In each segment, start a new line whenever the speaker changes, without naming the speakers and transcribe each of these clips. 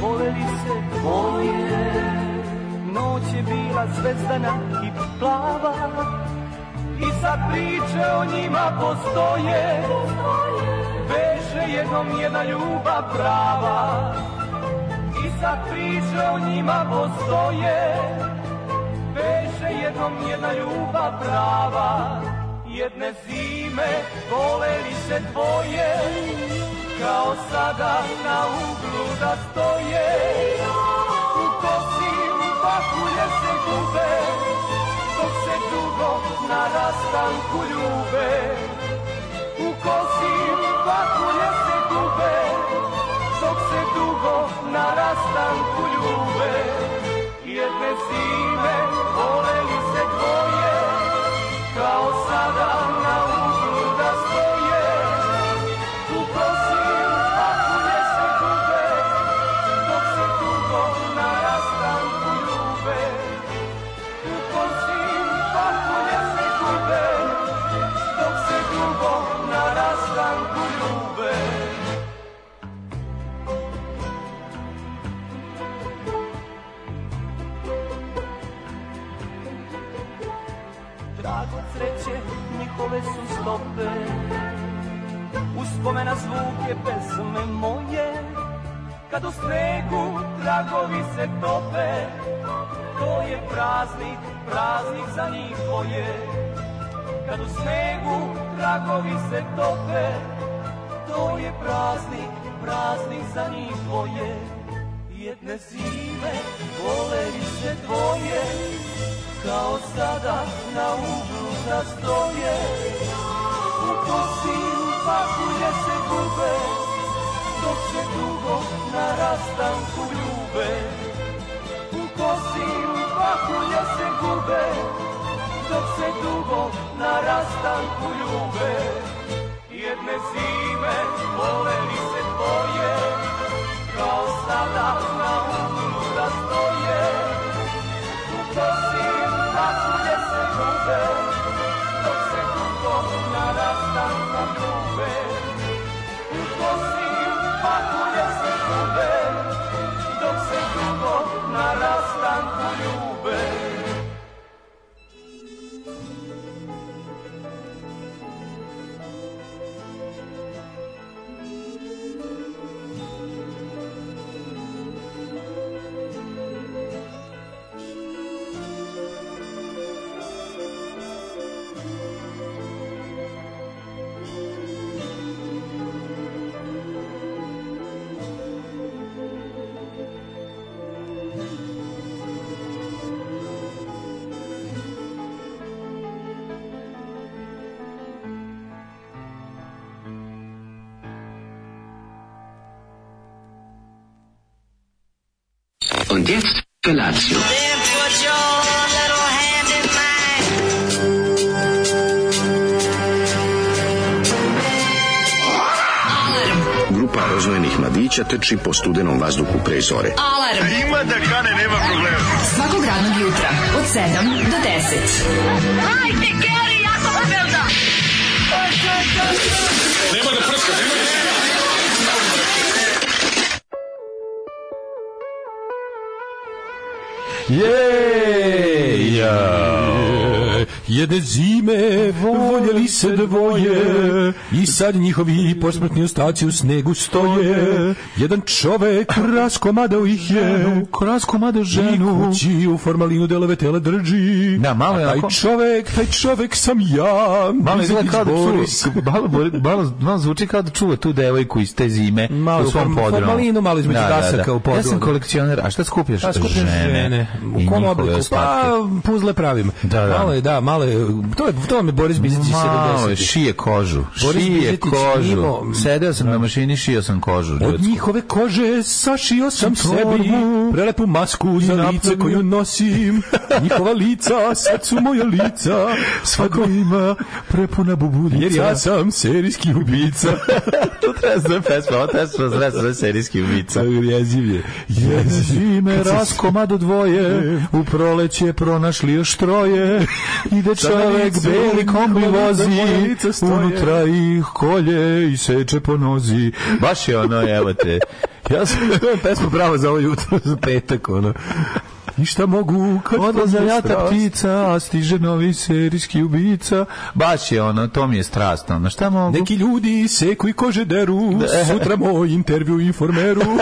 poveli se tvoje Noć je bila zvezdana i plava I sad priče o njima postoje Beše jednom jedna ljubav prava I sad priče o njima postoje Beše jednom jedna ljubav prava Jedne zime voleli se dvoje Kao sada na uglu da stoje U kosi u pakulje se gube Dok se dugo na rastanku ljube U kosi u pakulje se gube Dok se dugo na rastanku ljube Jedne zime voleli se dvoje Kao sada na uglu da stoje U kosi u pakulje se gube Dok se dugo na rastanku ljube u kosim pahulje se gube, dok se dugo na rastanku ljube. Drago sreće njihove su stope, uspomena zvuke pesme moje, kad u snegu tragovi se tope, to je praznik, praznik za njih koje. Kad u snegu tragovi se tope, to je praznik, praznik za njih koje. Jedne zime voleli se dvoje, kao sada na uglu da stoje. U kosi u pakulje se gube, dok se dugo na rastanku ljube. U kosi u pakulje se gube Dok se dugo na rastanku ljube Jedne zime voleli se dvoje Kao sada na uglu da stoje U kosi u pakulje se gube Dok se dugo na rastanku ljube U kosi u pakulje se gube dok se dugo na rastanku ljube.
Und jetzt Felatio.
Then put your little hand in mine.
Grupa rozvojenih mladića teči po studenom vazduhu pre zore.
Alarm svakog radnog jutra od 7 do 10.
Jej! Jedne zime voljeli se dvoje I sad njihovi posmrtni ostaci u snegu stoje Jedan čovek raskomadao ih je
E,
Raskomadao ženu I kući u formalinu delove tela drži
Da, malo je
A taj
onako-
čovek, taj čovek sam ja
Malo izgleda kao da
Boris.
čuva, malo, Bori- malo, malo zvuči kao da čuva tu devojku iz te zime
Malo
u svom
form-
podrumu.
formalinu, malo između dasaka u podrumu.
Ja sam kolekcioner, a šta skupljaš?
Pa skupljam žene.
i
U kom
njihove
obliku?
ostatke.
Pa, puzle pravim.
Da, da.
Malo je, da, malo je. To, je, to vam je Boris Bizić iz 70.
Malo je, šije kožu,
Boris
šije
Bizetić
kožu.
imao-
Sedeo sam na mašini, šio sam kožu.
Od
ljudsku.
njihove kože sašio sam
Torbu.
sebi prelepu masku i lice
Sa napravljen-
koju nosim. Njihova lica, sad su moja lica. Svako ima prepuna bubuljica. Jer ja sam serijski ubica.
to treba zove pesma, ovo treba se zove- zove serijski ubica.
Jeziv je. Jeziv
Zime raskomadu dvoje, u proleće pronašli još troje, ide
Sada
čovek
lice
beli kombi
u
vozi,
moja lica stoje.
unutra ih kolje i seče po nozi. Baš je ono, evo te, ja sam to je pesma prava za ovo jutro, za petak, ono. Ništa mogu, kad odlaza ljata ptica, a stiže novi serijski ubica. Baš je ono, to mi je strastno. Na šta mogu?
Neki ljudi se koji kože deru, sutra moj intervju u informeru.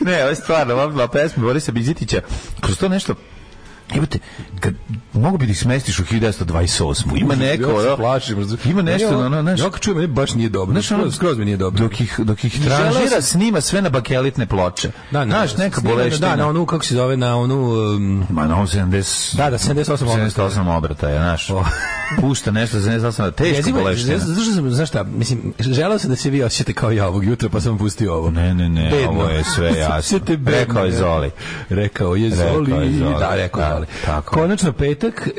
Ne, ovo je stvarno, ova ova pesma Borisa Bizitića, kroz to nešto Jebote, kad mogu bi da ih smestiš u 1928. Ima neko,
ja se
ono,
plašim. razumiješ?
Ima nešto,
Meni ovo-
ono, znaš-
Ja kad čujem, meni baš nije dobro.
Znaš, ono-
Skroz- skroz mi nije dobro.
dok ih, dok ih
Želeo
tranžira,
sam-
snima sve na bakelitne ploče.
Da, na-
Znaš, neka
snimljeno,
boleština.
Da, na onu, kako se zove, na onu... um,
Ma na ovom 70...
Da, ono. da, 78 obrata.
78 obrata je, znaš. Pušta nešto za 78, teško
Jezivo je,
boleština.
znaš- znaš šta sam, znaš šta, mislim, želeo sam da se vi osjećate kao ja ovog jutra, pa sam pustio ovo.
Ne, ne, ne,
Bedno.
ovo je sve jasno.
Osjećate bedno,
Rekao je
ne.
Zoli.
Rekao je
Rekao
Zoli.
je Zoli.
Da, rekao je
Da,
Zoli.
tako je.
Konačno petak e,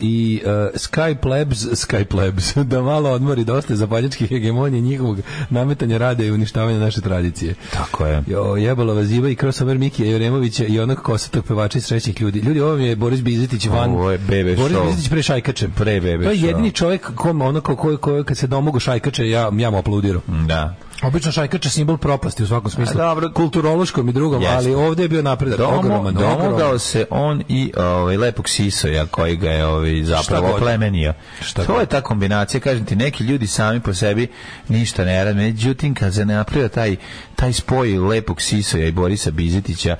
i e, Skype Labs, Skype Labs, da malo odmori dosta zapaljačkih hegemonije njihovog nametanja rada i uništavanja naše tradicije.
Tako je.
Jo, jebalo vas ziba i crossover Mikija Jeremovića i onog kosatog pevača iz srećnih ljudi. Ljudi, ovo mi je Boris Bizetić van.
Ovo je bebe
Boris
show.
Bizetić pre Šajkače.
Pre bebe
To je
show.
jedini čovjek kom ono ko, ko, ko, kad se domogu Šajkače, ja, ja mu aplaudiram.
Da.
Obično Šajkač je simbol propasti u svakom smislu.
A, dobro.
Kulturološkom i drugom,
Jeste.
ali ovdje je bio napredak
Domo-
ogroman, ogroman.
domogao se on i ovaj lepog sisoja koji ga je ovaj
Šta
zapravo
god.
plemenio.
Šta
to
god.
je ta kombinacija, kažem ti, neki ljudi sami po sebi ništa ne rade. Međutim, kad se napravio taj, taj spoj lepog sisoja i Borisa Bizetića,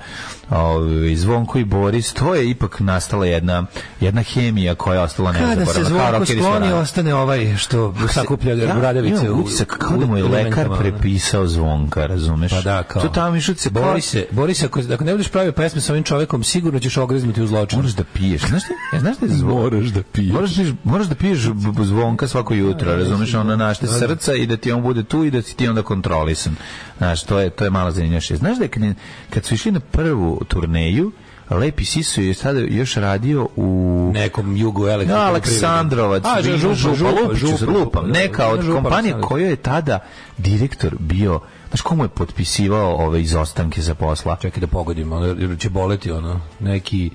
ovaj, Zvonko i Boris, to je ipak nastala jedna, jedna hemija koja je ostala
Kada
nezaboravna.
se
kao
zvonko
rockeri
skloni,
stvarno.
ostane ovaj što sakuplja ja, bradavice.
imam
u-
utisak kao da mu je
u
lekar
elementama, ono.
prepisao zvonka, razumeš?
Pa da, kao.
To tamo mišuce,
Bori se, bori se, ako, ako ne budeš pravio pesme sa ovim čovekom, sigurno ćeš ogreznuti u zločinu.
Moraš da piješ. Znaš ti, e, znaš ti Moraš da piješ. Moraš, da- moraš da piješ b- b- zvonka svako jutro, razumeš, ono našte srca i da ti on bude tu i da si ti onda kontrolisan. Znaš, to je, to je mala zanimljašnja. Znaš da je kad, kad su išli na prvu turneju, Lepi Sisu je sada još radio u...
nekom jugu
Ja,
električnom.
Aleksandrovac,
A,
Vino
župa, župa,
Župa,
župa,
Lupiću se
župa,
lupam,
da,
neka od
župa,
kompanije
Aleksandrovac.
kojoj je tada direktor bio, znaš komu je potpisivao ove izostanke za posla?
Čekaj da pogodim, ono, jer će boleti ono, neki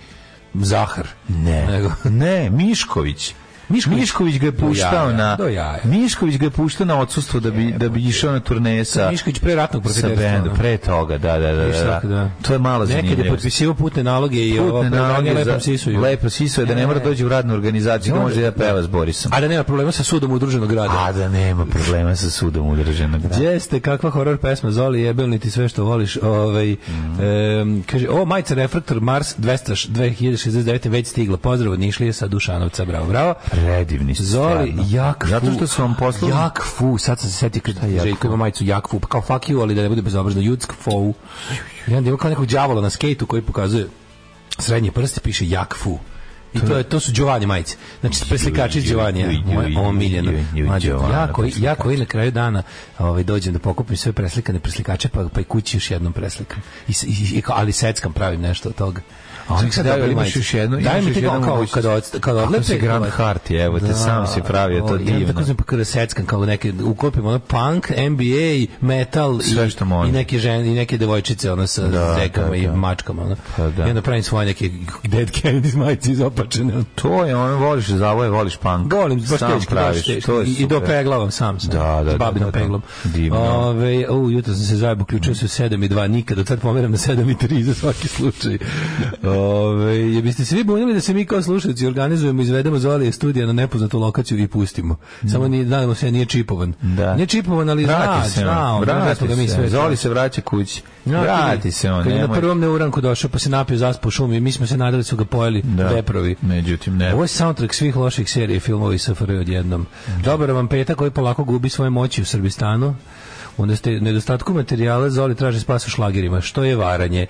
zahar.
Ne.
Nego,
Ne, Mišković. Mišković, ga je puštao
jaja,
na
do jaja.
Mišković ga je puštao na odsustvo da bi da bi išao na turneje sa
Mišković pre ratnog
sa
profiterstva.
bendom
ono.
pre toga, da da da.
Viš
da,
tako da.
To je malo zanimljivo.
Nekad je potpisivao putne naloge i ovo
Putne naloge
lepom
za-
sisuju.
Lepo sisu je da
E.
ne mora doći u radnu organizaciju, da
Može.
može da peva s Borisom.
A da nema problema sa sudom udruženog grada.
A da nema problema sa sudom udrženog.
Gdje ste, kakva horor pesma, Zoli, jebel niti sve što voliš. Ovaj,
Mhm.
em, kaže, o, majica refraktor Mars 200, 2069 već stigla. Pozdrav od Nišlije sa Dušanovca, bravo, bravo.
Pa Predivni ste.
Zoli,
stvarno.
jak fu.
Zato što su vam poslali
Jak fu, sad sam se setio kada je Željko ima majicu jak fu, pa kao fuck you, ali da ne bude bezobrazno, judsk fu. I onda ima kao nekog đavola na skejtu koji pokazuje srednji prst i piše jak fu. I to, je, to su Giovanni majice. Znači, preslikači iz
juj,
Giovanija,
juj,
moje
juj,
omiljeno.
juj, juj,
Mlađo,
Giovanna,
Ja koji, ja
preslikač.
koji na kraju dana ovaj, dođem da pokupim sve preslikane preslikače, pa, pa i kući još jednom preslikam. I, s- i, i, kao- ali seckam pravim nešto od toga. A oni
Čekaj,
sad
da,
dobili
imaš
majice.
još jednu-
Daj
imaš
mi
još
ti
jednu
kao, kao
mogućnost.
kad, od, kad
Kako
odlepe.
si Grand
ovaj,
Harti, evo te, sam si pravio, to
ovaj, i onda
divno.
Tako sam pa seckam kao neke, uklopim ono punk, NBA, metal
Sve
i,
što može.
i neke žene, i neke devojčice ono sa
Da,
zekama
da,
i
da.
mačkama. Ono.
Pa da.
I onda pravim svoje neke Dead Kennedys majice izopačene.
To je, ono voliš zavoje, voliš punk.
Volim, baš
Sam
teški,
praviš,
baš teški.
to je
I, I
super.
dopeglavam sam sam.
Da, da, da,
S babinom
da, da.
peglom.
Divno.
Ove, u, jutro sam se zajebo, uključio se u 7 i 2, nikad, od sad pomeram na 7 i 3 za svaki slučaj. Ove, je biste se vi bunili da se mi kao slušalci organizujemo, izvedemo Zolije studija na nepoznatu lokaciju i pustimo. Samo ni, nadamo se, nije čipovan.
Da.
Nije čipovan, ali zna,
Vrati se
zna, on,
on, vrati
smo ga mi
se.
sve.
Zoli se vraća kući. Vrati se on,
Kad je na
nemoj.
prvom neuranku došao, pa se napio zaspo u šumi, mi smo se nadali da su ga pojeli
Da.
veprovi.
Međutim, ne.
Ovo je soundtrack svih loših serija i filmova iz SFRJ odjednom. Dobar vam petak koji polako gubi svoje moći u Srbistanu. U neste- nedostatku materijala Zoli traži spas u šlagerima. Što je varanje?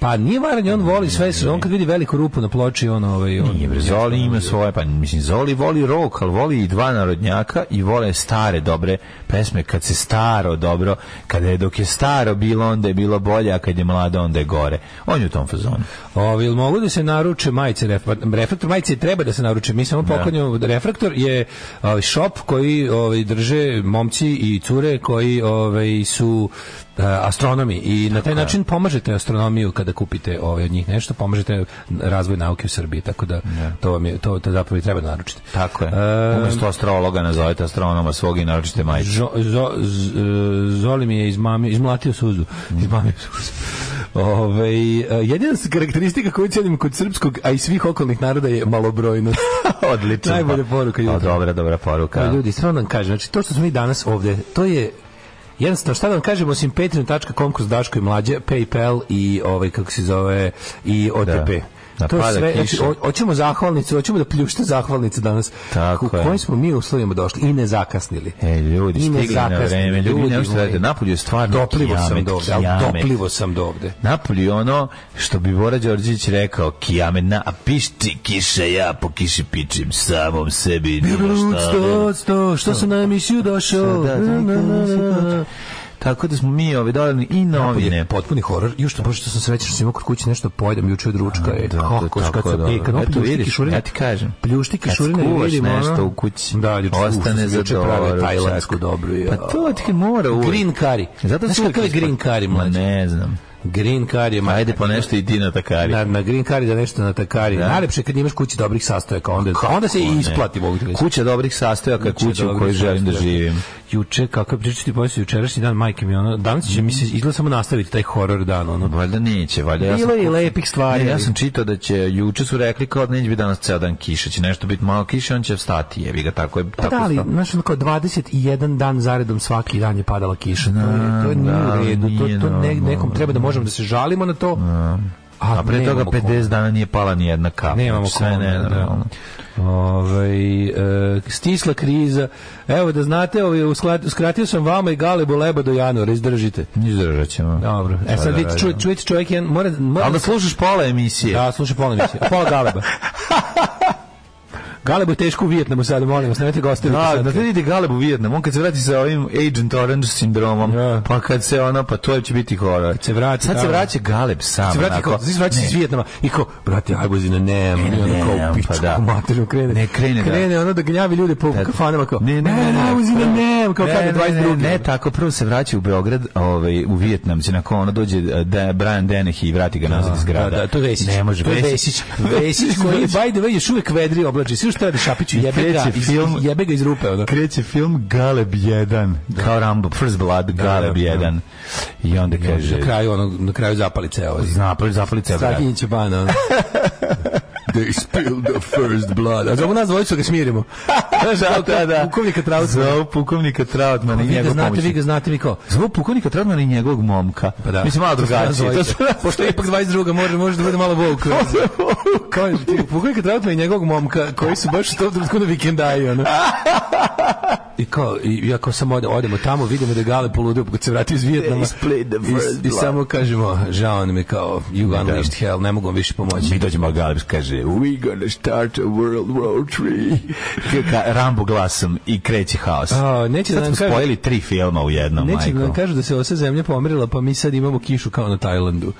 Pa nije varanje, on voli sve, on kad vidi veliku rupu na ploči, on ovaj... On,
Nije, bre, Zoli ima svoje, pa mislim, Zoli voli rock, ali voli i dva narodnjaka i vole stare dobre pesme, kad se staro dobro, kada je dok je staro bilo, onda je bilo bolje, a kad je mlada, onda je gore. On je u tom fazonu.
Ovi, jel mogu da se naruče majice, ref- refraktor majice treba da se naruče, mi samo poklonjamo, refraktor je ovaj, šop koji ovaj, drže momci i cure koji ovaj, su eh, astronomi i na taj način pomažete astronomiju kada da kupite ovaj od njih nešto, pomažete razvoj nauke u Srbiji, tako da to vam je to to zapravo i treba da naručite.
Tako je.
E,
Umesto astrologa nazovete astronoma svog i naročite majicu.
Zo, zo, z- e, Zoli mi je izmamio, izmlatio suzu. Izmamio suzu. Ove, e, jedina s- karakteristika koju cijenim kod srpskog, a i svih okolnih naroda je malobrojnost.
Odlično.
Najbolja poruka jutra.
O, pa- Dobra, dobra poruka.
Pa, ljudi, stvarno vam kažem, znači to što smo mi danas ovde, to je jednostavno šta da vam kažem osim patreon.com kroz Daško i mlađe, PayPal i ovaj kako se zove i OTP.
Da,
to je
pada
sve, znači,
kiša.
ho- hoćemo zahvalnicu, hoćemo da pljušte zahvalnice danas.
Tako
u
je.
kojim smo mi uslovima došli i ne zakasnili.
E, ljudi,
I ne
stigli na
zakasnili,
vreme. Ljudi,
ljudi
ne možete da
moji.
radite. Napolju je stvarno
Doplivo sam
kijamet,
do ovde, ali
kijamet.
doplivo sam do ovde.
Napolju je ono što bi Bora Đorđević rekao, kijamet na, a piš ti kiše, ja po kiši pičim samom sebi. nema šta da-
sto, što sam na emisiju došao?
Da, da, da, da, da. Tako da smo mi ove dodali i novine.
je potpuni horor. Još što pošto sam srećan što sam imao kod kuće nešto da pojedem juče od ručka. E,
Da,
kako,
to je
kad
tako
sam, e, kad
dobro.
opet
Eto,
pljušti
vidiš,
kišurine.
ja ti kažem.
Pljušti
Kad
kišurine
skuvaš
vidim. ono-
nešto u kući,
Da, juče skuvaš,
ostane za
juče prave
doručak.
Tajlandsku dobru. ja.
Pa to ti mora uvijek.
Green curry.
Zato
Znaš
su uvijek
kakav je
ispod-
green curry,
Ma
mlađe?
Ne znam.
Green curry je...
Ajde po nešto i ti na takari.
Na, na green curry da nešto na takari.
Da.
Najlepše je kad imaš kući dobrih sastojaka. Onda, onda se i
Ne.
isplati, mogu ti reći.
Kuća dobrih sastojaka,
Juče
kuća u
dobro
kojoj
sam
želim da
stigao.
živim.
Juče, kako je pričati poslije jučerašnji dan, majke mi, ono, danas će mi se izgleda samo nastaviti taj horor dan, ono.
Valjda neće, valjda ja sam...
Bilo je i lepih stvari.
Ne, ja sam čitao da će juče su rekli kao da neće biti danas ceo dan kiše, će nešto biti malo kiše, on će vstati, jebi ga tako je
Pa
tako
da, ali,
sta-
znaš, ono kao 21 dan zaredom svaki dan je padala kiša. To, je, to je nije
da,
u redu.
nije
to, to ne, nekom
normalno.
treba da možemo da se žalimo na to.
A pre toga 50 dana nije pala ni jedna kap.
Nemamo
Znači, sve
kome, da.
nenormalno.
Ovaj, e, stisla kriza. Evo da znate, ovaj, uskla- uskratio sam vama i Galebu leba do januara, izdržite.
Izdržat ćemo.
Dobro. E
Šta
sad
da
vidite, ču,
radimo?
čujete čovjek jedan, mora, mora
Ali da slušaš pola emisije.
Da, slušaj pola emisije. A Pola Galeba. Galebu je teško u Vijetnamu sad, molim vas, nemojte ga ostaviti.
Da,
sad.
da vidite Galeb u Vijetnam, on kad se vrati sa ovim Agent Orange sindromom,
Da.
pa kad se ono, pa to će biti horor.
se vrati,
Sad se
da.
vraća Galeb sam.
se vrati kao,
onako.
znači vraća se
Ne.
iz Vijetnama i kao, brate, Ajbuzina, nema, i ono kao,
nemam,
pičku
pa da.
materinu krene.
Ne, krene, da.
Krene, ono da gnjavi ljude po kafanama, kao,
Ne, ne, ne, ne,
Ajbuzina, nema, kao
Ne,
kada
ne, ne,
22.
Ne, tako, prvo se vraća u Beograd, ovaj, u Vijetnam, će nakon ono dođe eh, da, Brian Dennehy i vrati ga nazad iz grada.
Da, da, to je Vesić.
Ne može,
to je Vesić. Vesić koji je, by the way, još uvek vedri oblači. Svi što radi Šapiću, jebe ga,
Kreće
iz,
film.
jebe ga iz rupe. Ono.
Kreće film Galeb 1, kao Rambo, First Blood, Galeb
da.
1. I onda kaže...
Na kraju, ono, na kraju zapali ceo.
Napolj zapali ceo grad.
Strahinjić je bana. ono. They spilled the first blood. A zovu nas dvojicu ga smirimo.
da, da, da.
Pukovnika Trautmana.
Zovu pukovnika Trautmana i
Vi ga
njegov
znate, vi ga
pomoćnik.
znate, vi kao,
Zovu pukovnika Trautmana i njegovog momka.
Pa da.
Mislim, malo
To su nas
drugačije. To
dvojica.
su nas-
Pošto je ipak 22. može, može da bude malo vouk. Kao je, ti Pukovnika Trautmana i njegovog momka, koji su baš u tom trenutku na vikendaju. Ono. I kao, i ja kao samo odemo, odemo tamo, vidimo da je Gale poludio kad se vrati iz Vijetnama.
They split the first
I, I
blood.
samo kažemo, žao nam je kao, you unleashed hell, ne mogu vam više pomoći.
Mi dođemo a Galeb kaže We gonna start a world war three Ka- Rambo glasom i kreće haos
A, neće da
Sad
nam
smo
kažu-
spojili tri filma u jednom
Neće da
majko.
nam kažu da se ova zemlja pomirila, pa mi sad imamo kišu kao na Tajlandu.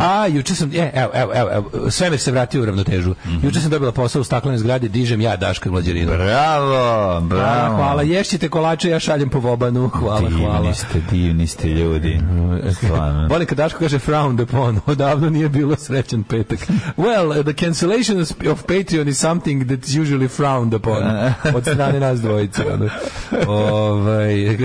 A juče sam, e, evo, evo, evo, evo, svemir se vratio u ravnotežu. Juče sam dobila posao u staklenoj zgradi, dižem ja Daška Glađerina.
Bravo, bravo
A, hvala, ješćite kolače, ja šaljem po vobanu. Hvala,
divni
hvala.
ste, divni ste ljudi Stvarno
Volim kad Daško kaže frowned upon, odavno nije bilo srećan petak. Well, the cancellation of of Patreon is something that's usually frowned upon. Od strane nas dvojice. ono. Ovaj,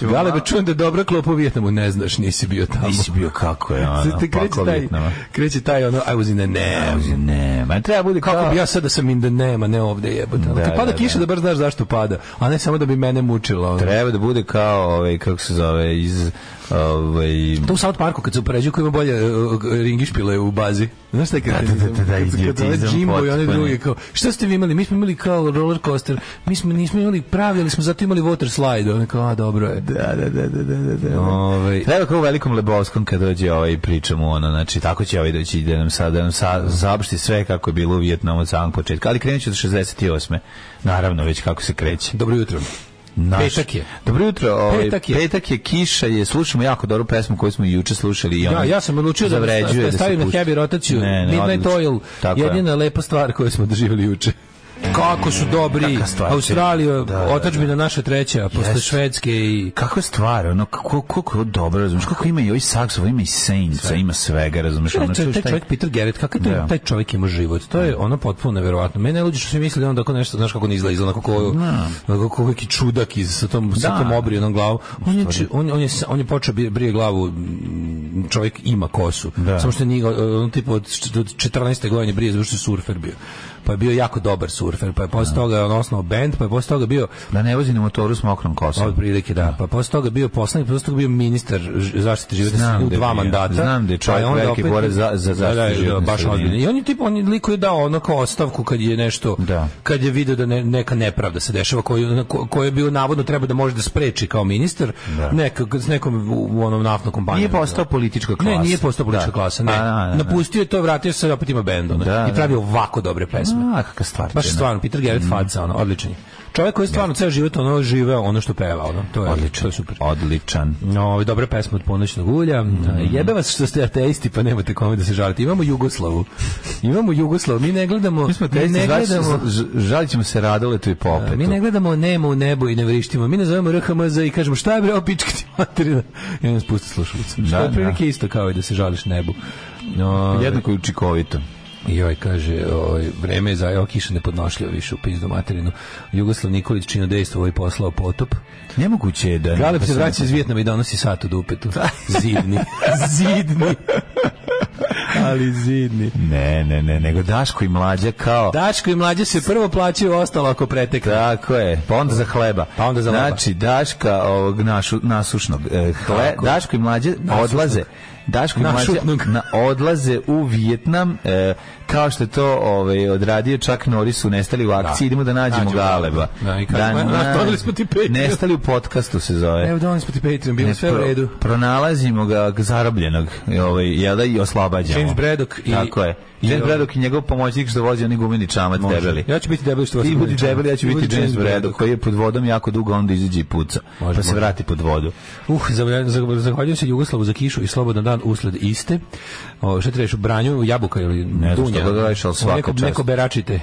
Galebe, čujem da je dobra klopa u Vjetnamu, ne znaš, nisi bio tamo.
Nisi bio kako je ono,
Sad ti kreće
pakao
taj,
Vjetnama.
kreće taj ono, I was in the name.
Kaže, Ne, ma treba bude
Kako
kao
bi ja sad da sam in the name, a ne ovde jebote. Da,
Da,
kad pada
da,
kiša
da.
da baš znaš zašto pada, a ne samo da bi mene mučila. Ono.
Treba da bude kao, ovaj, kako se zove, iz... Ovaj,
To u South Parku kad se upoređuju ko ima bolje uh, ringišpile u bazi. Znaš šta je kad
Da, da, da, da, da,
kad- kad- kad ovaj
idiotizam
Jimbo i one
potpuni.
druge kao šta ste vi imali? Mi smo imali kao roller coaster. Mi smo nismo imali pravi, ali smo zato imali water slide. Oni kao a dobro je.
Da, da, da, da, da, da, da.
Ovaj
Treba kao u velikom Lebovskom kad dođe ovaj priča mu ono, znači tako će ovaj doći da nam sad da nam sa, zaopšti sve kako je bilo u Vijetnamu od samog početka, ali krenut ću od 68. Naravno, već kako se kreće.
Dobro jutro.
Naš-
Petak je.
Dobro jutro. Ovaj,
Petak je.
Petak je, kiša je, slušamo jako dobru pesmu koju smo juče slušali. I
Ja,
ona
ja sam odlučio da,
zavređuje
da
se
stavim na
pusti.
heavy rotaciju
Ne, ne,
Midnight
odlično.
Oil,
Tako je.
jedina lepa stvar koju smo doživjeli juče. Kako su dobri.
Kakva stvar.
Australija,
Da, da, da.
otadžbina naša treća, posle
Jeste.
Švedske i...
Kako stvar, ono, kako, kako je ovo dobro, razumiješ, kako ima i ovi saksov, ima i senjica, ima svega, razumiješ, ono,
taj,
čuješ
taj
taj-
čovjek Peter Garrett, kakav taj,
Da.
taj čovjek ima život. To je ono potpuno neverovatno. Mene luđe što se misli da on tako nešto, znaš kako ne izgleda, izgleda kako kako neki čudak iz sa tom sa
Da.
tom obrionom glavom. On je či- on, on je s- on je počeo bi- brije glavu mm, čovjek ima kosu. Samo što nije on tipa od čet- od 14. godine brije zato što je surfer bio. Pa je bio jako dobar surfer, pa je posle toga on osnovao bend, pa je posle toga bio
Da ne vozi na motoru s mokrom kosom.
od prilike da. Pa posle toga bio poslanik, posle toga bio ministar ž- zaštite životne sredine u
da je
dva
bio.
mandata.
Znam da je čovjek
Pa onda
veliki
opet-
borac za- za zaštitu
Da, da,
životne
da, baš
sredine.
ozbiljno. I on je tip on je liku je dao ono kao ostavku kad je nešto
Da.
kad je video da ne- neka nepravda se dešava koju na ko- koju je bio navodno treba da može da spreči kao ministar, neka s nekom u, u onom naftnom kompanijom.
Nije postao politička klasa.
Ne, nije postao politička
Da.
klasa, ne.
A, da, da, da.
Napustio je to, vratio se, opet ima bend ono.
Da,
i
da.
pravi ovako dobre pesme.
A, kakva stvar.
Baš
čena.
stvarno, Peter Garrett
Mm.
faca, ono, odličan je. Čovjek koji je stvarno ceo život ono živeo ono što peva, ono, to je, to
Odličan,
je super.
odličan.
No, ove dobre pesme od ponoćnog ulja.
Mm.
Jebe vas što ste ateisti, pa nemate kome da se žalite. Imamo Jugoslavu. Imamo Jugoslavu. Mi ne gledamo...
Mi smo
mi ne
testi,
gledamo-
žalit ćemo se radoletu i popetu.
mi ne gledamo nema u nebo i ne vrištimo. Mi nazovemo RHMZ i kažemo šta je bre ovo pička ti materina. I onda spusti slušalicu. Što je
da.
prilike isto kao i da se žališ nebu. No,
Ovaj, Jednako je učikovito.
i ovaj kaže, ovaj, vreme je za evo kiša nepodnošljiva više u pizdu materinu. Jugoslav Nikolić čino dejstvo ovaj poslao potop. Pa
Nemoguće je da...
Galeb se
da
vraća iz Vjetnama i donosi sat u dupetu. Zidni. zidni. Ali zidni.
Ne, ne, ne, nego Daško i mlađa kao...
Daško i mlađe se prvo plaćaju, ostalo ako pretekne.
Tako je, pa onda za hleba.
Pa onda za leba.
Znači, Daška ovog našu, nasušnog. e, Hle,
Tako.
Daško i mlađe odlaze. Daško i mlađe
Našutnog.
na, odlaze u Vjetnam, e, kao što je to ovaj, odradio čak Norris u Nestali u akciji, idemo da nađemo
Nađemo
Galeba.
Galeba. Da, i kažemo, "Ma,
na-
doneli smo ti Patreon."
Nestali u podcastu se zove.
Evo donali smo ti Patreon, bilo
Ne,
sve u
pro-
redu.
Pronalazimo ga zarobljenog, i ovaj, jada i oslobađamo.
James Braddock i-
Tako je.
i
James
ovaj-
Braddock i njegov pomoćnik što vozi oni gumeni čamac
Može.
debeli.
Ja ću biti debeli što vas
Ti
ne
budi
vidim.
debeli, ja ću
Budi
biti
James
James Bredo,
Braddock.
koji je pod vodom jako dugo, onda izađe i puca.
Može,
pa se
može.
vrati pod vodu.
Uh, zav- zav- zahvaljujem se Jugoslavu za kišu i slobodan dan usled iste. O, šta ti reći, u branju, jabuka ili
Ne znam
dunja?
šta god radiš, ali svaka
neko,
čast.
Neko beračite.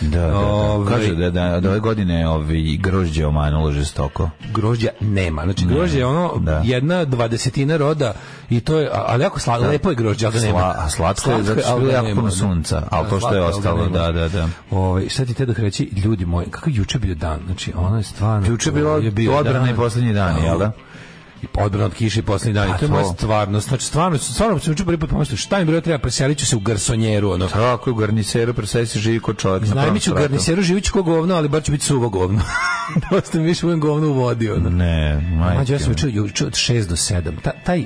Da, da,
Ovaj.
Kaže da, da, da ove godine ovi grožđe omanulo žestoko.
grožđa nema. Znači grožđe je ono
Da.
jedna dvadesetina roda i to je a- ali jako slatko, lepo je grožđe, ali ga nema.
Sla, a slatko je zato što je
ali
bilo
ga
jako
nema,
puno
da.
sunca, ali
Da,
to što je
slatko, ali ga
ostalo,
nema.
da, da, da.
Ovaj šta ti te da reći, ljudi moji, kakav je juče bio dan. Znači ono je stvarno
Pa Juče je bilo
to
odbrana i poslednji dan, jel da?
I odbrana od kiše i poslednji dan. I
Pa
to je moja
to.
stvarnost. Znači stvarno stvarno sam juče prvi put pomislio šta mi bre treba preselit ću se u garsonjeru ono.
Tako, u garniseru presedi se živi kod čovjek. na prvom
Najmi ću u
spratu.
garniseru živit ko govno, ali bar će biti suvo govno. Dosta mi više budem govno u vodi ono.
Ne,
Mađo, ja
majke.
sam čuo juče od 6 do 7. Ta, taj,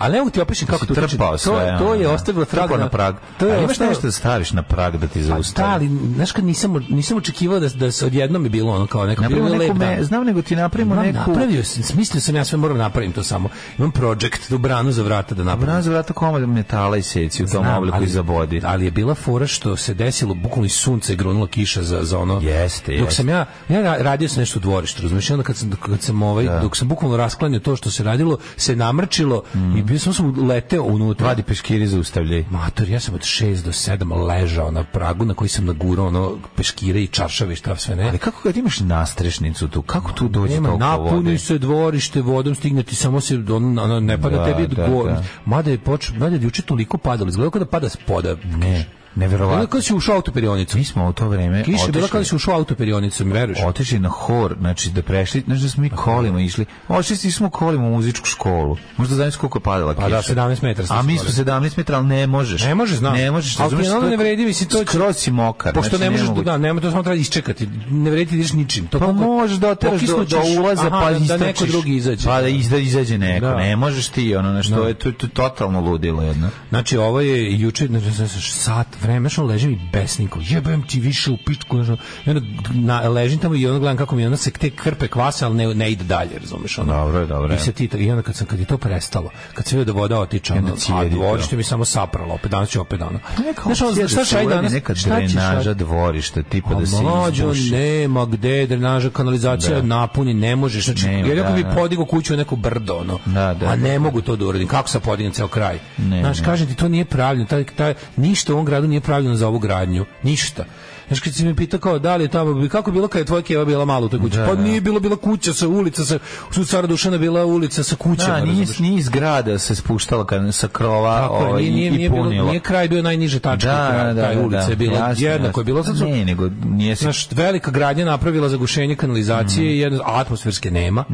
ali ne mogu ti opišem kako
si
to utiče.
trpao
to,
sve.
to je
ono.
ostavilo trag
Trpao na prag.
To je
A imaš
ostavilo-
nešto da staviš na prag da ti
Pa da,
zaustavi?
ali, znaš kad nisam, nisam očekivao da, da se odjednom je bilo ono kao neko bilo
Napravimo
je
neku,
lep
me,
dan.
znam nego ti napravimo
Imam
neku...
napravio sam, smislio sam ja sve moram napravim to samo. Imam project, tu branu za vrata da napravim.
Obraz vrata komad metala i seci u tom
Znam,
obliku
ali-
i zabodi.
Ali je bila fora što se desilo, bukvalno iz sunca je grunula kiša za, za ono.
Jeste,
Dok
jeste.
sam ja, ja ra- radio sam nešto u dvorištu, razumiješ, I onda kad sam, kad sam ovaj, dok sam bukvalno rasklanio to što se radilo, se namrčilo
Mm.
i bio sam, sam leteo unutra.
Vadi peškiri zaustavljaj.
Mator, ja sam od 6 do 7 ležao na pragu na koji sam nagurao ono peškire i čaršave i šta sve ne.
Ali kako kad imaš nastrešnicu tu, kako tu dođe
Nema,
toliko vode?
napuni se dvorište vodom, stigne ti samo se on, ono, ne pada
Da,
tebi
da,
go,
da.
mada je poč, mada je juče toliko padalo, izgleda kao da pada s poda.
Ne,
Ono
neverovatno.
kao da si ušao u autoperionicu.
Mi smo u to vreme
Kiša je bila kao da
otišli,
si ušao u autoperionicu, mi veruješ?
otišli na hor, znači da prešli, znači da smo mi kolima išli. Otišli smo kolima u muzičku školu. Možda znaš koliko je padala kiša.
Pa da, 17 metara smo
A mi
skoro.
smo 17 metara, ali ne možeš.
Ne možeš, znam.
Ne možeš,
Ali
razumeš,
ti ono
to je-
ne vredi, mislim, to će-
Skroz si mokar.
Pošto
znači,
ne možeš
mogu
da,
ti-
nema to samo treba isčekati. Ne vredi ti ideš ničim. To
Pa
koliko-
možeš da oteraš do,
pokisnut
do
ćeš,
ulaza,
aha,
pa
da, da neko
istrčiš.
drugi izađe.
Pa da izda, izađe neko,
Da.
ne možeš ti, ono nešto, to je to, to je totalno ludilo jedno.
Znači, ovo je juče, znači, znači, sat vremena, što ležim i besnim, kao jebem ti više u pičku, znači, i onda na, ležim tamo i onda gledam kako mi ono se te krpe kvase, ali ne, ne ide dalje, razumeš, ono.
Dobro je, dobro je.
I, se ti, I onda kad, sam, kad je to prestalo, kad se vidio da voda otiče, ono, a
cijedi to.
dvorište mi samo sapralo, opet danas će opet ono.
Pa
Znaš, ono,
Sjediš,
šta će aj
uradi
danas?
Neka
šta ćeš aj-
drenaža dvorišta, tipa da se
a Pa mlađo,
izbuši.
nema gde drenaža, kanalizacija napuni, ne možeš. Znači,
Nema,
jer ako
da,
bi
da.
podigao kuću u neko brdo, ono,
Da, da,
a ne
da.
mogu to da uradim. Kako sa podignem ceo kraj?
Ne,
Znaš,
ne.
kažem ti, to nije pravljeno. Taj, taj, ništa u ovom gradu nije pravljeno za ovu gradnju. Ništa. Znaš, kad si me pitao kao da li je tamo, kako je bilo kad je tvoja keva bila mala u toj kući? pa nije bilo, bila kuća sa ulica, sa, su cara Dušana bila ulica sa kućama.
Da, nije,
razumeš?
nije iz grada se spuštala kad, sa krova
Tako je,
ovaj,
nije, nije,
i
nije, bilo,
punila.
nije kraj bio najniže tačke,
da,
kraj,
da,
kraj
da,
ulice
da,
je bilo
jasno,
jednako je bilo. Sad su-
Ne, nego nije se...
znaš, velika gradnja napravila za gušenje kanalizacije
Mhm.
i jedno, a atmosferske nema.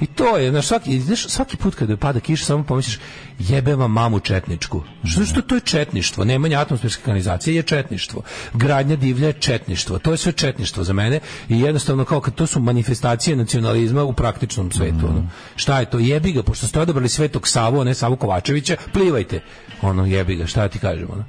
I to je, znaš, svaki, znaš, svaki put kada pada kiša, samo pomisliš, jebem vam mamu četničku. Što, što to je četništvo? Nemanje atmosferske kanalizacije je četništvo. Gradnja divlja je četništvo. To je sve četništvo za mene i jednostavno kao kad to su manifestacije nacionalizma u praktičnom svetu.
Mhm.
ono. Šta je to? Jebi ga, pošto ste odabrali Svetog Savu, a ne Savu Kovačevića, plivajte. Ono, jebi ga, šta ti kažem? Ono.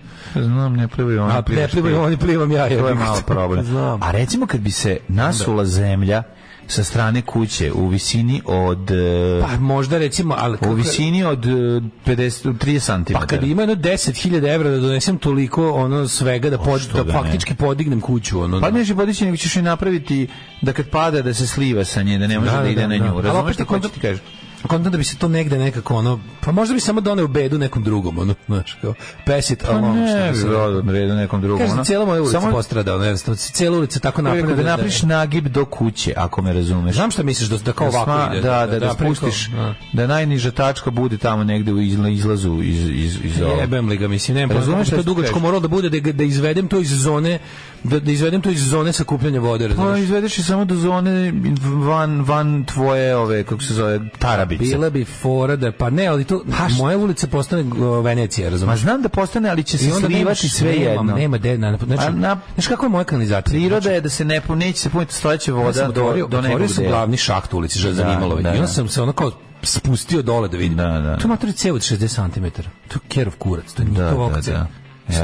Znam, ne plivaju oni.
A, ne
plivaš
plivaju
ti.
oni, plivam ja,
To je
jebi ga.
malo problem.
Znam.
A recimo kad bi se nasula zemlja sa strane kuće u visini od... e,
Pa možda recimo, ali...
u
kako-
visini od e, 50, 30 cm.
Pa kad ima jedno 10.000 evra da donesem toliko ono svega da, pod,
Pa što
da,
da ne?
faktići podignem kuću ono.
Pa neće podići, nego ćeš i napraviti da kad pada da se sliva sa nje, da ne može da, ide na nju.
Ali opet
Razumeš
je
što hoću
konta-
ti kažem?
kontam da bi se to negde nekako ono, pa možda bi samo doneo bedu nekom drugom, ono, znaš, kao, pesit,
Pa
ali ono što
ne,
bi
bi
se-
bilo na redu nekom drugom.
Kažem,
ono.
cijela moja ulica
Samo
postrada, ono, jednostavno, cijela ulica tako
Rekao
napravljena.
da
da-
napriš nagib do kuće, ako me razumeš.
Znam šta misliš, da, da kao
Da
ovako
sma-
ide.
da, da, da,
preko-
spustiš,
da.
da najniža tačka bude tamo negde u izla- izlazu iz, iz, iz ovog.
Jebem li ga, mislim, nemam pojma
Razumeš
kako bi
šta
to
ti
dugačko
kažem?
moralo da bude, da, ga- da izvedem to iz zone, da, da izvedem to iz zone sakupljanja vode,
Pa
razumeš?
izvedeš je samo do zone van, van tvoje, ove, kako se zove, tarabice.
Bila bi fora da, pa ne, ali to, moja ulica postane o, Venecija, razumeš?
Ma znam da postane, ali će se
I onda
slivati
nemaš-
sve
nema-
jedno.
Nema de, na, znači,
A na-
znaš kako je moja kanalizacija?
Priroda je da se ne, pu- neće se puniti stojeće
Ja sam
voda
Znači- otvorio,
do, do
otvorio
nekog
sam
dela.
glavni šakt u ulici Žazanimalo
da,
i onda
da.
sam se ono kao spustio dole da vidim.
Da, da.
To je matori cev od 60 cm. To je kerov kurac, to nije
Da,
to ovako
da,
cev.
da.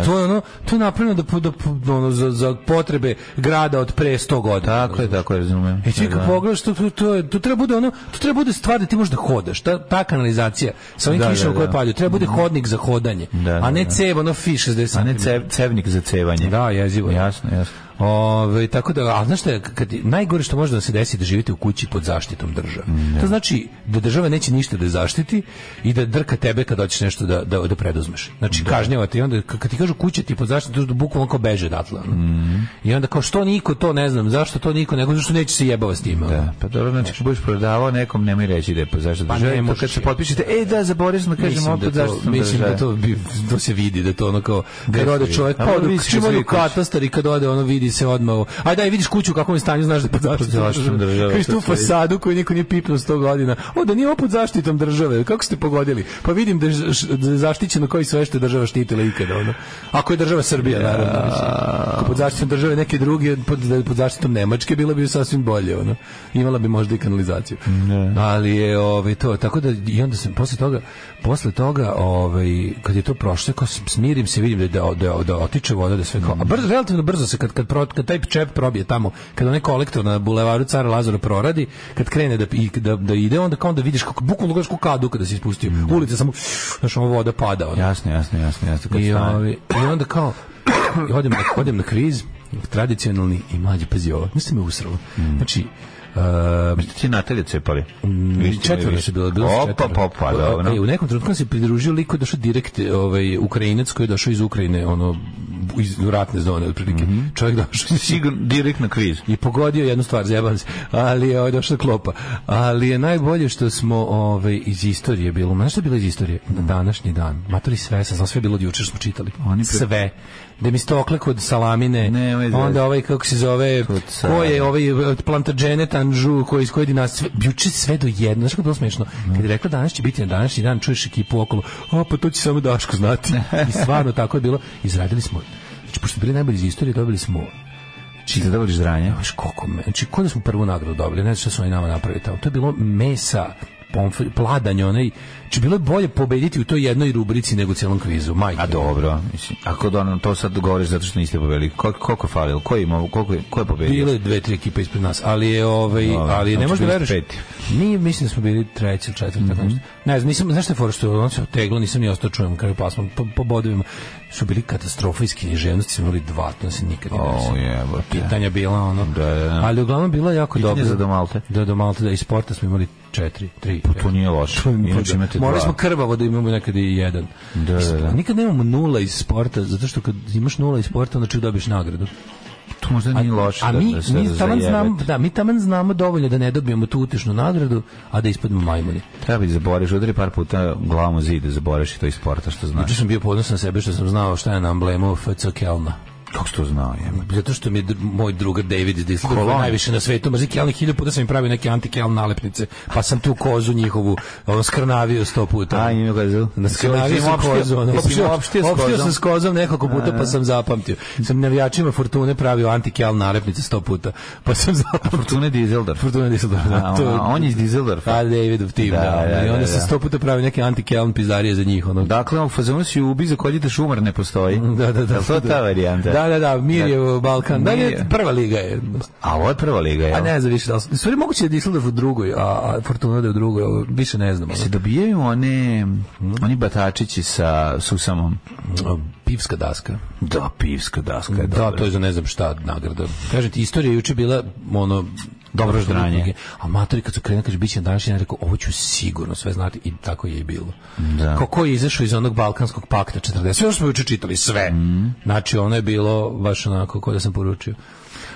To je ono, to je napravljeno da, da, da ono, za, za potrebe grada od pre 100 godina.
Tako je, tako je, razumijem.
E ti kad pogledaš, to, to, to, je- to treba bude ono, to treba bude stvar da ti možeš da hodaš, ta, ta kanalizacija sa ovim
Da,
kišama
da,
koje
da.
padaju, treba bude hodnik za hodanje,
Da,
a
da,
ne
da.
cev, ono fi 60
A ne
cm.
cev, cevnik za cevanje.
Da, jezivo je.
Jasno, jasno.
Ove, tako da, a znaš šta, je, kad, najgore što može da se desi je da živite u kući pod zaštitom države.
Mm,
To znači da država neće ništa da zaštiti i da drka tebe kad hoćeš nešto da, da, da preduzmeš. Znači, kažnjava te i onda k- kad ti kažu kuća ti je pod zaštitom, to bukvalno kao beže odatle. ono.
Mm.
I onda kao što niko to ne znam, zašto to niko ne znam, zašto neće se jebava s time. ono.
Da, pa dobro, znači kad budeš prodavao nekom, nemoj reći da je pod zaštitom
Pa
države,
ne
to
možeš,
Kad se
je.
potpišete, e da, zaboravio sam da kažem
Mislim
opet
da, to,
zaštitom
mislim da
države.
to, bi, to se vidi, da to ono kao,
Gde
kad
se
ode
vidi?
čovjek,
A,
pa ode,
vidi se kad
čim
se
ode u
vidi kuća.
katastar i kad ode, ono vidi se odmah, u- aj daj, vidiš kuću u kakvom je stanju, znaš da je pod zaštitom
zaštitom
države.
države,
Kriš tu
to se vidi.
fasadu koju niko nije pipnuo 100 godina, o da nije ovo pod zaštitom države, kako ste pogodili? Pa vidim da je ž- š- da je zaštićeno koji sve što je država štitila ikada, ono. Ako je država Srbija, naravno, mislim. Ako pod zaštitom države neke druge, pod, da je pod zaštitom Nemačke, bilo bi sasvim bolje, ono. Imala bi možda i kanalizaciju. Ali je, ovaj, to, tako da, i onda sam posle toga, posle toga, ovaj, kad je to prošlo, kao s- smirim se, vidim da, da, da, da otiče voda, da sve kao, a brzo, relativno brzo se, kad, kad, pro- kad taj čep probije tamo, kad onaj kolektor na bulevaru cara Lazara proradi, kad krene da, i- da, da ide, onda kao onda vidiš kako, bukvalno gledaš kako kadu kada se ispustio, ulica samo, znaš, ono voda pada, ono.
Jasno, jasno, jasno, jasno. Kad
I,
stane.
ovi, I onda kao, i odem na, odem na kriz, tradicionalni i mlađi, pazi ovo, mislim me usralo. Znači, um,
Šta ti je Natalija cepali?
Mm, Četvoro su bilo, bilo su
Opa,
četvoro.
pa, pa, dobro.
E, u nekom trenutku nam se pridružio lik koji je došao direkt, ovaj, Ukrajinac koji je došao iz Ukrajine, ono, iz ratne zone, otprilike.
Mhm.
Čovjek došao iz
Sigurno, direkt na kriz.
i pogodio jednu stvar, zajebam se, ali je ovaj, došla klopa. Ali je najbolje što smo ovaj, iz istorije bilo, znaš što je bilo iz istorije? Na današnji dan, matori sve, sam znao, sve je bilo od jučer smo čitali.
Oni pre-
Sve. Demistokle kod salamine,
Nemoj zezati.
onda ovaj, kako se zove,
Kod sa-
ko je ovaj od Plantagenet Anžu, koji iz koje dinastije, sve, juče sve do jedno, znaš kako je bilo smešno? Kad je rekla danas će biti na današnji dan, čuješ ekipu okolo, a pa to će samo Daško znati. I stvarno tako je bilo, izradili smo, znači pošto smo bili najbolji iz istorije, dobili smo
Či da dobili ždranje?
Znaš koliko me... Znači, kod da smo prvu nagradu dobili, ne znam šta su oni nama napravili tamo. To je bilo mesa, pomfri, pladanje, onaj... Znači, bilo je bolje pobediti u toj jednoj rubrici nego u cijelom kvizu, majke.
A dobro, mislim, ako da nam to sad govoriš zato što niste pobedili, ko, koliko je falilo, ko je imao, koliko je, ko je pobedio?
Bilo je dve, tri ekipe ispred nas, ali je ovaj, ali ne
znači
možeš da
bili
veruješ.
ste peti. Mhm.
Nije, mislim da smo bili treći ili četvrti, tako nešto. Ne znam, nisam, znaš šta je fora što on se oteglo, nisam ni ostao čujem kraju pasma po, po bodovima. Su bili katastrofa iz književnosti, smo imali dva, to se nikad nije
O,
desilo.
jebote.
Pitanja bila ono.
Da, da, da.
Ali uglavnom bila jako
Pitanje
dobro.
za do Malte.
Da, do Malte, da, iz sporta smo imali četiri, tri. pet.
To nije loše. Inače imate dva.
Morali smo krvavo da imamo nekad i jedan.
Da, da, da.
Nikad nemamo nula iz sporta, zato što kad imaš nula iz sporta, onda ču dobiješ nagradu.
to možda nije loše.
A
da-
mi,
da se
mi, taman
razajebete.
znam, da, mi taman znamo dovoljno da ne dobijemo tu utešnu nagradu, a da ispademo majmuni.
Treba i zaboriš, udari par puta glavom u zid, zaboriš i to iz sporta, što znaš.
Juče sam bio ponosan na sebe što sam znao šta je na amblemu FC Kelna.
Kako si to znao, je?
Zato što mi je d- moj drugar David iz Düsseldorfa
Kolon.
najviše na svetu mrzi Kelni, hiljadu puta sam im pravio neke anti-Keln nalepnice, pa sam tu kozu njihovu ono, skrnavio sto puta.
A, ima ga za...
Na skrnavio sam kozu. ono, opštio- opštio sam s kozom nekoliko puta, pa sam zapamtio. Sam navijačima Fortune pravio anti-Keln nalepnice sto puta, pa sam zapamtio.
Fortuna Dizeldorf.
Fortuna Düsseldorfa, da,
A,
to-
a, on je iz Dizeldorfa.
A Davidov tim, da.
Da, da,
I
da,
onda
da.
sam sto puta pravio neke anti-Keln pizdarije za njih. Ono.
Dakle, u fazonu si ubi za koljite šumar ne postoji.
Da, da, da.
Jel to ta varijanta?
Da, da, da, Mirjevo, Balkan. Da,
Mirjevo.
ne, prva liga je.
A ovo je prva liga, jel?
A Pa ne znam više da li... su- Stvari moguće da je Düsseldorf u drugoj, a, a Fortuna da je u drugoj, ali više ne znam. ono.
Se dobijaju one, oni batačići sa susamom.
Ono, Pivska daska.
Da, pivska daska je
E, Da, to je za ne znam šta nagrada. Kažem ti, istorija je juče bila ono
Dobro ždranje.
druge. A matori kad su krenuli, kaže, bit će današnji, ja rekao, ovo ću sigurno sve znati i tako je i bilo. Da. Kako je izašao iz onog Balkanskog pakta 40, sve ono što smo juče čitali, sve.
Mhm.
Znači, ono je bilo baš onako, kao da sam poručio.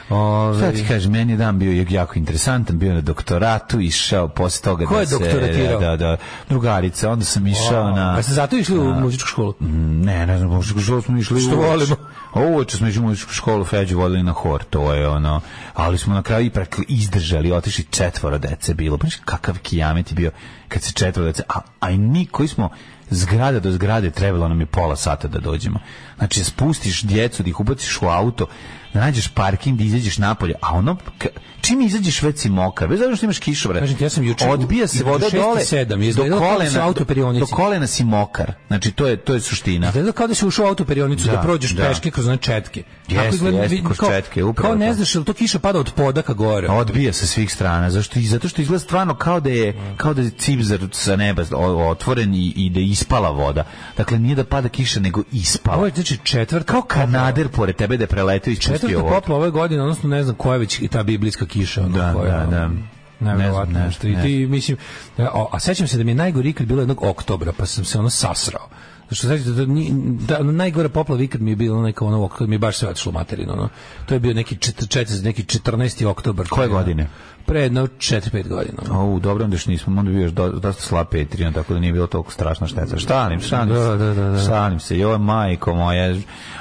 Ove,
Šta ti kažem, meni je dan bio jako interesantan, bio na doktoratu, išao posle toga
Ko
da
je
se...
doktoratirao?
Da, da, drugarica, onda sam išao na... Mm,
A ste zato išli u muzičku školu?
Ne, ne znam, muzičku školu smo išli
Što
uveče.
volimo.
A uveče smo išli u muzičku školu, Feđu vodili na hor, to je ono. Ali smo na kraju ipak izdržali, otišli četvoro dece bilo. Pa znaš kakav kijamet je bio kad se četvoro dece... A, a i mi koji smo zgrada do zgrade trebalo nam je pola sata da dođemo. Znači, spustiš djecu, da ih ubaciš u auto, da nađeš parking, da izađeš napolje, a ono, k- čim izađeš već si mokar, bez obzira što imaš kišovre,
Kažem ti, ja sam juče-
odbija se
između
voda
šest i
dole,
sedam,
do
izgledalo kao da su
kolena, do,
autoperionici.
do kolena si mokar. Znači, to je, to je suština.
Izgleda kao da si ušao u autoperionicu, da,
Da,
prođeš
da.
peške kroz one četke. Tako
Jeste,
izgleda,
jeste,
vidi-
kroz
kao-
četke, upravo
Kao ne
to.
znaš, je li to kiša pada od poda ka gore?
Pa Odbija se svih strana. Zašto? I zato što izgleda stvarno kao da je kao da je cipzar sa neba o- otvoren i, i da je ispala voda. Dakle nije da pada kiša nego
Ovo
ispala.
je znači četvrta
Kao kanader pored tebe da je preletio i
četvrta
ispustio vodu.
popla ove godine, odnosno ne znam koja je već i ta biblijska kiša. ono,
Da,
koja,
da, da.
ono, Nevjerovatno
Ne znam, ne
nešto. I
znam,
ti, mislim, a, a sećam se da mi je najgori ikad bilo jednog oktobra, pa sam se ono sasrao. Što znači da, ni- da ono, najgora poplava ikad mi je bilo neka ono kad mi je baš sve otišlo materino ono. To je bio neki 4 neki 14. oktobar.
Koje godine?
Pre jedno 4-5 godina. ono.
O, dobro, onda još nismo, onda je bio još do- dosta slab Patreon, tako da nije bilo toliko strašna šteta. Štalim, šalim se,
Da, da, da, da.
šalim se, joj, majko moja,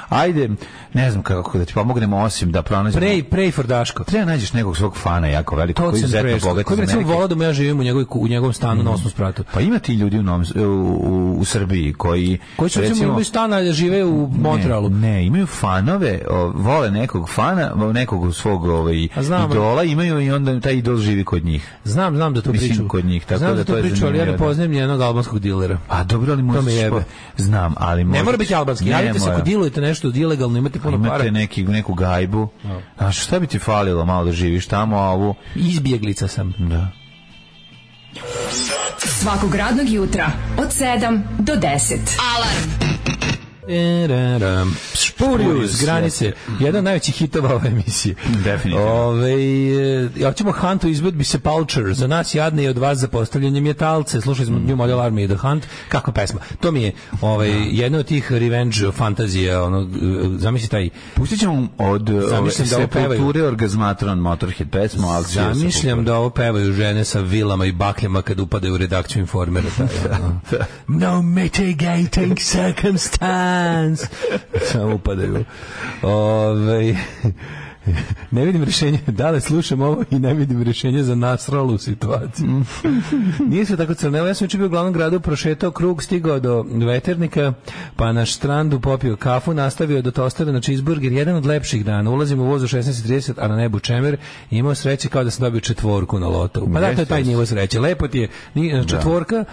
ajde, ne znam kako da ti pomognemo, osim da pronađemo...
Prej, prej for Daško.
Treba nađeš nekog svog fana jako veliko,
To
koji je
sam
izuzetno
prešao.
bogat
Koji bi
iz
recimo
Amerike.
volao da mu ja živim u, njegovoj, ku- u njegovom stanu na osmom spratu.
Pa ima ti ljudi u, Novom S- u, u, u Srbiji koji...
Koji su recimo imaju stana a žive u Montrealu.
Ne, ne, imaju fanove, o, vole nekog fana, o, nekog svog ovaj,
A znam,
idola, imaju i onda taj idol živi kod njih.
Znam, znam da tu
Mislim,
priču.
kod njih, tako
znam
da
da
to
tu
je
priču, ali ja ne
zanimljivo, da.
poznajem nijednog albanskog dilera.
A Pa dobro, ali možda
me
ćeš
jebe.
po- Znam, ali možda...
Ne mora biti albanski.
Ne
Javite se
mora.
ako dilujete nešto ilegalno, imate puno para.
Imate neki, neku gajbu. A šta bi ti falilo malo da živiš tamo, a ovu...
Izbjeglica sam.
Da.
Svakog radnog jutra od 7 do 10.
Alarm.
E, Eraram. Spurius,
Spurius,
granice. Jedan od najvećih hitova ove emisije.
Definitivno.
Ove, e, ja ćemo Hunt u izvedbi se Palcher. Za nas jadne i od vas za postavljanje mjetalce. Slušali smo New Model Army i The Hunt. Kakva pesma. To mi je ovaj, jedna od tih revenge fantazija. Ono, e, zamisli taj
Pustit ćemo od ovaj, ove,
Zamišljam da ovo pevaju.
sepulture Orgazmatron Motorhead pesmu, ali
Zamišljam da ovo pevaju žene sa vilama i bakljama kad upadaju u redakciju informera. Taj, ono. no mitigating circumstance. Samo upadaju. Ove, ne vidim rješenje, da li slušam ovo i ne vidim rješenje za nasralu situaciju. Nije sve tako crno. Evo, Ja sam juče bio u glavnom gradu, prošetao krug, stigao do veternika, pa na štrandu popio kafu, nastavio do tostera na cheeseburger, jedan od lepših dana. Ulazim u vozu 16.30, a na nebu čemer, i imao sreće kao da sam dobio četvorku na lotovu. Pa da, to je
Jeste,
taj
jeste.
nivo sreće. Lepo ti je ni- četvorka,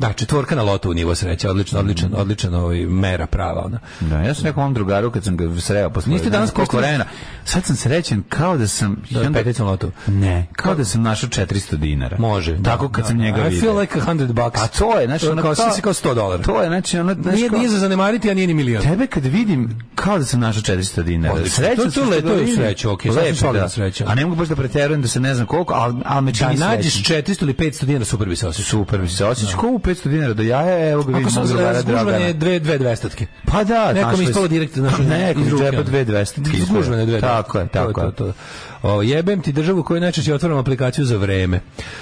da, četvorka na lotovu nivo sreće,
Mm.
odlično, odličan, odličan ovaj, mera prava. Ona.
Da, ja sam rekao mom drugaru kad sam ga sreo posle.
Niste danas
koliko
pustili-
vremena. Sad sam srećen kao da sam
Da,
i onda-
peticu na lotu.
Ne, kao da sam našao 400 dinara.
Može.
Tako
da,
kad
da,
sam
da.
njega
I feel
vidio.
like a hundred bucks.
A to je, znači
To je kao, svi si kao 100 dolara.
To je, znači ono, znaš,
Nije,
kao-
nije za zanemariti, a nije ni milion.
Tebe kad vidim, kao da sam našao 400 dinara.
Odlično.
Srećan
Pa, To- to
sam
je
što
le-
ga
to je
vidim. Pa
sreća, okej, sasvim
Lepo,
solidna
da.
sreća.
A ne mogu baš da preterujem da se ne znam koliko, ali, ali me
Da
čini srećnim.
nađeš 400 ili 500 dinara, super bi se osjećao.
Super mi se osjeća. Ko u 500 dinara do jaja, evo ga
Ako
vidim
sam
mog drugara Dragana.
zgužvane dve, dve dvestatke.
Pa da,
Neko mi
našli
ispalo
su-
direktno našli su
Neko
iz
iz
ruke,
džepa
ono.
2200 ti ispalo.
Zgužvane dve.
Tako je,
To
tako je.
to, to. O, jebem ti državu koju najčešće otvaram aplikaciju za vreme.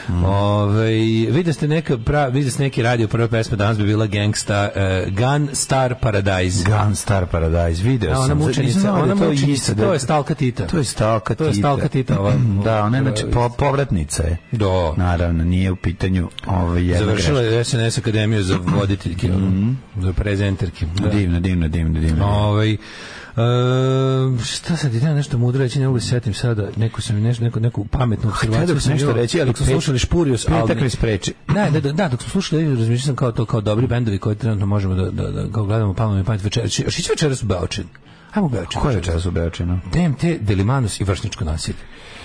Mm.
Ovaj vide ste neka pra, vide ste neki radio prva pesma danas bi bila Gangsta uh, Gun Star Paradise.
Gun Star Paradise, video
A
sam.
ona
Zar nisam
mučenica,
znao da
ona
je to
mučenica,
isto,
to je Stalka Tita.
To je stalka tita.
To je stalka Tita, ova-
da, ona je, znači, po, povratnica je.
Do.
Naravno, nije u pitanju ovaj jedna
Završila
greška.
je SNS akademiju za voditeljke, mm za prezenterke. Da.
Divno, divno, divno, divno.
Ovaj e, šta sad idem nešto mudro reći, ne mogu se setim sada, neku sam nešto neku neku pametnu
Htio
observaciju
bih
sam
nešto
imao,
reći, ali
dok smo
pet-
slušali Špurius, ali
petak me spreči.
Ne, ne, da, da, dok smo slušali, razmišljao sam kao to kao dobri bendovi koje trenutno možemo da da, da kao gledamo pa mi pamet večeras. Još ići večeras u Beočin. Hajmo u Beočin.
Ko je večeras u Beočinu?
DMT, Delimanus i vršničko nasilje.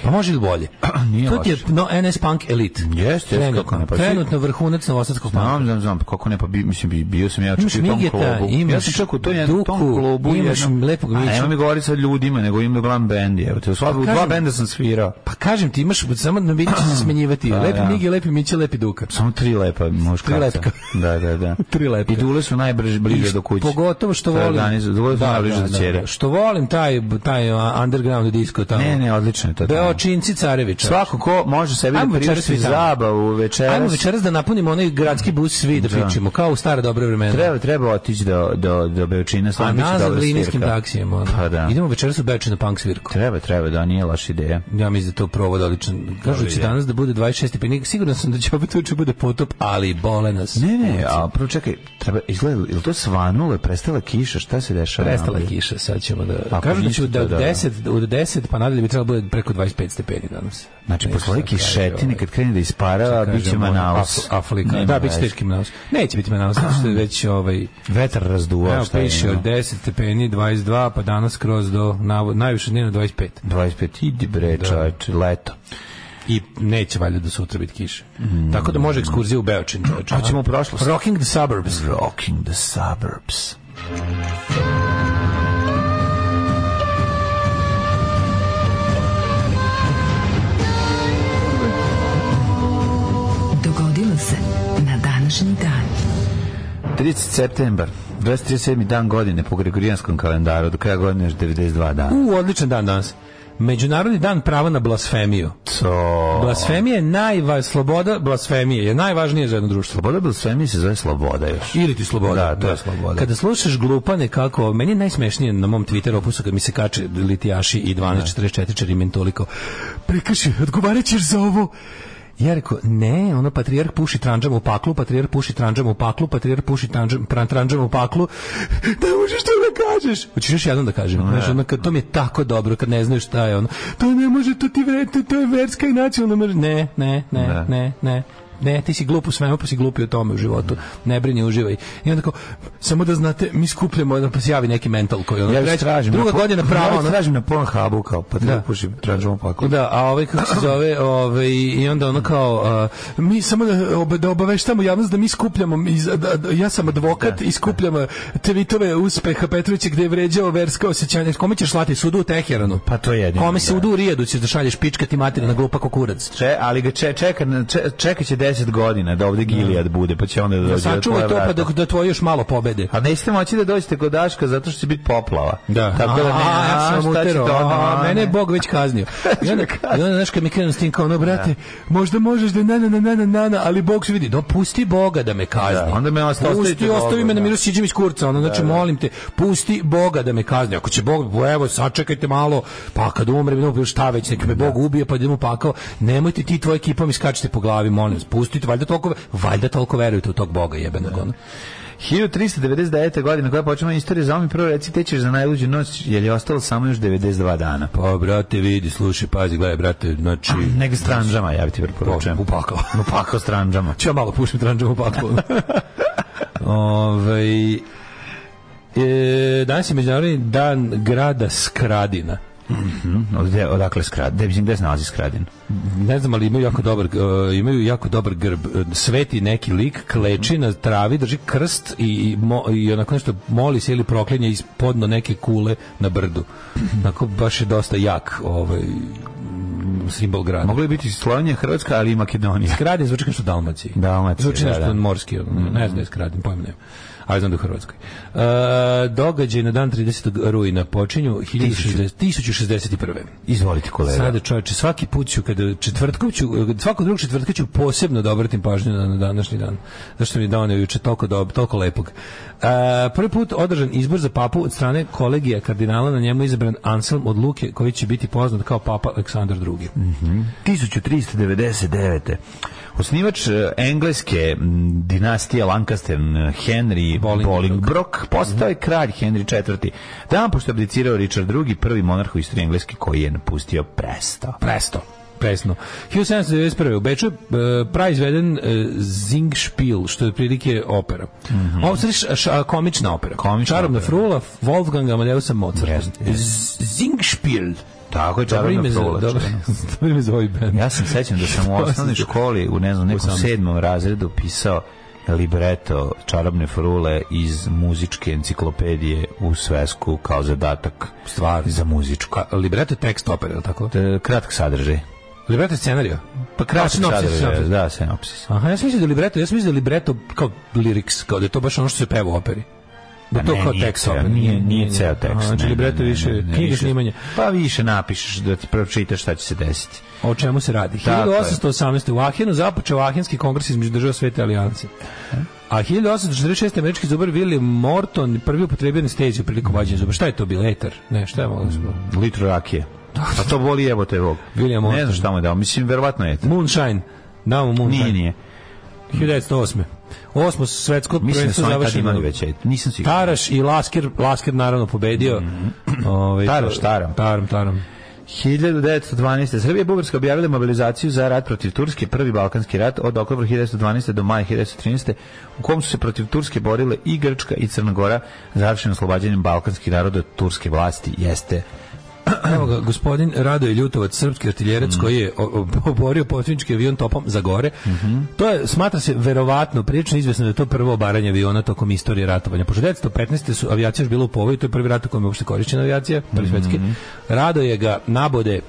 Pa može li bolje?
Nije
to ti je
loše.
no, NS Punk Elite.
Jeste, jeste,
trenutno,
kako ne, pa svi-
trenutno vrhunac novosadskog punka.
Znam, znam, znam, pa kako ne, pa bi, mislim, bi, bio sam ja čak
Imaš
i u tom
Migeta,
klubu. ja
imaš
sam čak u tom jednom tom
Duku,
klubu.
imaš
jednom-
lepog Miću.
A nema mi govoriti sa ljudima, nego imam glam bendi. Evo te, u, sva, u dva
kažem-
benda sam svirao.
Pa kažem ti, imaš samo na vidiću se smenjivati.
Da,
lepi
da.
Migi, lepi Mića, lepi Duka.
Samo tri lepa muškarca.
lepka.
Da, da, da.
Tri lepka.
I dule su najbliže bliže do kuće.
Pogotovo što
To je
volim...
organizo- Dule su najbliže do ćere.
Što volim taj, taj a, underground disco tamo.
Ne, ne, odlično je to. tamo.
Beočinci Carevića.
Svako ko može sebi
Ajmo
da
večeras
priušti
svi tamo.
zabavu večeras.
Ajmo večeras da napunimo onaj gradski bus svi da pričamo, kao u stare dobre vremena.
Treba, treba otići do, do, do Beočina.
A
stvarno biće
nazad
dobra
linijskim
svirka.
taksijem. ono.
Pa da.
Idemo večeras u Beočin na punk svirku.
Treba, treba, da, nije loša ideja.
Ja mislim da je to provod odličan. Kažu da će
ideja.
danas da bude 26 stepeni. Siguran sam da će opet uče bude potop, ali bole nas.
Ne, ne, a prvo čekaj, treba, izgleda, je li to svanulo, je prestala kiša, šta se dešava?
Prestala
napolje?
kiša, sad ćemo da...
Ako
Kažu da će
ništa,
od, od,
da, da.
10, od 10 pa nadalje bi trebalo bude preko 25 stepeni danas.
Znači, postoje
Nešto
kišetine,
ovaj,
kad krene da isparava,
kažemo,
Pa bit će Manaus.
Af- Afrika.
Nema
ono, da, bit će
veze.
teški Manaus. Neće biti Manaus, zato što je već ovaj...
Vetar razduva,
Evo,
šta je
piše od
ono?
10 stepeni, 22, pa danas kroz do navo- najviše dnevno 25.
25, idi bre, čoveče, leto.
I neće valjda do sutra biti kiše.
Mm.
Tako da može ekskurzija u Beočin, čoveče.
Hoćemo u prošlost.
Rocking the Suburbs.
Rocking the suburbs.
Dogodilo se na današnji dan.
30. septembar, 237. dan godine po gregorijanskom kalendaru, do kraja godine još 92 dana.
U, odličan dan danas. Međunarodni dan prava na blasfemiju.
So...
Blasfemija je najva... sloboda blasfemije je najvažnije za jedno društvo.
Sloboda blasfemije se zove sloboda još.
Ili ti sloboda.
Da, to je sloboda.
Kada slušaš glupane kako, meni je najsmešnije na mom Twitter opusu kad mi se kače litijaši i 1244 i meni toliko prekrši, odgovarat ćeš za ovo. Ja rekao, ne, ono patrijarh puši tranđama u paklu, patrijarh puši tranđama u paklu, patrijarh puši tranđam- tran- tranđama u paklu. Da možeš to da kažeš. Hoćeš još jednom da kažem. Znaš, ono, kad to mi je tako dobro, kad ne znaš šta je ono. To ne može, to ti vre, to, to je verska i nacionalna mržnja. Ne, ne, ne,
Da.
ne, ne. Ne, ti si glup u svemu, pa si glupi u tome u životu. Ne brini, uživaj. I onda kao, samo da znate, mi skupljamo, onda pa se javi neki mental koji ono,
Ja već
treća-
tražim.
druga
na po-
godina prava,
Ja već
ono,
tražim na Pornhubu kao, pa treba
Da.
pušim, tražimo pakao.
Da, a ovaj kako se zove, ovaj i onda ono kao a, mi samo da, ob, da obaveštamo javnost da mi skupljamo iz, da, da, ja sam advokat i skupljam a, tvitove uspeha Petrovića gde je vređao verska osjećanja. Kome ćeš slati sudu u Teheranu?
Pa to je jedino,
Kome se
da.
sudu u Rijadu ćeš da šalješ pičkati mater na glupa kukurac.
Če, ali ga če, čeka, na- če, čeka će 10 godina da ovde Gilead bude, pa će onda da dođe. do
Sačuvaj
tvoje
to pa
vrata.
da, da tvoji još malo pobede.
A nećete moći da dođete kod Daška zato što će biti poplava.
Da.
Tako da ne,
A, ja
a,
sam
šta će
uterao.
to,
A,
a,
mene je
ne.
Bog već kaznio. I onda, i onda, znaš, kad mi krenu s tim kao, no, brate, možda možeš da na, na, na, na, na, na, na, ali Bog se vidi. No, pusti Boga da me kazni.
Da, onda me osta-
Pusti,
ostavite Bogu,
ostavi me na
da.
miru, siđem iz kurca. Ono, znači, molim te, pusti Boga da me kazni. Ako će Bog, pa evo, sačekajte malo, pa kad umrem, no, šta već, nek me Bog ubije, pa idemo pakao. Nemojte ti i tvoja ekipa mi skačite po glavi, molim vas. Pustite, valjda toliko, valjda toliko verujete u tog Boga jebenog. ono.
1399. godine koja počinje istorija za mi prvo reci te ćeš za najluđu noć jer je ostalo samo još 92 dana.
Pa, brate, vidi, slušaj, pazi, gledaj, brate, znači...
Nego stranđama, ja bi ti preporučujem.
Pa, u pakao.
U pakao stranđama.
Ću ja malo pušim tranđom u paklu. Ovaj, e, danas je međunarodni dan grada Skradina.
Od gde- odakle skrad? Gde, mislim, gde se nalazi skradin?
Ne znam, ali imaju jako dobar, e, imaju jako dobar grb. E, Sveti neki lik kleči na travi, drži krst i, i, mo, i onako nešto moli se ili proklinje ispodno neke kule na brdu. Onako baš je dosta jak ovaj, simbol grada.
Moglo je biti Slovenija, Hrvatska, ali i Makedonija.
Skradin zvuči kao što u Dalmaciji.
Dalmaciji,
Zvuči
da,
nešto
da.
morski, ono, ne znam da je skradin, pojma nemam. Ali znam da je u Hrvatskoj. E, događaj na dan 30. rujna počinju 1060 1061.
Izvolite kolega.
Sada čovječe, svaki put ću, kada četvrtkom ću, svakog drugog četvrtka ću posebno da obratim pažnju na, na današnji dan. Zašto mi je donio juče toliko, dob, toliko lepog. E, prvi put održan izbor za papu od strane kolegija kardinala, na njemu je izabran Anselm od Luke, koji će biti poznat kao papa Aleksandar II.
Mhm. 1399. Osnivač eh, engleske m, dinastije Lancaster eh, Henry
Bolingbroke. Mhm.
Bolingbroke postao je kralj Henry IV. Dan pošto je abdicirao Richard II, prvi monarh u istoriji engleske koji je napustio presto.
Presto. Presno. 1791. u Beču je e, praizveden e, Zingspiel, što je otprilike opera. Mm -hmm. Ovo sad š- š- komična opera.
Mhm. Komična
Čarobna
opera.
frula Wolfganga Amadeusa Mozarta.
Jeste,
Z- Zingspiel.
Tako je
Dobro
čarobna
ime za,
frula,
dobro,
čarobna.
dobro ime za ovaj band.
Ja sam sećam da sam u osnovnoj školi u ne znam nekom sedmom razredu pisao libreto čarobne frule iz muzičke enciklopedije u svesku kao zadatak stvar za muzičku.
A, Libreto je tekst opere, je li tako?
E, Kratak sadržaj.
Libreto je scenario.
Pa kratak
sinopsis,
sadržaj,
sinopsis.
da, sinopsis.
Aha, ja sam mislio da je libreto, ja sam mislio da je libreto kao lyrics, kao da je to baš ono što se peva u operi. Da
A
to
Pa ne,
kao
nije
tekst
ceo-
opere.
Nije, nije ceo tekst.
Aha, Znači
ne, ne,
libreto
ne,
je
ne,
više
ne, ne,
knjiga
više.
snimanje.
Pa više napišeš da ti pročitaš šta će se desiti.
O čemu se radi?
Tako je.
1818. u Ahenu započeo Ahenski kongres između država Svete Alijanse. A 1846. američki zubar William Morton prvi upotrebio anesteziju prilikom vađenja zuba. Šta je to bilo? Etar? Ne, šta je moglo da se bilo?
Litru rakije. A to boli jebote Bog.
William
Ne
Morton.
znam šta mu je dao. Mislim, verovatno je. to.
Moonshine. Da mu Moonshine.
Nije, nije.
1908. Osmo svetsko
Mislim da su
prvenstvo
oni tad
završeno.
imali već. et. Nisam siguran.
Taraš i Lasker, Lasker naravno pobedio. Ovaj,
Mhm. Taraš, Taram.
Taram, Taram.
1912. Srbija i Bugarska objavile mobilizaciju za rat protiv Turske, prvi Balkanski rat od oktobra 1912. do maja 1913. u kom su se protiv Turske borile i Grčka i Crna Gora završeno oslobađanjem balkanskih naroda od turske vlasti. Jeste
Evo ga, gospodin Radoje Ljutovac, srpski
Mm.
artiljerac koji je o- o- oborio potvinčki avion topom za gore.
Mhm.
To je, smatra se verovatno, prilično izvesno da je to prvo obaranje aviona tokom istorije ratovanja. Pošto 1915. su avijacija još bila u povoju, to je prvi rat u kojem je uopšte korišćena avijacija, prvi
Mhm.
svetski. Radoje ga nabode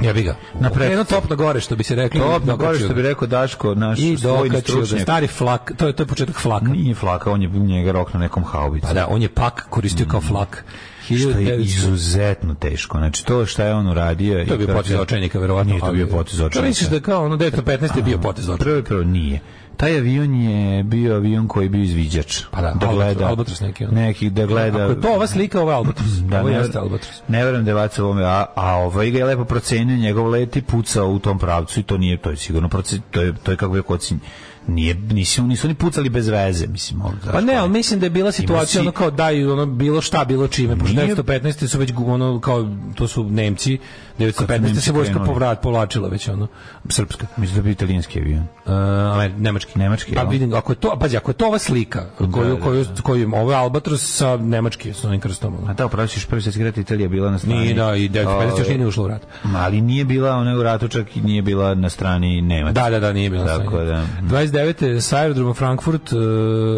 Ja bi ga.
Na prečcu.
Okrenuo top na gore, što bi se reklo.
to,
i
na gore
dokačio
što bi
ga.
rekao Daško, naš
I
svojni
dokačio ga.
stručnjak. Mhm.
Stari flak, to je, to je početak flaka.
Nije flaka, on je njega rokno nekom haubicu.
Pa da, on je pak koristio kao flak.
Mhm. što je
1900
izuzetno teško. Znači, to šta je on uradio...
To je bio potez očajnika, verovatno.
Nije to bio
ali-
potez očajnika.
To misliš da kao ono 915 je bio potez očajnika?
Prvo, prvo nije. Taj avion je bio avion koji je bio izviđač.
Pa da, Albatros- Albatros neki, ono.
Neki, da gleda...
Ako je to ova slika, ovo je Albatros.
Da,
ovo
ne,
jeste Albatros.
ne verujem da je vacao ovome, a, a ovaj ga je lepo procenio, njegov let i pucao u tom pravcu i to nije, to je sigurno procenio, to je, to je kako bih rekao, ocen- nije, nisu, nisu ni pucali bez veze, mislim. ono, Ovdje,
Pa ne, ali mislim da je bila situacija
si-
ono kao daju ono bilo šta, bilo čime. Pošto
Nije-
915 su već gu- ono kao to su Nemci, 915
Nemci
se vojska
krenuli.
povrat povlačila već ono srpska.
Mislim da bi italijanski avion.
Uh, Amer- nemački.
Nemački,
Pa
jel?
vidim, ako je to, pazi, ako je to ova slika, koju,
da,
koju, koju, ovo je Albatros sa nemački, sa onim krstom. ono.
A da, upravo ćeš prvi svjetski rat Italija bila na strani.
Nije, da, i 915 još
Ovaj,
nije ni ušlo u rat.
Ali nije bila ona u ratu, čak i nije bila na strani Nemaca.
Da, da, da, nije bilo
Tako
stanje.
da.
29. sa aerodroma Frankfurt, uh,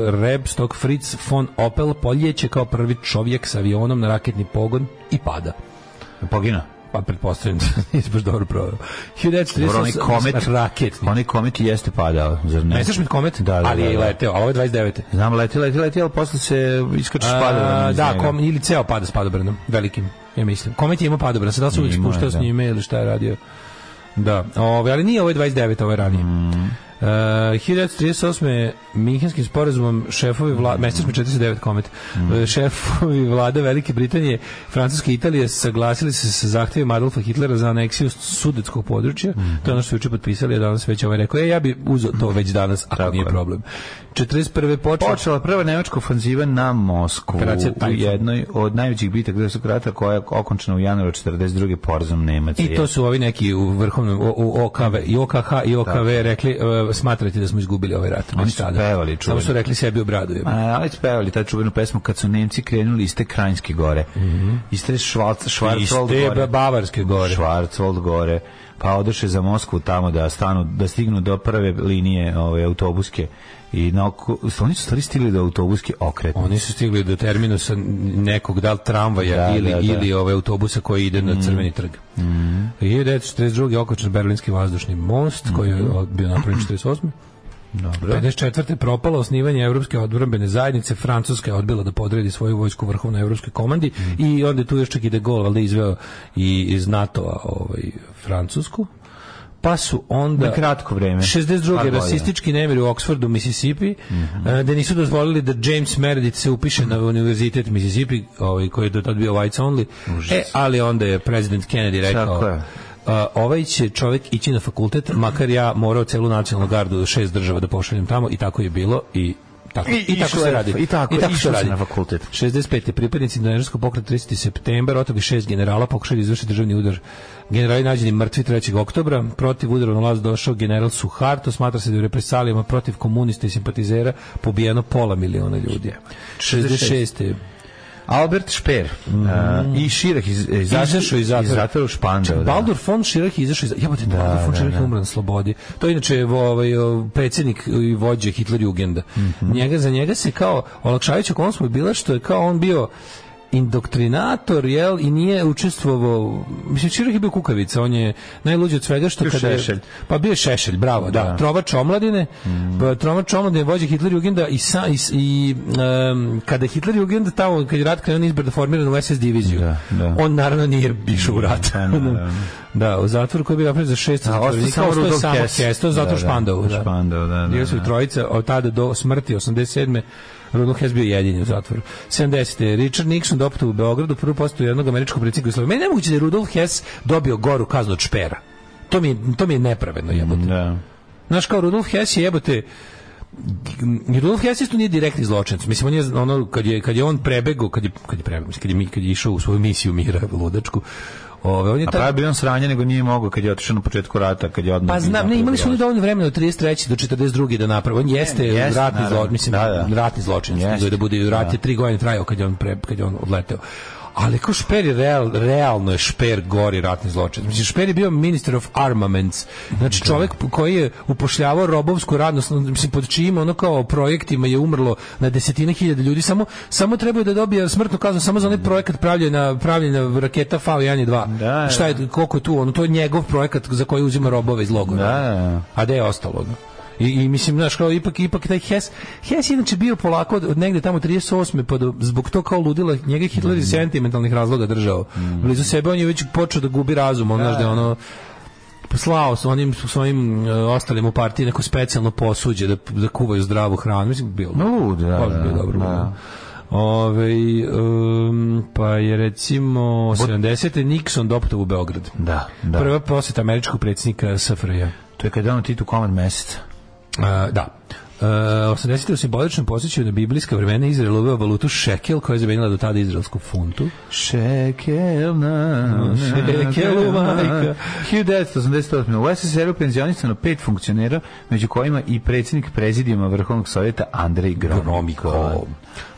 Rebstock Fritz von Opel poljeće kao prvi čovjek s avionom na raketni pogon i pada.
Pogino.
Pa pretpostavljam da nisi baš dobro proveo. 1938.
Dobro, onaj komet,
Raketni.
onaj komet jeste padao, zar ne?
Messerschmitt komet,
Da, da,
ali
da,
je
da.
leteo, a ovo je 29.
Znam, leti, leti, leti, ali posle se iskače
A,
spadobranom. iz
da,
njega.
kom, ili ceo pada s padobranom, velikim, ja mislim. Komet je imao padobran, sad da se uvijek
Imao je,
spuštao s
da.
njime ili šta je radio. Da, ove, ali nije ovo je 29, ovo je ranije.
Mm.
Uh, 1938. Minhenskim sporazumom šefovi vlada, mesec 49 komet,
Mm.
E, šefovi vlada Velike Britanije, Francuske i Italije saglasili se sa zahtjevima Adolfa Hitlera za aneksiju sudetskog područja.
Mhm.
To je ono što su juče potpisali, a danas već ovaj rekao, e, ja bi uzeo to već danas, ako
Tako
nije
je.
problem. 41. počeo
Počela je prva nemačka ofanziva na Moskvu
Operacija
u
Tajfun.
jednoj od najvećih bitak Drugog rata koja je okončena u januaru 42. porazom Nemaca.
I to su ovi neki u vrhovnom u, u OKV i OKH i OKV rekli uh, smatrajte da smo izgubili ovaj rat.
Oni
Već
su
tada.
pevali,
Samo
čuveni.
su rekli sebi obradujem.
A, Pa, ali spevali ta čuvenu pesmu kad su Nemci krenuli iz te Krajinske gore. Mm -hmm. Iz te Švalca, Švarcold
Mhm. Iz te
gore.
ba- Bavarske gore.
Švarcold gore. Pa odoše za Moskvu tamo da stanu, da stignu do prve linije ove autobuske I na oko, oni su stvari stigli do autobuske okretnice.
Oni su stigli do terminusa nekog da li tramvaja
Da,
ili,
da, da.
ili ovaj autobusa koji ide na crveni trg. Mm. 1942. okočen berlinski vazdušni most koji je
Mm.
od- bio napravljen 48. Dobro. 54. propalo osnivanje Evropske odbrambene zajednice, Francuska je odbila da podredi svoju vojsku vrhovnoj Evropskoj komandi
Mm.
i onda je tu još čak i de Gaulle valjda izveo i iz NATO-a ovaj, Francusku. Pa su onda...
Na kratko vreme. Par
62.
godina.
rasistički nemiri u Oxfordu, Mississippi,
Mhm.
e, da nisu dozvolili da James Meredith se upiše na univerzitet Mississippi, ovaj, koji je do tad bio whites only. E, ali onda je president Kennedy
Tako
rekao...
je.
"A, ovaj će čovjek ići na fakultet, makar ja morao celu nacionalnu gardu do šest država da pošaljem tamo i tako je bilo i tako,
I-
i, tako
išlo
se
je-
radi.
i tako-
se
išlo se
radi.
na fakultet.
65. pripadnici Indonežanskog pokreta 30. september otovi šest generala pokušali izvršiti državni udar. Generali nađeni mrtvi 3. oktobra, protiv udara na vlast došao general Suharto, smatra se da je u represalijama protiv komunista i simpatizera pobijeno pola miliona ljudi. 66.
Albert Speer a, i Širah iz, e, izašao
Izašao Mhm. iz zatvora. Znači,
u Špandau. Da.
Baldur von Schirach je izašao iz... Jebote, Baldur von Schirach je umran na slobodi. To je inače ovaj, o, predsjednik i vođe Hitlerjugenda.
Mhm.
njega, za njega se kao olakšavajuća okolnost mu je bila što je kao on bio indoktrinator, jel, i nije učestvovao, mislim, Širah je bio kukavica, on je najluđi od svega što
Bio
kada je-
Šešelj. Mhm.
pa bio je Šešelj, bravo, da. Trovač omladine, pa Trovač omladine vođa Hitler Jugenda i, sa, i, s- i em, kada je Hitler Jugend tamo, kad je rat krenuo on je izbor da formiran u SS diviziju,
Da, da.
on naravno nije išao u rat.
Pa, naravno.
da, u zatvoru koji je bio napravljen za šest
A, ostao
zatvorenika,
samo
ostao je
Rudolf
samo
Hess.
Hess, to je
Da,
zato
da,
Špandau. Da,
Špandau, da, da,
Bili su
da.
trojica od tada do smrti 87. Rudolf Hess bio jedini u zatvoru. 70. Richard Nixon doputao u Beogradu prvu postu jednog američkog predsjednika Jugoslavije. Meni je nemoguće da je Rudolf Hess dobio goru kaznu od špera. To mi je, to mi je nepravedno jebote.
Da.
Znaš kao Rudolf Hess je jebote ni Rudolf Hess isto nije direktni zločinac. Mislim on je ono kad je kad je on prebegao, kad je kad je prebegao, mislim, kad je mi- kad je išao u svoju misiju mira ludačku. Ove, on je
A
tad-
pravi bio on sranje, nego nije mogao kad je otišao na početku rata, kad je odmah...
pa znam, ne, imali su oni
Dobro.
dovoljno vremena od 33. do 42. da naprave. On jeste,
jeste,
ratni
naravno.
zločinac, mislim,
Da, da.
ratni zločinac,
Jeste,
nego je da bude rat je tri godine trajao kad je on pre, kad je on odleteo. Ali kao Šper je real, realno je Šper gori ratni zločin. Mislim, Šper je bio minister of armaments. Znači, čovjek koji je upošljavao robovsku radnost, mislim, pod čijim ono kao projektima je umrlo na desetine hiljada ljudi, samo, samo trebaju da dobije smrtnu kaznu, samo za onaj projekat pravljena, pravljena raketa V1 i 2.
Da, da.
Šta je, koliko je tu, ono, to je njegov projekat za koji uzima robove iz logora
Da, da, da.
a da je ostalo. ono. I, I mislim, znaš, kao ipak, ipak taj Hess, Hess je inače bio polako od, od negde tamo 38. pa do, zbog to kao ludila, njega je Hitler
Mm.
iz sentimentalnih razloga držao. Blizu sebe on je već počeo da gubi razum, on, znaš, da je ono, slao s onim svojim e, ostalim u partiji neko specijalno posuđe da, da kuvaju zdravu hranu. Mislim, bilo.
Ma lud, da,
Baš
da,
bio dobro.
da.
Ove, em, pa je recimo 70. Nixon doputao u Beograd.
Da, da.
Prva posjeta američkog predsjednika SFRJ.
To je kad je on Titu komad meseca.
E, da. E, 80. u simboličnom posjećaju na biblijska vremena Izrael uveo valutu šekel koja je zamenila do tada izraelsku funtu.
Šekel na...
Šekel u majka.
1988. U SSR-u penzionisano pet funkcionera, među kojima i predsjednik prezidijuma Vrhovnog sovjeta Andrej Gromiko.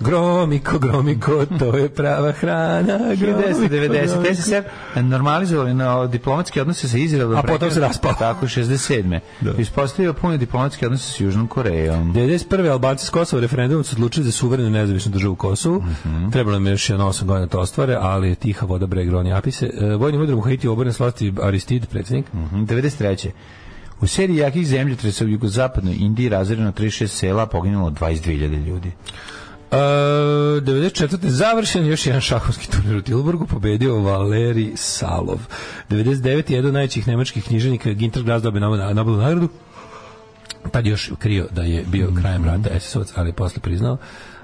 Gromiko, gromiko, to je prava hrana. gromiko,
1990.
gromiko.
SSR normalizovali na diplomatske odnose sa Izraelom.
A potom se raspao.
Tako, 67. Ispostavio pune diplomatske odnose sa Južnom Korejom.
91. Albanci s Kosova referendumom su odlučili za suverenu nezavisnu državu Kosovu. Trebalo nam je još jedno 8 godina da to ostvare, ali je tiha voda breg roni apise. E, vojnim udarom u Haiti obrne s vlasti Aristid, predsjednik.
Mhm, 93. U seriji jakih zemljotresa u jugozapadnoj Indiji razredno 36 sela, a poginulo 22.000 ljudi.
E, 94. završen još jedan šahovski turnir u Tilburgu, pobedio Valeri Salov. 99. jedan od najvećih nemačkih knjiženika Ginter Glas dobio Nobe- Nobelovu nagradu. Tad je još krio da je bio krajem rata SS-ovac, ali je posle priznao.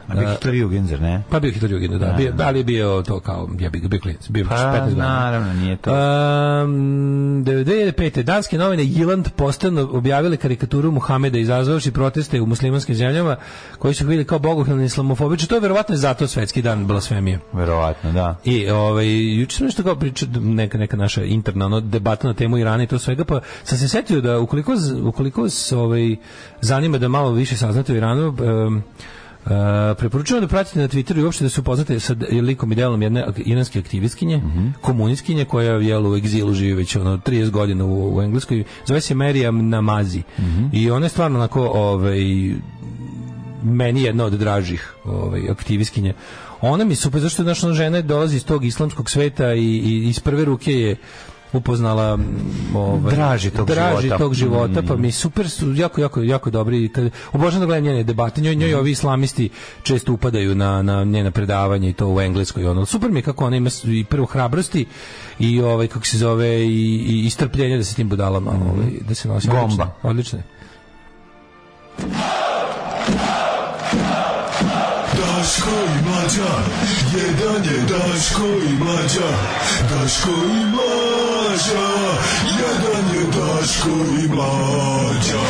A bio Hitler Jugenzer, ne?
Pa bio Hitler Jugend, da. Bio, ali je bio to kao, ja bih bio klinac, bio
Pa,
15 godina.
naravno, nije to.
Um, 95. Danske novine Jiland postavno objavile karikaturu Muhameda izazvavši proteste u muslimanskim zemljama koji su bili kao bogohilni islamofobični. To je verovatno zato svetski dan blasfemije.
Verovatno, da.
I ovaj juče sam nešto kao priča neka neka naša interna ono, debata na temu Irana i to svega pa sam se setio da ukoliko z- ukoliko se ovaj zanima da malo više saznate o Iranu em, e, preporučujem da pratite na Twitteru i uopšte da se upoznate sa de- likom i delom jedne ak- iranske aktivistkinje, komunistkinje koja je u egzilu živi već ono 30 godina u, u Engleskoj. Zove se Maryam Namazi. I ona je stvarno onako ovaj meni jedna od dražih ovaj, aktivistkinja. Ona mi je super, zašto naša žena je dolazi iz tog islamskog sveta i, i iz prve ruke je upoznala mm, ovaj,
Draži tog
draži
života. Mm.
tog života, pa mi super su jako jako jako dobri i kad obožavam da gledam njene debate njoj,
Mhm.
njoj ovi islamisti često upadaju na na njena predavanja i to u engleskoj ono super mi je kako ona ima s- i prvo hrabrosti i ovaj kako se zove i, i istrpljenje da se tim budalama
Mhm.
ovaj, da se nosi
Gomba.
Odlično, odlično je.
Daško i mlađa, jedan je Daško i mlađa, Daško i mlađa, jedan je Daško i mlađa.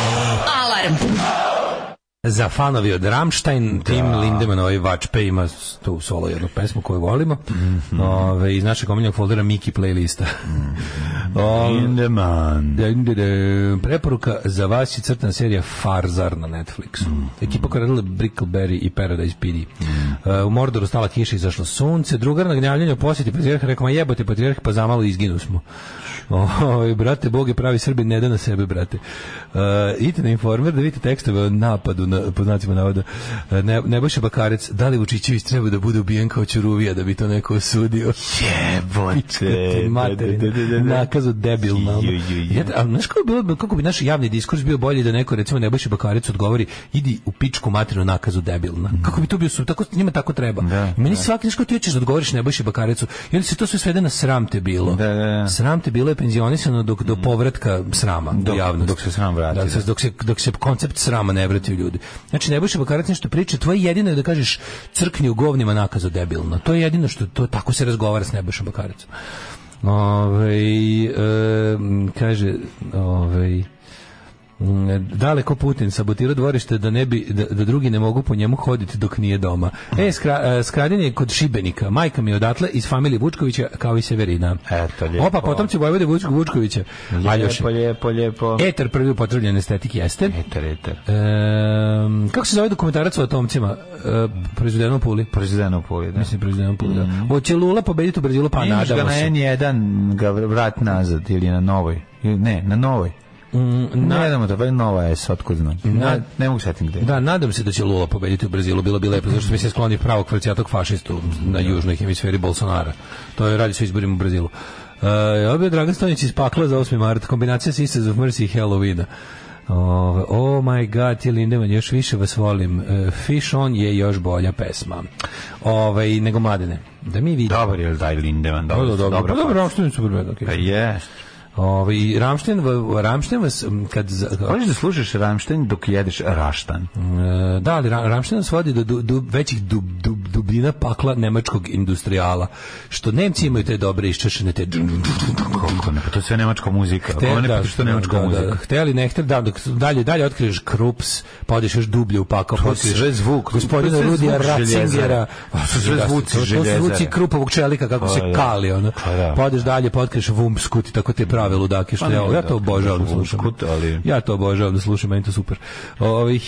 Alarm.
Za fanovi od Ramštajn, Tim Lindemann, ovaj Vačpe ima s- tu solo jednu pesmu koju volimo. Ove, iz našeg omiljenog foldera Miki playlista. Ove,
Lindemann.
Da, da, da. Preporuka za vas je crtana serija Farzar na Netflixu. Ekipa koja je radila Brickleberry i Paradise PD. Uh, u Mordoru stala kiša i izašlo sunce. Drugar na gnjavljenju posjeti patrijarha rekao, ma jebote patrijarh, pa zamalo izginu smo. Oj, brate, Bog je pravi Srbin, ne da na sebe, brate. Uh, idite na informer da vidite tekstove o napadu, na, po znacima navoda. Uh, ne, Nebojša Bakarec, da li Vučićević treba da bude ubijen kao Ćuruvija da bi to neko osudio?
Jebote.
materina, nakazu debilna. ono.
Ju, ju, ju.
Ja, ali znaš kako bi, bilo- kako bi naš javni diskurs bio bolji da neko recimo Nebojša Bakarec odgovori idi u pičku materinu nakazu debilna. Kako bi to bio su, tako, njima tako treba.
Mhm. Da,
I Meni svaki, znaš kako ti hoćeš da odgovoriš Nebojši Bakarecu i onda se to sve svede na sram te bilo.
Da, da, da. Mhm.
Sram te bilo je penzionisano dok, do povratka srama
Dok-
u javnost.
dok se sram vrati,
Da,
da.
dok se, dok se koncept srama ne vrati u ljudi. Znači, Nebojša Bakarec nešto priča, tvoje jedino je da kažeš crkni u govnima nakazu debilno. To je jedino što, to, tako se razgovara s Nebojšom Bakarecom. Ovaj, em, kaže, ovaj, Mm, daleko Putin sabotira dvorište da ne bi da, da drugi ne mogu po njemu hoditi dok nije doma. E skra, e, skraden je kod Šibenika. Majka mi je odatle iz familije Vučkovića kao i Severina.
Eto, lijepo.
Opa, potomci Vojvode Vučko Vučkovića. Aljoše.
Lijepo, lijepo, lijepo.
Eter prvi upotrebljen estetik jeste.
Eter, eter.
Em, kako se zove dokumentarac o atomcima? E, proizvedeno u Puli.
Prezident u Puli, da.
Mislim, proizvedeno u Puli, da. Hoće Lula pobediti u Brazilu? Pa
Imaš Mhm. ga
nadamo
na
se.
N1, ga vrat nazad ili na novoj. Ili Ne, na novoj.
Mm,
Ne
na-
znamo to, pa je nova S, otkud znam.
Na-
Ne- Ne mogu setim gde.
Da, nadam se da će Lula pobediti u Brazilu, bilo bi lepo, zašto mi se skloni pravog kvrcijatog fašistu na južnoj hemisferi Bolsonara. To je radi se o izborima u Brazilu. Uh, ja bi Dragan Stonić iz pakla za 8. mart, kombinacija Sisters of Mercy i Halloweena. Ove, oh my god, ti Lindemann, još više vas volim. E, Fish on je još bolja pesma. Ove, nego mladene. Da mi vidimo.
Dobar je taj Lindemann,
Da,
dobro.
da, dobro. Pa dobro, Rammstein je super band, okej.
Pa je.
Ove, i Rammstein, va- Rammstein vas, m, kad... za-
Možeš da slušaš Ramštajn dok jedeš raštan.
E, da, ali Ra- Rammstein nas vodi do du- du- većih dub, dub, dubina pakla nemačkog industrijala. Što Nemci imaju te dobre iščešene te...
Kako ne, pa to je sve nemačka muzika. Te, Kako ne, pa što nemačka
da,
muzika.
Da, hteli, ne hteli, da, dok dalje, dalje otkriješ Krups, pa odeš još dublje u pakao, pa
je
otkriješ
sve zvuk, to
gospodina
je sve
Rudija
zvuk
Ratzingera,
željezare.
a,
To su sve
da,
zvuci
to- To su zvuci
željezare.
Krupovog čelika, kako se
da.
kali, ono.
Pa da.
Pa odeš dalje, pa otkriješ Vumskut i tako te prave ludake, što
Pa
ja,
ne,
ja
da,
to obožavam da slušam.
Vumskut, ali-
Ja to obožavam da slušam, meni to super. Ove,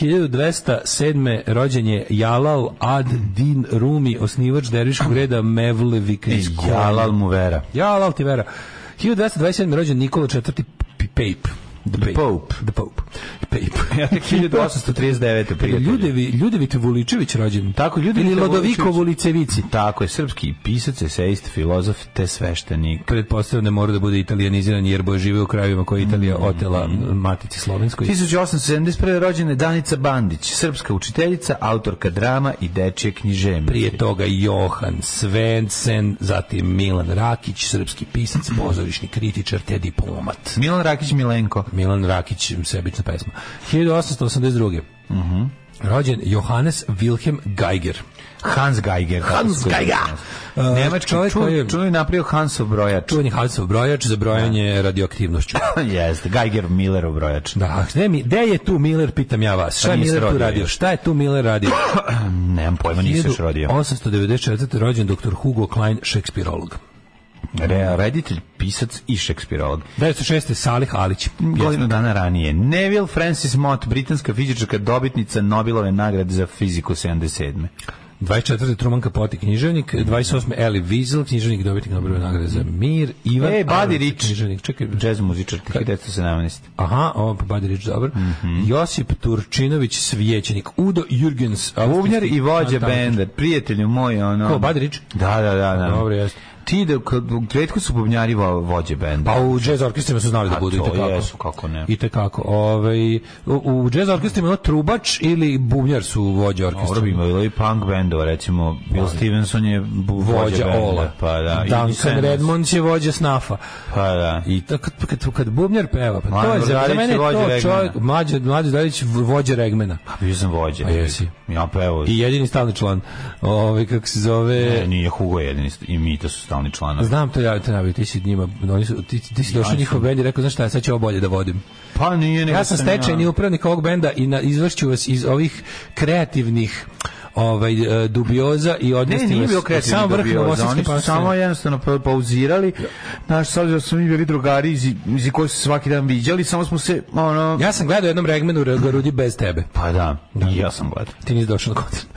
1207. rođen je Jalal Ad Din Rumi, osnivač derviškog reda Mevlevika iz
Jalal mu vera.
Jalal ti vera. 1227. rođen Nikola IV. P- Pape. The
Pope.
The Pope. Pape.
Ja tek 1839.
Čekaj,
prijatelju.
Ljudevi, Ljudevit Vuličević rođen.
Tako, Ljudevit
Ili Lodoviko
Vuličević.
Vulicevici.
Tako je, srpski pisac, eseist, filozof te sveštenik.
Pretpostavljam da mora da bude italijaniziran jer boje žive u krajevima koje je Italija otela matici slovenskoj.
1871. rođena je Danica Bandić, srpska učiteljica, autorka drama i dečje književnice.
Prije toga Johan Svensen, zatim Milan Rakić, srpski pisac, pozorišni kritičar te diplomat.
Milan Rakić Milenko.
Milan Rakić, sebična pesma. 1882. Mhm. Rođen Johannes Wilhelm Geiger.
Hans Geiger.
Hans Geiger.
Uh, Nemački
Čovjek
čuj,
koji je-
čuj napravio Hansov brojač.
Čuveni Halsov brojač za brojanje radioaktivnošću.
Jeste, Geiger Millerov brojač.
Da, gde, mi, gde je tu Miller, pitam ja vas. Šta je
nije se
Miller tu
rodio
radio?
još.
Šta je tu Miller radio?
Nemam pojma, nisam još rodio.
1894. rođen dr. Hugo Klein, šekspirolog.
Re, reditelj, pisac i šekspirolog.
1906. Salih Alić.
Godinu dana ranije. Neville Francis Mott, britanska fizičarka, dobitnica Nobelove nagrade za fiziku 77.
24. Truman Capote književnik,
Mm.
28. Eli Wiesel, književnik dobitnik Nobelove nagrade za mir, Ivan
E, Buddy
Arović,
Rich.
književnik, čekaj,
Jazz muzičar, 1917.
aha, ovo pa Buddy Rich, dobro,
Mhm.
Josip Turčinović, svijećenik, Udo Jürgens,
Bubnjar i vođa benda, prijatelju moj, ono...
Ko, Badrić?
Da, da, da. da.
Dobro, jeste.
Ti da, kad, retko su bubnjari vo, vođe benda.
Pa u džez orkestrima su znali da
A
budu i
to
tekako.
jesu, kako ne.
I tekako. Ovaj, u, u džez orkestrima ono trubač ili bubnjar su vođe
Dobro bi
orkestra.
bilo i punk bendova, recimo Bill Stevenson je bu- vođa
Pa- Vođa
benda.
Ola.
Pa da. i
Duncan
Senna.
Redmond je vođa snafa.
Pa da.
I to kad, kad, kad bubnjar peva, pa to
Mladen
je za- za,
Brodarić
mene
je
je
vođa
to
Regmena.
čovjek, mlađe, mlađe Darić vođa Regmena.
Pa bio sam vođa.
A jesi.
Ja pa pevo.
I jedini stalni član. Ovaj kako se
E,
zove...
nije Hugo jedini st- i Mita su stalni članovi.
Znam to ja, to ja bi, ti si njima, oni su, ti, ti si došao u njihov bend i rekao, znaš šta, sad ću ovo bolje da vodim.
Pa nije nego
Ja sam stečajni upravnik ovog benda i na, izvršću vas iz ovih kreativnih ovaj e, dubioza i
Ne,
odnostima.
nije bio kreativni
Samo vrh
dubioza,
novosadske
oni su
paštine.
samo jednostavno pa- pauzirali. Znaš, s obzirom da smo mi bili drugari iz, iz koji su se svaki dan viđali, samo smo se, ono...
Ja sam gledao jednom Regmenu Garudi bez tebe.
Pa da, i ja sam gledao.
Ti nisi došao na koncert.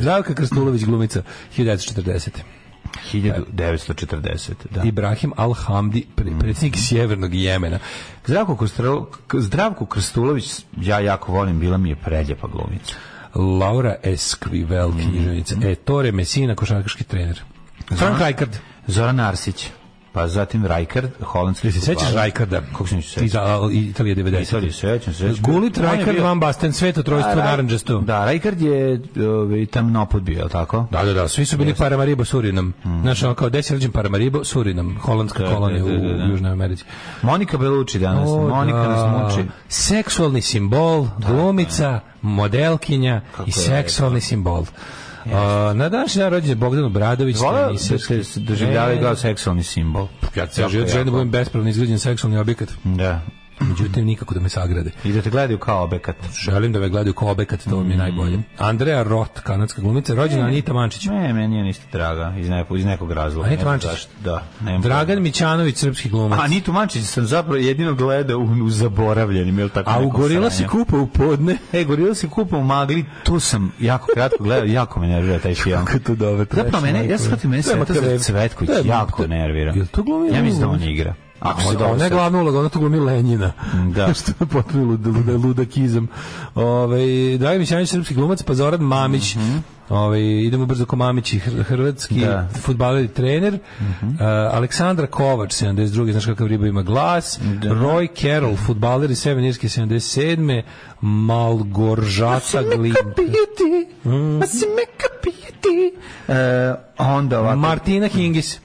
Zdravka Krstulović glumica 1940.
1940, da. Mm.
Ibrahim Al-Hamdi, pre- predsjednik Sjevernog Jemena.
Zdravko, Krstro, Zdravko Krstulović, ja jako volim, bila mi je preljepa glumica.
Laura Esquivel,
Mm.
književnica. Ettore Messina, košarkaški trener. Frank Rijkaard.
Zoran Arsić, pa zatim Rajkard, holandski.
Se sećaš Rijkaarda?
Kako se neću sećati?
Iz Al- Italije 90.
Italije, E, sećam se, sećam se.
Gulit,
On je
Rijkaard,
bio-
Znači, Van Basten, sveto trojstvo,
A, Raj-
naranđasto.
Da, Rajkard je ovaj, tamnopod bio, je li tako?
Da, da, da, svi su bili Paramaribo Surinam. Znaš, ono kao desi rođen Paramaribo Surinam, holandska
Mhm. Da, da,
kolonija
da, da, da.
u Južnoj Americi.
Monika Belucci danas, Monika nas muči.
Seksualni simbol, glumica, modelkinja i
je
seksualni simbol. A, na današnji dan rođen je Bogdan Obradović,
Vola da
teniser.
se se doživljavaju kao seksualni simbol.
Ja cijel život želim da budem bespravno izgrađen seksualni objekat,
Da.
međutim nikako da me sagrade.
I da te gledaju kao obekat.
Želim da me gledaju kao objekat, to
Mm.
mi je najbolje. Andrea Roth, kanadska glumica, rođena Anita Mančić.
Ne, meni je ništa draga, iz, neko, iz nekog razloga.
Anita
ne znam
Mančić.
zašto, Da, nemam
Dragan Mićanović, srpski glumac.
A Nitu Mančić sam zapravo jedino gledao u, u zaboravljenim, ili tako
A u
nekom
Gorila se
sranju.
kupa u podne.
E, Gorila se kupa u magli, tu sam jako kratko gledao, jako me nervira taj film.
Kako je to dobro, trash,
Zapravo mene, ja
majko.
shvatim, mene
To je
Svetozar
Makaveli.
Cvetković
To je-
jako
to-
nervira.
Jel to glumi
Ja mislim da on
Lenjina?
igra. Ako se
Ona,
dobro
ona je
sećam.
glavna uloga, ona tu glumi Lenjina.
Da.
Što je potpuno lud, lud, ludakizam. Ove, Dragan Mićanić, srpski glumac, pa Zoran Mamić. Ove, idemo brzo ko Mamić i hr- hrvatski
Mhm. Da. Mhm.
fudbaler i trener. Uh, Aleksandra Kovač, 72. Znaš kakav riba ima glas. Roy Carroll, fudbaler i Sevenirske, 77. Malgoržata Glinka.
kapiti, ma si me kapiti. E, onda ovako,
Martina Hingis.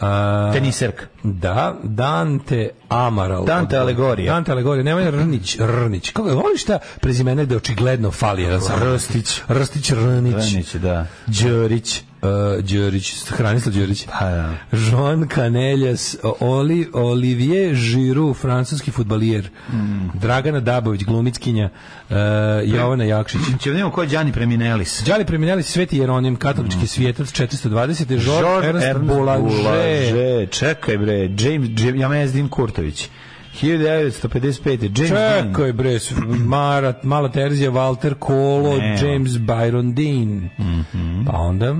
A,
teniserka.
Da, Dante Amaral.
Dante Alegorija.
Dante Alegorija, Nemanja Rnić, Rnić. Kako ga voliš ta prezimene da očigledno fali jedan sam?
Rstić.
Rstić Rnić.
Vrnić, da.
Đorić. Uh, Đorić, Hranislav Đorić.
E, Pa, da.
Jean Caneljas, Oli, Olivier Giroud, francuski futbalijer.
Mm.
Dragana Dabović, glumickinja. Uh, Jovana Jakšić.
Če vidimo Znači, ko je Gianni Preminelis.
Đali preminjali sveti Jeronim,
Mm.
katolički svijetac 420. Žor, Ernst, Boulanger.
Čekaj bre, James, James Jamez Din Kurtović. 1955. James Dean.
Čekaj bre, s- Marat, Mala Terzija, Walter Kolo,
Ne.
James Byron Dean.
Mhm.
Pa onda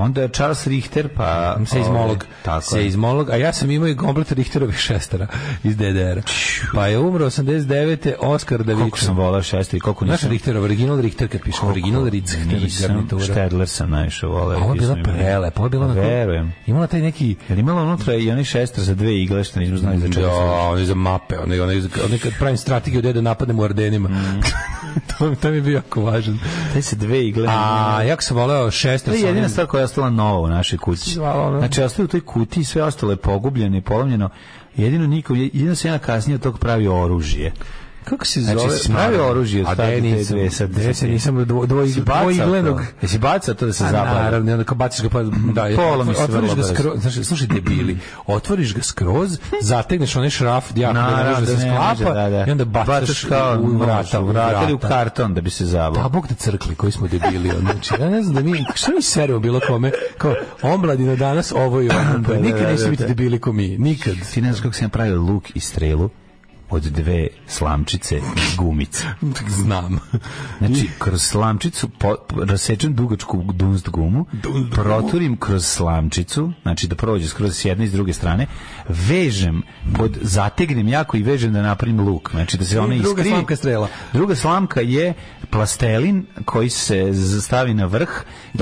Onda je Charles Richter, pa...
seizmolog.
Ovaj, tako je.
seizmolog, a ja sam imao i komplet Richterovih šestara iz DDR-a. Pa je umro 89. Oskar
Koliko
Davičan.
sam volao šestu i koliko
Znaš
nisam...
Richterov, original Richter kad piše, original Richter,
Nisam,
garnitura.
Štedler sam najviše volao.
A Ovo je bila
Nisam imao-
prelepa, ovo je bila onako-
Verujem.
Imala taj neki
Jer imala unutra i onaj šestar za dve igle, što nismo znali za čega
Da,
se radi.
oni za mape, oni, oni, oni kad pravim strategiju da da napadnem u Ardenima.
Mhm.
to, to mi je bio jako važan.
Te se dve igle...
A, jako sam voleo šestar.
To je
sa
jedina
onim-
stvar koja je ostala nova u našoj kući.
Zvala ono.
Znači, ostaje u toj kutiji, sve ostalo je pogubljeno i polomljeno. Jedino niko, jedino se jedna kasnije od toga pravi oružje.
Kako se
Znači,
zove?
si pravi oružje od
A
tada
gde
te
nisam,
dve sad-
gde se nisam dvo, dvo,
Jesi bacao
dvojiglenog.
to? Jesi bacao to da se
A
zapada?
naravno, i onda kao baciš ga pa da, je-
Polomi se
otvoriš
vrlo
ga
brzo.
skroz, znači, slušaj debili, otvoriš ga skroz, zategneš onaj šraf, ja
Naravno,
da se
ne može,
sklapa
da, da.
i onda bacaš, u
nož
vrata, u vrata,
ili u karton da bi se
Pa
zabao.
bog da crkli koji smo debili. ono, Znači, ja ne znam da mi, što mi seremo bilo kome, kao omladina danas ovo i ono, pa
da, da,
nikad
da,
neće biti
da.
debili ko mi, nikad.
Ti ne znaš kako sam ja pravio luk i strelu od dve slamčice gumice.
Znam.
Znači, kroz slamčicu po, po- rasečem dugačku dunst gumu, proturim kroz slamčicu, znači da prođe skroz s jedne i s druge strane, vežem, pod, zategnem jako i vežem da napravim luk. Znači da se ona
I
iskrivi.
druga slamka je strela.
Druga slamka je plastelin koji se z- stavi na vrh i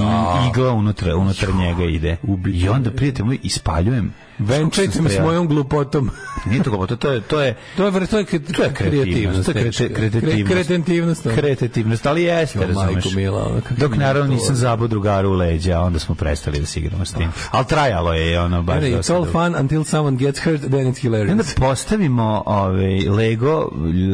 igla unutra, unutar njega ide. I onda, prijatelj moj, ispaljujem.
Venčajte me s
Strela.
mojom glupotom.
Nije to glupo, to, to je... To je
To je vr- to je, kre-
to je kreativnost, to je krete- kretetivnost.
Kretentivnost.
Kretetivnost, ali jeste,
Jo, majko
razumeš.
mila, ono, kako
Dok
ima
naravno
to,
nisam
ono. Ah.
zabao drugaru u leđa, onda smo prestali da se igramo s tim. Ali trajalo je, ono, baš
Ne, ne, It's
dosta
all
dugo.
fun until someone gets hurt, then it's
I onda
hilarious.
postavimo ove, Lego,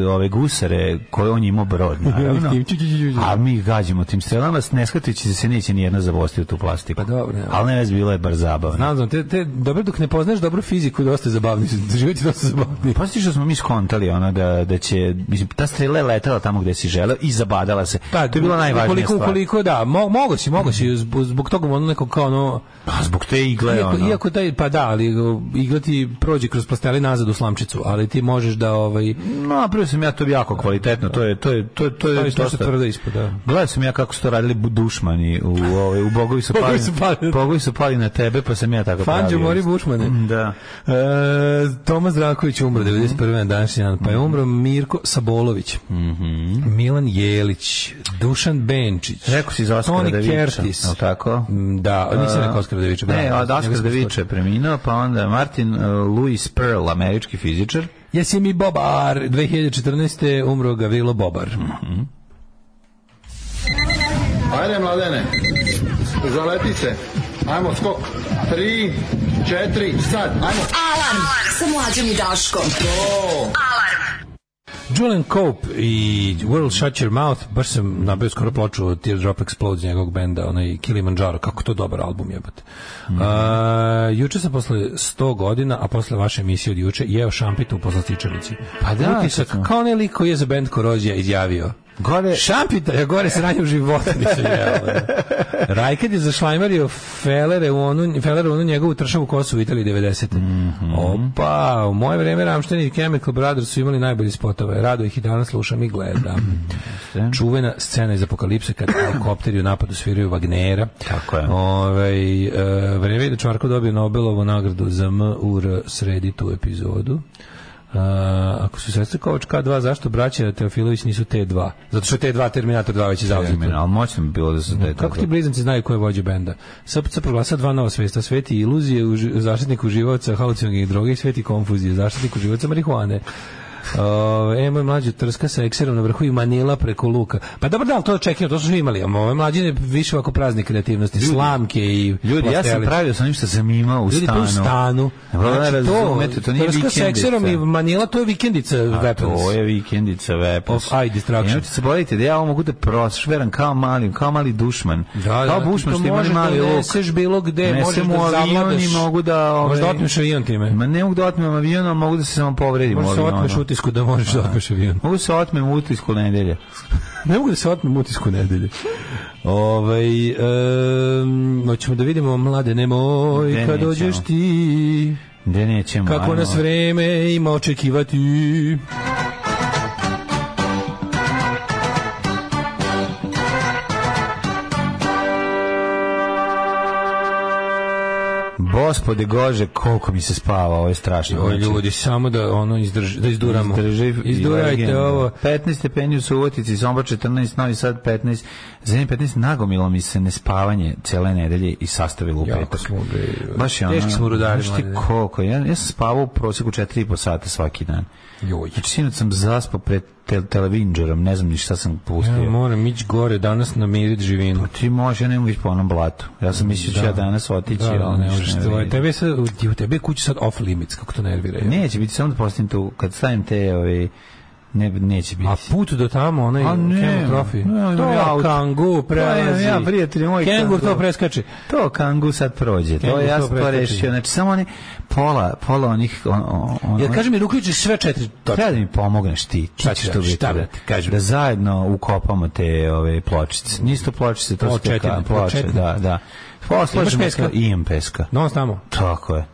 ove gusare, koje on je imao brod, naravno.
Tim, ću, ću, ću, ću.
A mi ih gađamo tim strelama, ne shvatajući da se neće nijedna zavosti u tu plastiku.
Pa dobro, evo.
Ali ne vez, bilo je bar zabavno.
Znam, znam, te, te, dobro dok ne poznaš dobro fiziku, dosta je zabavni, život je dosta zabavni.
Pasti što smo mi skontali ono da, da će, mislim, ta strela je letala tamo gde si želeo i zabadala se. Pa, to je bila najvažnija
Pa, ukoliko,
stvar.
Ukoliko, da, mo, mogo si, mogo si, zbog, zbog toga ono neko kao ono...
Pa zbog te igle,
Iako,
ono.
iako taj, pa da, ali o, igla ti prođe kroz plasteli nazad u slamčicu, ali ti možeš da ovaj...
No, napravio sam ja to jako kvalitetno, to je, to je, to je, to je
Staviš nešto
dosta-
tvrdo ispod, da.
Gledao sam ja kako su to radili bu- dušmani u, ovaj, u Bogovi su
Bogovi
pali,
su pali.
Bogovi su pali na tebe, pa sam ja tako
Fanđo
pravio
Mori
isto. Mm,
Bušmane.
Da.
E, Toma Zdravković
Mhm.
umro 91. na današnji dan, pa je umro Mirko Sabolović, Milan Jelić, Dušan Benčić,
Mhm. Rekao si za Oskara
Toni
Daviča,
Kertis.
jel tako? E.
Mm, Da, nisam rekao Oskara Daviča. bravo,
Ne, od
njega
Oskar
smo
Daviča je preminuo, pa onda Martin uh, Louis Pearl, američki fizičar.
Jesi mi Bobar, 2014. umro Gavrilo Bobar.
Mhm.
Ajde, mladene, zaleti se. Ajmo, skok. Tri, četiri, sad, ajmo.
Alarm sa mlađom i Daškom.
Julian Cope i World Shut Your Mouth, baš sam nabio skoro ploču od Teardrop Explodes njegovog benda, onaj Kilimanjaro, kako to dobar album jebate.
Mhm.
A, juče sam posle 100 godina, a posle vaše emisije od juče, jeo šampitu u poslastičanici.
Pa da,
Utisak,
to sam.
kao onaj lik koji je za band Korozija izjavio.
Gore,
Šampita, ja gore sranje u životu nisam jeo. Rajkad je zašlajmario Felere u onu, Felere u onu njegovu tršavu kosu u Italiji 90.
Mhm.
Opa, u moje vreme Ramšten i Chemical Brothers su imali najbolji spotove. Rado ih i danas slušam i gledam. Čuvena scena iz Apokalipse kad helikopteri u napadu sviraju Wagnera.
Tako je.
Ovaj, e, vreme je da Čvarko dobije Nobelovu nagradu za MUR sredi tu epizodu. E, ako su sestre Kovač K2, zašto braća Teofilović nisu T2? Zato što je T2 Terminator 2 već je zauzet.
ali moćno bi bilo da se da je to
Kako ti blizanci znaju ko je vođa benda? SPC proglasa dva nova svesta, sveti iluzije, uži, zaštitnik uživaoca halucinogenih droga i sveti konfuzije, zaštitnik uživaoca marihuane. Uh, e, moj mlađi trska sa ekserom na vrhu i manila preko luka. Pa dobro, da, ali to očekivano, to smo imali. A Ovaj mlađi je više ovako prazne kreativnosti, slamke i
Ljudi, ja sam
plastelice.
pravio sa onim što sam imao u
Ljudi, to
stanu.
je u stanu.
Znači,
to,
razumete, to nije
trska sa ekserom i
vikendica.
manila, to je vikendica
A
weapons.
To je vikendica Weapons.
Of eye distraction.
Nemojte se bojite da ja ovo mogu da prošveram kao mali, kao mali dušman. kao bušman
ti
što
to
ima onaj
možeš
mali
da
luk.
uneseš bilo gde,
Unesem
možeš
u
da
avion i
zavladaš.
mogu da,
Možeš da
ovaj,
otmeš avion time.
Ma ne mogu da otmem avion, ali mogu da se samo povredim.
Možeš se
ovim,
otmeš
ono.
utisku da možeš da otmeš avion.
Mogu se otmem u utisku nedelje.
Ne mogu da se otmem utisku nedelje. Ovaj, em, hoćemo da vidimo mlade nemoj,
Ne,
kad
nećemo.
dođeš ti,
Gde nećemo.
kako
ajmo.
nas vreme ima očekivati.
Gospode Gože, koliko mi se spava, ovo je strašno.
O
Znači,
ljudi, samo da ono izdrži, da izduramo.
Izdrživ i
Izdurajte
legenda.
ovo.
15 stepeni u Subotici, Sombor 14, Novi Sad 15, Zemlje 15, nagomilo mi se nespavanje cele nedelje i sastavilo u
Jako
petak.
smo, bre,
Baš je ono,
teški smo rudari,
znaš ti
mlade.
koliko, ja, ja sam spavao u prosjeku 4,5 sata svaki dan.
Joj.
Znači, sinoć sam zaspao pred te, televinđerom, ne znam ni šta sam pustio.
Ja moram ići gore danas namirit živinu.
Pa ti možeš, ja ne mogu ići po onom blatu. Ja sam mislio da ću ja danas otići,
Da,
ali
ne
ništa
možeš.
ne
Tvoje-
vredi.
Tebe je sad, u tebe je kuća sad off limits, kako to nervira. jel?
Neće biti, samo da postavim tu, kad stavim te, ove, ne, neće biti.
A put do tamo, onaj
A ne,
kemotrofi.
ne, imam
to
ja auto.
kangu
Pa
prelazi.
imam ja, prijatelju moj,
Kengur to
kangu.
preskače.
To kangu sad prođe, to
Kangu
je ja
to
sam to
preskoči.
rešio. Znači, samo oni, pola, pola onih... On, on, on,
Ja kažem mi Ruković sve četiri točke.
Treba da mi pomogneš ti.
Šta
Šta
ćeš
ćeš tu
raditi?
biti?
Šta,
da-
brate, kažem?
Da zajedno ukopamo te ove pločice. Nisu to pločice, to su te
Pločetine,
ka- ploče.
pločetine.
Da, da. Poslažemo
peska?
se, imam peska.
No, on tamo.
Tako je.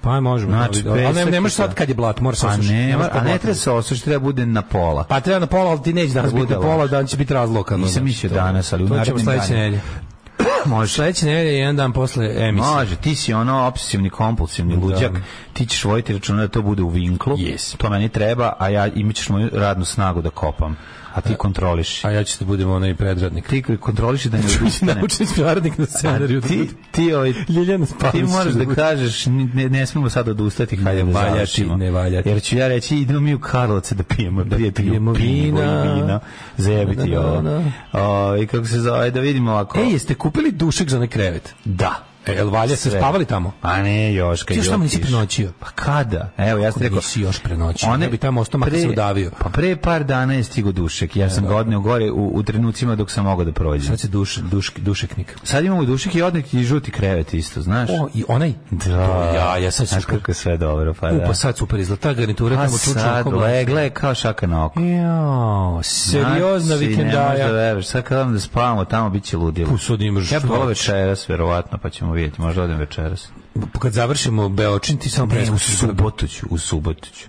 Pa Pa možemo.
Znači,
ali, ali ne,
pesak
ne možeš
i
sad
to.
kad je blat, moraš
Pa
osušiti.
ne,
možeš po
a ne
blatu.
treba se osušiti, treba bude na pola.
Pa treba na pola, ali ti neće danas
Kad
biti na
bude
pola,
laž.
dan će biti razlokano.
Nisam
znači,
mislio
to-
danas, ali u
To ćemo
narednim
sledeće
danima.
nedelje.
Može.
Sledeće nedelje je jedan dan posle emisije.
Može, ti si ono obsesivni kompulsivni luđak. Ti ćeš vojiti računa da to bude u vinklu.
Yes.
To meni treba, a ja imaćeš moju radnu snagu da kopam. A ti kontroliš.
A Znači, ja ću da budem onaj predradnik.
Ti kontroliš da ne odustane.
Naučni stvarnik na scenariju. da
Ti,
budem.
ti, ovaj,
Ljiljana Spavić.
Ti moraš da
bude.
kažeš, n- ne, ne smemo sad odustati, hajde da
Ne valja ti,
završimo.
ne valja ti.
Jer ću ja reći, idemo mi u Karlovce da pijemo, da
pijemo
pijemo pivo
vina.
i vina. Zajebiti
Da, da,
ovo.
da.
O, I kako se zove, da vidimo ovako.
Ej, jeste kupili dušek za onaj krevet?
da.
E, jel valja se
Sve.
spavali tamo?
A ne, još kad
Ti još tamo nisi
ljotiš.
prenoćio.
Pa kada? Evo, ja sam rekao...
nisi još prenoćio, ne bi tamo ostao, makar
pre-
se udavio.
Pa pre par dana je stigo dušek. Ja sam ga odneo gore u, u trenucima dok sam mogao da prođem.
Sad se duš, duš, dušeknik.
Sad imamo dušek i odnik i žuti krevet isto, znaš?
O, i onaj? To Ja, ja sad
Znaš
super.
kako je sve dobro, pa
U,
da.
pa sad super izgleda. Ta garnitura
A
tamo čučna
sad legla je kao šaka na oko.
Jao, seriozna
Znači, Ne možeš da
vikendaja.
veruješ, sad kad vam da spavamo tamo, bit će ludilo.
U, sad imaš
Ja bih
što
volao
hoćeš.
večeras, verovatno, pa ćemo vidjeti. Možda odem večeras.
Kad završimo Beočin, ti samo
Ne, u
preskočiš.
subotu ću, u subotu ću.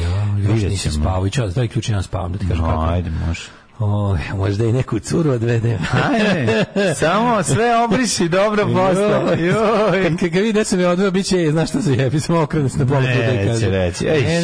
Ja, još
Vidjet
nisam
ćemo.
spavao i čas, daj ključ i ja spavam, da ti kažem
No,
kako.
ajde, može.
O, možda i neku curu odvedem.
Ajde, samo sve obriši, dobro posla. Joj.
Kad ga vidi da sam je odveo, bit će, e, znaš šta se jebi, samo okrene se na pola puta i
Neće
kaže.
reći, ej,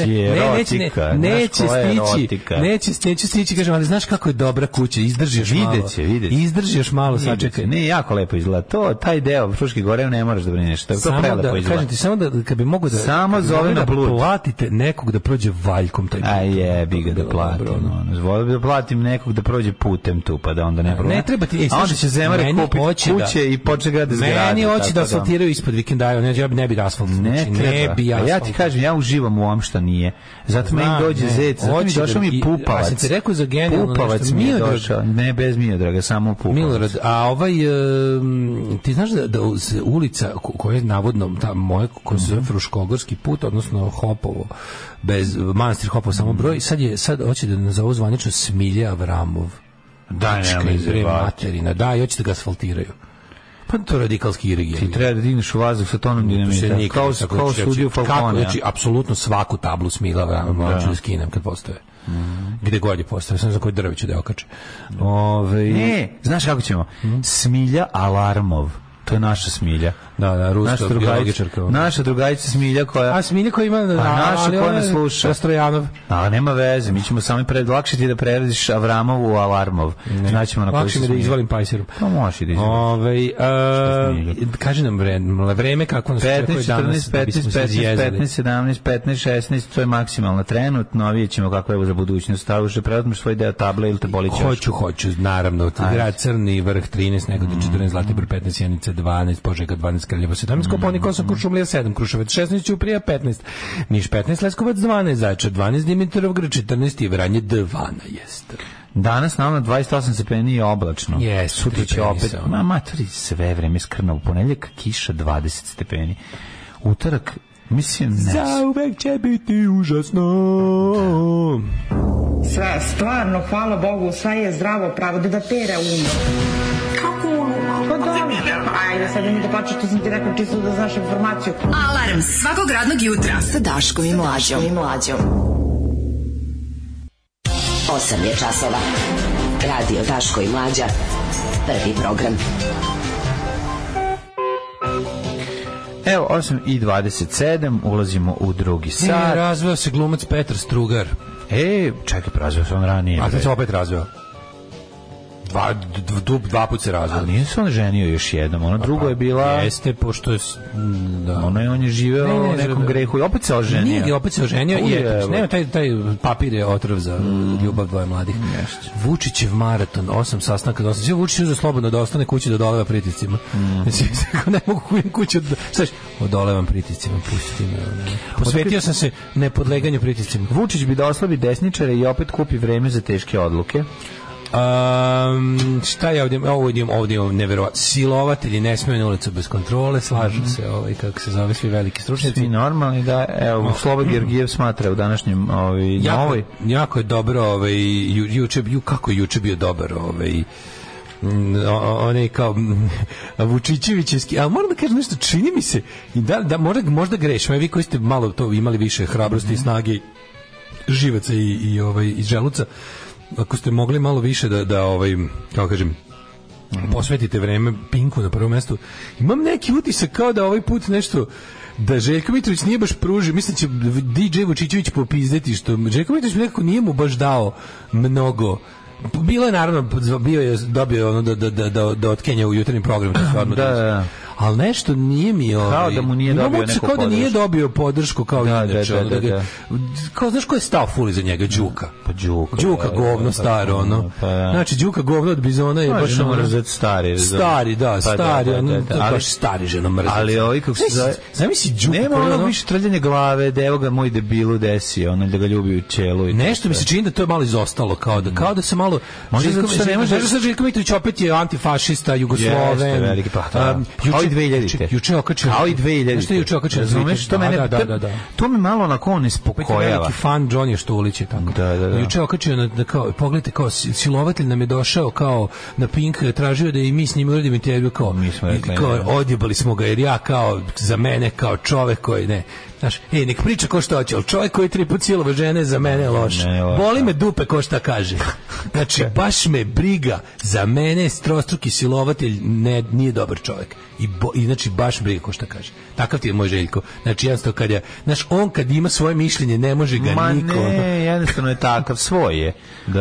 neće,
erotika, znaš
neće
koja je
stići,
erotika.
neće, neće stići, kažem, ali znaš kako je dobra kuća, izdrži još malo.
Vidjet će, vidjet će.
Izdrži još malo,
Pa Sačekaj,
sačekaj.
ne, jako lepo izgleda. To, taj deo Fruške gore ne moraš da brineš. To, to prelepo
da,
izgleda.
kažem ti, samo da, kad bi mogo da...
Samo
kad bi
zove
mogli
na
da
Bluetooth.
Platite nekog da prođe valjkom taj
A
put.
jebi ga
To bi
da
bilo dobro,
platim.
ono.
ono. Volio bi da platim nekog da prođe putem tu, pa da onda ne problem.
Ne treba ti, ej,
A onda
slušaj,
će Zemare
meni
kupi
hoće
kuće
da-
i poče grade zgrade.
Meni hoće
tako
da asfaltiraju ispod vikendaja, ne, ja bi ne bi asfalt.
Ne
znači,
treba.
Ne bi
A ja ti
asfalt.
kažem, ja uživam u ovom šta nije. Zato meni
Znam,
dođe
ne.
zec, zato mi
Hoće da
došao mi
i-
pupavac.
a sam ti rekao za genijalno nešto,
Pupavac mi je
Miodrag.
došao. Ne, bez Miodraga, samo pupavac.
Milorad, a ovaj em, ti znaš da, da uz ulica ko- koja je navodno ta moja koja se
Mhm.
zove Fruškogorski put, odnosno Hopovo bez manastir Hopovo samo broj, sad je sad hoće da nazovu zvanično Smilja Avramov. Znači,
Da, ne,
Čekaj,
ne,
bre,
ne,
materina. Da, i hoće da ga asfaltiraju. Pa to je radikalski irigija.
ti treba da digneš u vazduh sa tonom dinamita. Kao, kao studiju
Kako,
Falcone.
znači, apsolutno svaku tablu smila Avramova hoću da skinem kad postave.
Mhm.
Gde god je postave, sam za koje drveću da je okače. Ove,
Ne, E, znaš kako ćemo?
Hmm?
Smilja Alarmov. To je naša smilja.
Da, da,
Naša
ruska
drugarica,
biologičarka. ona.
naša drugarica Smilja koja...
A Smilja koji ima... a,
naša
ali
koja
ona
ne
Pa je
sluša.
Rastrojanov.
A nema veze, mi ćemo sami pred lakše ti da prevediš Avramov u Alarmov. Znaćemo na koji
Lakše
se
mi da
smilja.
izvalim pajsirom.
Pa može da izvalim.
Ove,
Smilja?
e, kaži nam vreme, vreme kako nas
15,
očekuje
14,
danas.
15,
da bismo se
15,
izjezili.
15, 17, 15, 16, to je maksimalno trenutno, a vidjet ćemo kako je ovo za budućnost. Stavu što preuzmeš svoj deo table ili te boli ćeš.
Hoću, hoću, naravno. Grad Crni, vrh 13, Negotin 14, Zlatibor 15, Jenica 12, Požega 12, Kraljevo 17, Koponik 8, Kuršumlija 7, Kruševac 16, Ćuprija 15, Niš 15, Leskovac 12, Zaječar 12, Dimitrovgrad 14 i Vranje 12.
Danas na ono 28 stepeni je oblačno.
Jes,
Sutra će
stepeni
opet,
se, ono.
ma matori sve vreme skrno, u ponedjeljak kiša 20 stepeni. Utorak, mislim, ne.
uvek će biti užasno.
Sve, stvarno, hvala Bogu, sve je zdravo pravo, da da pera um. Kako? Pa dobro. Ajde, sad mi da plaću što sam ti rekao, čisto da znaš informaciju.
Alarm svakog radnog jutra sa Daškom i Mlađom.
i mlađom. 8 je časova. Radio Daško i mlađa. Prvi program.
Evo, 8 i 27, ulazimo u drugi
Sad
sat.
razveo se glumac Petar Strugar.
E, čekaj, prazio sam ranije.
A
bre.
sad se opet razveo. Dva, dva, dva put se razveo.
Ali nije se on ženio još jednom,
Pa
ono drugo je bila...
Jeste, pošto je... s- m, Da.
Ono je, on je živeo
Ne, ne,
u nekom
ne.
grehu i opet se oženio.
Nije ga opet se oženio i
Ujebe.
eto, nema taj, taj papir je otrov za
Mm.
ljubav dvoje mladih. Vučićev maraton, osam sastanka, osam. Sve Vučić uzeo slobodno da ostane kući da odoleva pritiscima.
Mm.
Znači, ako ne mogu kujem kuću, da, znaš, odolevam pritiscima, pusti me. ono. Posvetio sam se nepodleganju pritiscima.
Vučić bi da oslabi desničare i opet kupi vreme za teške odluke.
Um, šta je ovdje, ovdje, imam- ovdje imam neverovatno. Silovatelji ne smiju na ulicu bez kontrole, slažu se, ovaj, kako se zove, svi veliki stručnjaci.
Svi normalni, da, evo, Sloba Georgijev smatra u današnjem ovaj,
jako,
novoj.
jako je dobro ovaj ju, juče ju kako je juče bio dobar ovaj onaj kao mm, Vučićevićevski, ali moram da kažem nešto, čini mi se, i da, da možda, možda grešim, a vi koji ste malo to imali više hrabrosti i snage i živaca i, i, ovaj, i želuca, ako ste mogli malo više da, da ovaj, kako kažem, posvetite vreme Pinku na prvom mestu. Imam neki utisak kao da ovaj put nešto da Željko Mitrović nije baš pružio, mislim da će DJ Vučićević popizdeti što Željko Mitrović mi nekako nije mu baš dao mnogo Bilo je naravno, bio je dobio ono da, da, da, da, da otkenja u jutarnjem programu. To se odmah
Da, da, da.
Ali nešto nije mi... Ovaj,
Kao da mu nije
imam
dobio
utisak
neku
kao da nije
podršku.
dobio podršku kao
Da, da,
inače.
da,
ono,
da,
ga-
da.
Kao, znaš ko je stao ful iza njega? Đuka. Pa
Đuka.
Đuka
da,
govno
da,
staro,
pa,
ono.
pa, da.
Znači, Đuka govno od Bizona je
Pa,
baš...
ženo
ono-
mrzec stari, razumem.
Stari, da,
Pa,
stari.
da, da,
ono,
da, da.
to je
Ali-
baš stari ženo mrzec.
Ali ovi kako se zove...
Zamisli Đuka.
Nema
koji je
ono
ono-
više trljanje glave, da evo ga moj debilu desi, ono da ga ljubi u čelu. I
Nešto mi se čini da to je malo izostalo, kao da, kao da se malo...
Možda
Željko-
zato što ne može-
Možda sad Željko Mitrović opet je antifašista, Jugosloven.
Jeste, veliki, pa, da.
Um,
Kao i 2000-te.
juče- Juče je okačio...
Kao i 2000.
Znaš što je juče okačio? na Twitter?
Razumeš, to
Da,
mene,
Da, da, da. da.
To me malo onako
Opet je veliki
onespokoljava.
fan Johnny Štulić je tako.
Da, da, da.
Juče je okačio na, na kao, pogledajte, kao si- silovatelj nam je došao kao na Pink, tražio je da i mi s njim uradimo intervju kao,
Mi smo
i
rekli,
kao
ne.
odjebali smo ga jer ja kao za mene kao čovek koji ne Znaš, e, nek priča ko što hoće, ali čovjek koji tri put silova žene za mene je loš.
Ne, loš,
Boli me dupe ko šta kaže. Znači, baš me briga, za mene strostruki silovatelj ne, nije dobar čovjek. I, bo, I znači, baš briga ko šta kaže. Takav ti je moj željko. Znači, jednostavno, kad je, znaš, on kad ima svoje mišljenje, ne može ga
Ma
niko.
ne, jednostavno je takav, svoj je.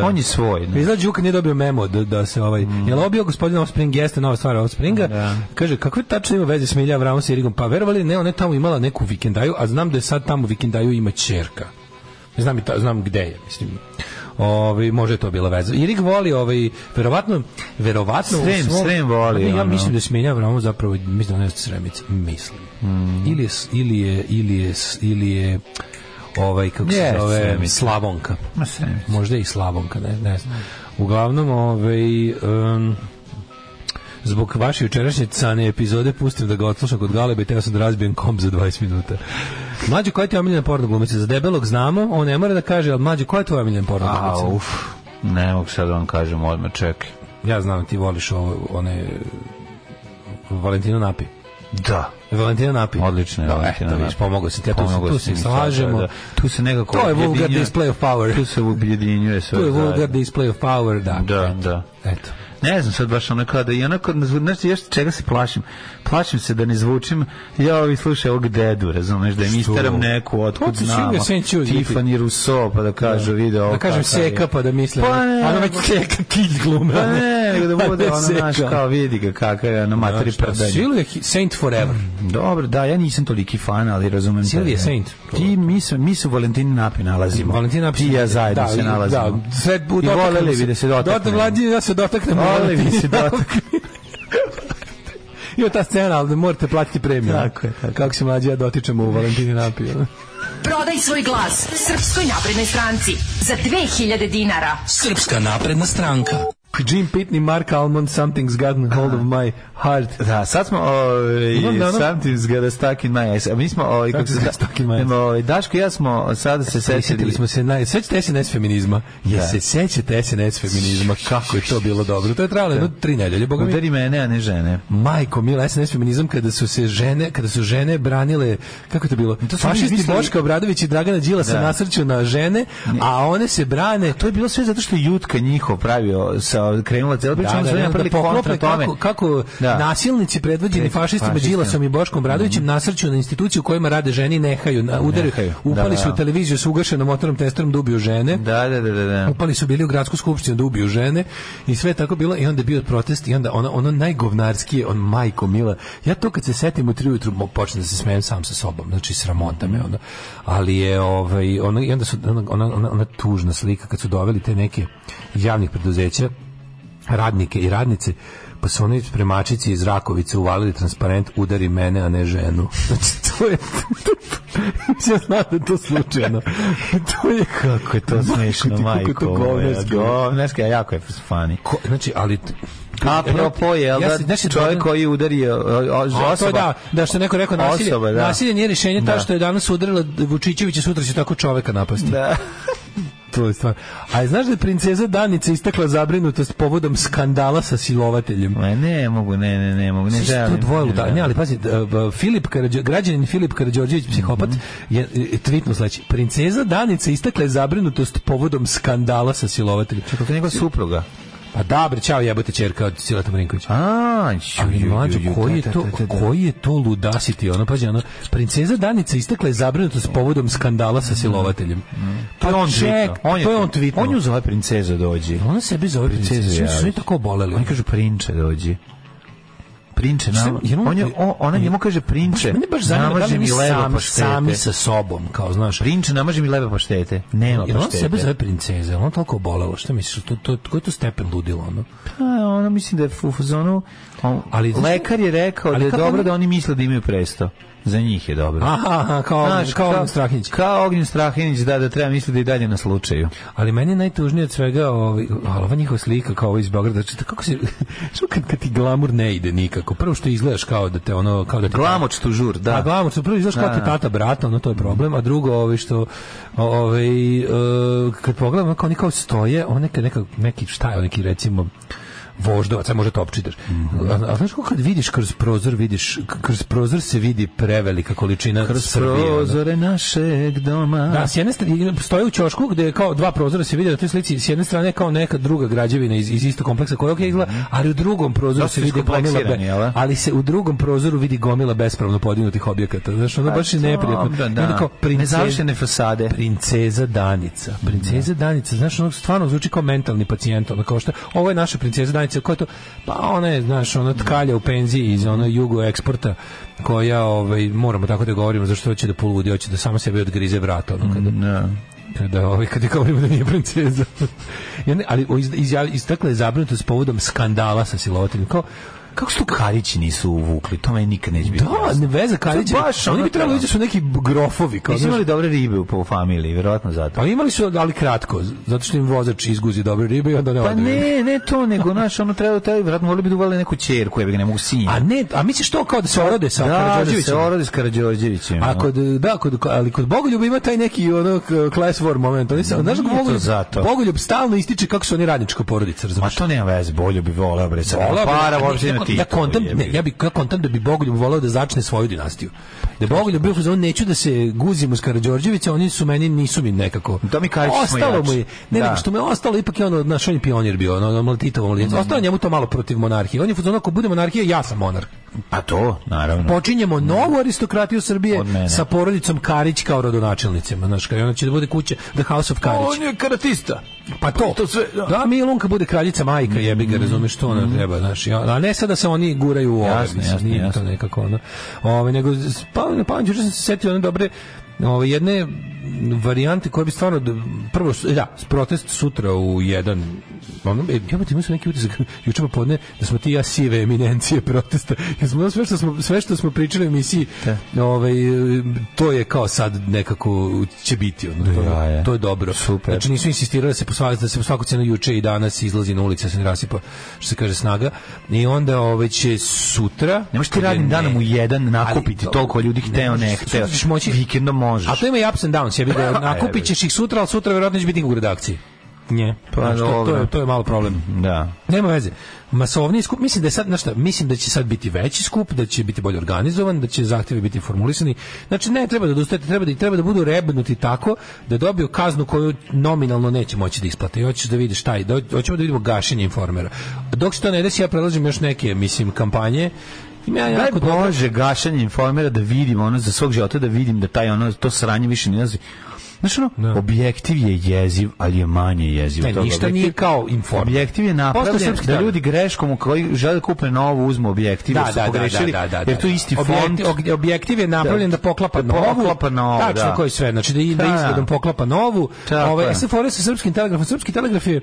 On je svoj.
Mi
ne.
znači Đuka nije dobio memo da, da se ovaj...
Mm.
Jel obio gospodin Offspring jeste nova stvar Offspringa? Kaže, kakve tačno ima veze s Milja Avramom i Rigom? Pa verovali, ne, ona je tamo imala neku vikendaju, a znam da je sad tamo u vikendaju ima čerka. Znam, i ta, znam gde je, mislim. Ovi, može je to bila veza. Irig voli ovaj verovatno verovatno u
Srem,
svom-
Srem voli,
Ne, ja
ono.
mislim da Smilja Avramo zapravo mislim da ona je Sremica, mislim.
Mm.
Ili je, s- ili je ili je s- ili je ovaj kako se
Jeste
zove
Sremica.
Slavonka.
Ma Sremica.
Možda i Slavonka, ne, ne znam. Uglavnom, ovaj, em, zbog vaše jučerašnje cane epizode pustim da ga odslušam kod Galeba i teo sam da razbijem komp za 20 minuta. Mlađo, koja je tvoja omiljena porno glumica? Za debelog znamo, on ne mora da kaže, ali mlađo, koja je tvoja omiljena porno
A,
glumica?
uf, ne mogu sad da vam kažem odmah, čekaj.
Ja znam, ti voliš ovo, one... Valentino Napi.
Da.
Valentina Napi.
Odlično je
Da,
Valentina
eto, vidiš,
Napi.
pomogao si ti, ja tu se-
Pomogao
tu
si
se
mi sad,
slažemo.
da, da. Tu se nekako
To je vulgar
objedinjuje-
display of power.
Tu se objedinjuje sve.
Tu je vulgar
zajedno.
display of power, da.
Da, da.
Eto.
Ne znam sad baš ono kada i onako, znaš ti još čega se plašim? Plašim se da ne zvučim, ja ovi slušaj ovog dedu, razumeš, da im
Što?
isteram neku, otkud
Ko će
znamo,
svi ga sen čuti?
Tiffany Rousseau, pa da kažu, vide ovo
Da kažem
kakav je.
seka pa da mislim.
Pa ne,
ono već seka kilj glume. ono.
Pa ne, nego da bude ono, znaš, kao vidi ga kakav je, ono, materi prdanje.
Siluje Saint Forever.
Mm. Dobro, da, ja nisam toliki fan, ali razumem te.
Silvije Saint.
Ti, mi, se- mi su Valentini Napi nalazimo.
Valentina
Ti i ja zajedno se nalazimo.
Da, sve
I voleli bi da se
Dotak,
dotaknemo.
mlađi, ja se dotaknem.
Voleli bi se dotaknemo.
Ima ta scena, ali morate platiti premiju.
Tako je, tako.
Kako se mlađi ja dotičemo u Valentini napiju.
Prodaj svoj glas Srpskoj naprednoj stranci za 2000 dinara.
Srpska napredna stranka. Jim Pitney, Mark Almond, Something's Gotten Hold of My Heart.
Da, sad smo ovaj
Imam da ono-
something's gotta stuck in my ass. A mi smo ovaj kako se
Something's
da,
got stuck in my ass.
Nego, ovaj, Daško i ja smo sada se
Sjetili
setili
smo se, naj... sećate SNS feminizma? Je
Da.
se sećate SNS feminizma, kako je to bilo dobro. To je trajalo jedno tri nedelje, boga mi.
udari mene, a ne žene.
Majko, mila, SNS feminizam kada su se žene, kada su žene branile, kako je to bilo?
To su
Fašisti
oni mislili-
Boška Obradović i Dragana Đilasa
Da.
nasrću na žene, a one se brane
To je bilo sve zato što je Jutka njihov pravio sa krenula cela priča,
da,
onda
da,
su
da, da
napravili kontra
poklope
tome.
kako, kako
Da.
nasilnici predvođeni
Pre-
fašistima
fašistima. Mhm.
Đilasom i Boškom Bradovićem nasrću na instituciju u kojima rade žene i nehaju, na, udaraju,
Nehaju, da,
upali su
da.
u televiziju s ugašenom motornom testerom da ubiju žene.
Da, da, da, da. da.
Upali su bili u gradsku skupštinu da ubiju žene i sve je tako bilo i onda je bio protest i onda ono, ono najgovnarskije, on majko mila. Ja to kad se setim u tri ujutru mo- počnem da se smijem sam sa sobom, znači sramota me onda. Ali je ovaj, ono, i onda su, ona, ona, ona, ona tužna slika kad su doveli te neke javnih preduzeća radnike i radnice pa su oni premačici iz Rakovice uvalili transparent udari mene, a ne ženu. Znači, to je... Ja znam da je to slučajno. to je
Kako je to smešno, majko.
Kako je to
moja,
govnerski.
Govnerski, a jako je funny.
Ko, znači, ali... t-
Apropo, jel
Ja
da,
se- znaš,
čovjek
danas-
koji udari o- o-
A,
osoba,
to je da, da što je neko rekao nasilje,
Osoba, da.
nasilje nije rješenje, ta
Da.
što je danas udarila Vučićevića, sutra će tako čoveka napasti.
da.
to je stvar. A znaš da je princeza Danica istekla zabrinutost povodom skandala sa silovateljem?
Ne, ne mogu, ne, ne, ne mogu, ne
Svi su to
želim.
dvoje
ne
luda-
želim.
Ne, ali pazi, d- b- Filip Karađo- građanin Filip Karađorđević,
Mhm.
psihopat, je e, tvitno sledeći. Princeza Danica istekla je zabrinutost povodom skandala sa silovateljem.
Čekaj, to je njegova supruga.
Pa dobro, čao jebote čerka od Silata Marinkovića.
A,
Ali mlađo, koji je to, koji je to ludasiti? Ono, pazi, ono, princeza Danica istekla je zabrinutost povodom skandala sa silovateljem.
Mm.
Pa
To je on
ček,
tvitno. On je,
to je on tvitno.
On ju zove princeza dođi.
Ona sebi zove princeza. Svi su oni
Jelić.
tako oboleli.
Oni kažu prinče dođi. Prinče
Šta,
nam.
jer on-
On je, o, ona njemu kaže prinče.
Mene baš zanima da
namaži
li mi
mi levo
sami,
paštete.
sami sa sobom, kao znaš.
Prinče namaži mi leve paštete. Nema
Jer on
paštete.
sebe zove princeza, on toliko obolelo, šta misliš, to, to, koji je to stepen ludilo, ono?
Pa, ono mislim da je u fazonu... on-
Ali, znaš-
lekar je rekao
ali
da je
kako
dobro
oni-
da oni misle da imaju presto. Za njih je dobro.
Aha, aha, kao,
Pa, Znaš,
kao, Ognjen Strahinić.
Kao Ognjen Strahinić, da, da treba misliti da je i dalje na slučaju.
Ali meni je najtužnije od svega ovaj, ali ova njihova slika kao ovo iz Beograda. Znači, kako se, što kad, kad ti glamur ne ide nikako? Prvo što izgledaš kao da te ono... Kao da te
Glamoč tužur, da.
A glavno su prvo izlaš kao
Da,
ti
da.
tata brata, ono to je problem, a drugo ovaj što ovaj e, kad pogledam kako oni kao stoje, one kad neka neki šta je, neki recimo voždovac, sad može to opčitaš.
Mhm.
A, a znaš kako kad vidiš kroz prozor, vidiš, k- kroz prozor se vidi prevelika količina kroz Srbije. ono.
Prozore našeg doma.
Da, s jedne strane stoji u ćošku gde je kao dva prozora se vidi na toj slici, s jedne strane je kao neka druga građevina iz, iz istog kompleksa koja ok izgleda, ali u drugom prozoru
Dosta
se vidi gomila,
Mhm. iskompleksirani, jel da?
ali se u drugom prozoru vidi gomila bespravno podignutih objekata. Znaš, ono baš je neprijatno.
Pa
I
Dobro,
onda kao princeza-
Nezavršene fasade.
princeza Danica. Princeza Danica, znaš, ono stvarno zvuči kao mentalni pacijent, ono kao što, ovo je naša princeza Danica, koja je to, pa ona je, znaš, ona tkalja u penziji iz ono jugo eksporta, koja, ovaj, moramo tako da govorimo, zašto hoće da poludi, hoće da samo sebe odgrize vrat, ono, kada,
Da.
kada, ovaj, kada govorimo da nije princeza. I onda- ali o, iz- izjavi- istakla je zabrinutost povodom skandala sa silovateljem, kao,
Kako su to Karići nisu uvukli? To meni nikad neće biti
da, ne veze Karića.
To baš
Oni
ono
bi trebali
treba.
da su neki grofovi. Kao,
Nisu
znaš,
imali dobre ribe u, u familiji, verovatno zato.
Pa imali su, ali kratko, zato što im vozač izguzi dobre ribe i onda ne
Pa
odu.
ne, ne to, nego, naš, ono treba, treba, vratno, volio bi da uvali neku čerku, jebe ga ne mogu sinja.
A ne, a misliš to kao da se orode sa
da, da se
Karađorđevićem?
orodi s Karadžorđevićem.
A kod, da, kod, ali kod Bogoljub ima taj neki ono k- class war moment. Oni se, znaš da
Nije to
Bogoljub,
zato.
Bogoljub stalno ističe kako su oni radnička porodica,
Ma
razumiješ?
to nema veze, bolje bi voleo, bre, sad.
Voleo bi-
para,
ne,
voleo bi
ja-
da ima
ja
titulu,
kontam,
jebi
ne,
ga.
ja bih ja kontam da bi Bogoljub voleo da začne svoju dinastiju. Da je Bogoljub bio fazon neću da se guzim uz Karađorđevića, oni su meni nisu mi nekako.
Da mi Karić smo
ostalo
jači.
mu je, ne,
Da.
nego što mu je ostalo ipak je ono naš on je pionir bio, ono, ono Titovo mladince.
Mhm.
Ostalo je njemu to malo protiv monarhije. On je fazon ako bude monarhija, ja sam monarh.
Pa to, naravno.
Počinjemo novu aristokratiju Srbije
Od mene.
sa porodicom Karić kao rodonačelnicima, znaš, kao i ona će da bude kuća The House of Karić.
je karatista.
Pa to.
To sve,
da.
da. Mm.
Milunka bude kraljica majka, jebi ga, razumeš to, ona treba, znaš. i ona- A ne sada se oni guraju u ove,
Jasno,
mislim,
jasno,
nije
jasno.
to nekako ono. Ove, nego, s- pa, na pamet, juče sam se setio one dobre, ove, jedne varijante koje bi stvarno d- prvo s- e, da protest sutra u jedan ono e, ja bih imao neki utisak juče popodne da smo ti i ja sive eminencije protesta jer smo sve što smo sve što smo pričali u emisiji ovaj e, to je kao sad nekako će biti ono to,
Ja, ja.
to je dobro
Super.
Znači, nisu insistirali da se po svaku, da se po svaku cenu juče i danas izlazi na ulice, da se ne rasipa, što se kaže, snaga. I onda ove će sutra...
Ne možeš ti radnim danom u jedan nakupiti
Ali to-
toliko ljudi hteo, ne hteo.
Sutra ćeš moći-
Vikendom možeš.
A to ima i ups and downs, ja bih da nakupit ćeš ih sutra, ali sutra verovatno će biti u redakciji. Nje.
Pa
Znaš, to, to,
dobro.
je, to je malo problem.
Da.
Nema veze. Masovni skup, mislim da je sad, znaš šta, mislim da će sad biti veći skup, da će biti bolje organizovan, da će zahtjevi biti formulisani. Znači ne treba da odustajete, treba da treba da budu rebnuti tako da dobiju kaznu koju nominalno neće moći da isplate. I hoćeš da vidiš taj, da hoćemo da vidimo gašenje informera. Dok se to ne desi, ja predlažem još neke, mislim, kampanje. Ima ja
Daj
jako dobro-
Bože, gašanje informera da vidim ono za svog života da vidim da taj ono to sranje više ne nalazi. Znaš ono, objektiv je jeziv, ali je manje jeziv.
Ne,
od toga.
ništa nije kao informer.
Objektiv je napravljen
srpski
da
dan.
ljudi greškom u koji žele da kupe novo uzmu objektiv jer su pogrešili, jer tu je isti font.
Objektiv, og- objektiv je napravljen da,
Da.
poklapa
Da
novu.
poklapa novu,
Tačno
da.
koji sve, znači da, i- da
Da.
izgledom poklapa novu.
Tako
Ovaj,
je.
ja sam forio sa srpskim telegrafom. Srpski telegraf je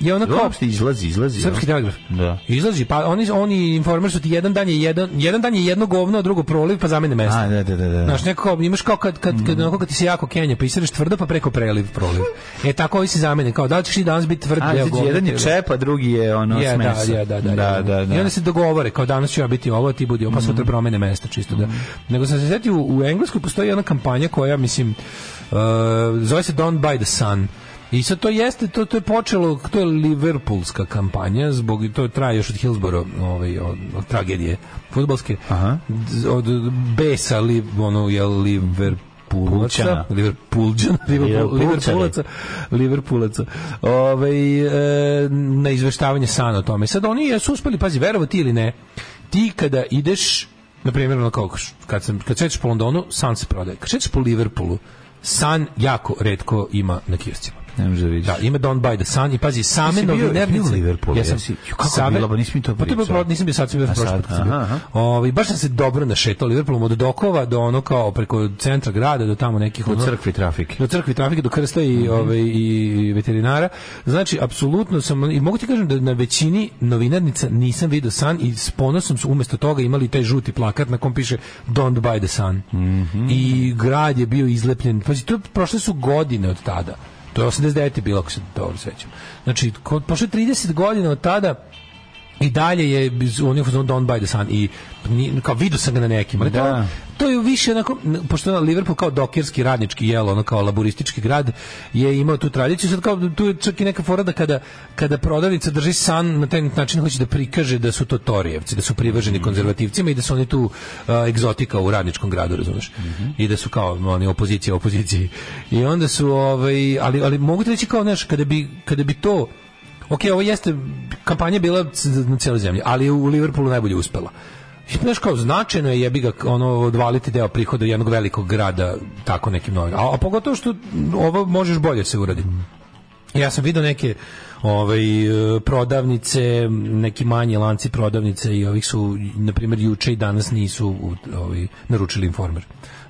je ono kao
Uopšte izlazi, izlazi.
Srpski
ono.
telegraf.
Da.
Izlazi, pa oni oni informer su ti jedan dan je jedan jedan dan je jedno govno, a drugo proliv, pa zamene mesto.
A, da, da, da, da.
Znaš, nekako, imaš kao kad, kad,
Mm.
kad, onako kad ti se jako kenja, pa isereš tvrdo, pa preko preliv proliv. E, tako ovi se zamene, kao da li ćeš ti danas biti tvrd
A,
deo
znači,
govna,
jedan je
tvrdo.
čep, a drugi je ono
Je,
s
da,
mesa.
je, da, da,
da,
je.
da, Mhm. da.
I onda se dogovore, kao danas ću ja biti ovo, ti budi ovo, pa sutra promene mesta, čisto
Mhm.
da. Nego sam se sjetio, u Engleskoj postoji jedna kampanja koja, mislim, uh, zove se Don't Buy the Sun. I sad to jeste, to, to je počelo, to je Liverpoolska kampanja, zbog, to traje još od Hillsborough, ovaj, od, od tragedije futbalske, D- od besa, li, ono, je Liverpoolčana,
Pulčana.
Liverpoolčana, Liverpool-
Liverpoolčani.
Liverpoolaca, Liverpoolaca. Ovaj e, na izveštavanje Sana o tome. Sad oni jesu uspeli, pazi, verovati ili ne, ti kada ideš, na primjer, na kako, kad, sam, kad šećeš po Londonu, San se prodaje. Kad šećeš po Liverpoolu, San jako redko ima na kioscima.
Ne može da vidiš.
Da, ima Don't Buy the Sun i pazi, same
Jesi bio- jesi bio
novinarnice.
u Liverpoolu,
Jesam.
jesi? Ju, kako je
Same-
bilo, ba nisi mi to
Pa to je bilo
pričao.
pro- nisam bio sad, sam bio
A
prošli
sad,
put kad sam bio.
aha, aha.
Ovaj, baš sam se dobro našetao Liverpoolom od Dokova do ono kao preko centra grada do tamo nekih
U
ono-
crkvi trafike.
do crkvi trafike do krsta i ovaj i veterinara. Znači apsolutno sam i mogu ti kažem da na većini novinarnica nisam video san i s ponosom su umjesto toga imali taj žuti plakat na kom piše Don't buy the sun. I grad je bio izlepljen. Pa to je- prošle su godine od tada. To je 89 je bilo ako se dobro sećam. Znači kod prošlo je 30 godina od tada i dalje je biz- on je u fazonu Don't buy the sun i ni- kao vidio sam ga na nekim ali to,
Da.
to je više onako n- pošto je Liverpool kao dokerski radnički jelo ono kao laboristički grad je imao tu tradiciju sad kao tu je čak i neka fora da kada kada prodavnica drži san na taj način hoće da prikaže da su to torijevci da su privrženi konzervativcima i da su oni tu a, egzotika u radničkom gradu razumeš i da su kao oni opozicija opoziciji i onda su ovaj ali ali mogu ti reći kao znaš kada bi kada bi to Ok, ovo jeste, kampanja je bila c- na cijeloj zemlji, ali je u Liverpoolu najbolje uspela. I, Znaš kao, značajno je jebi ga ono, odvaliti deo prihoda jednog velikog grada tako nekim novim. A, a pogotovo što ovo možeš bolje se uraditi. Ja sam vidio neke ovaj, e, prodavnice, neki manji lanci prodavnice i ovih su, na primjer, juče i danas nisu u- ovaj, naručili informer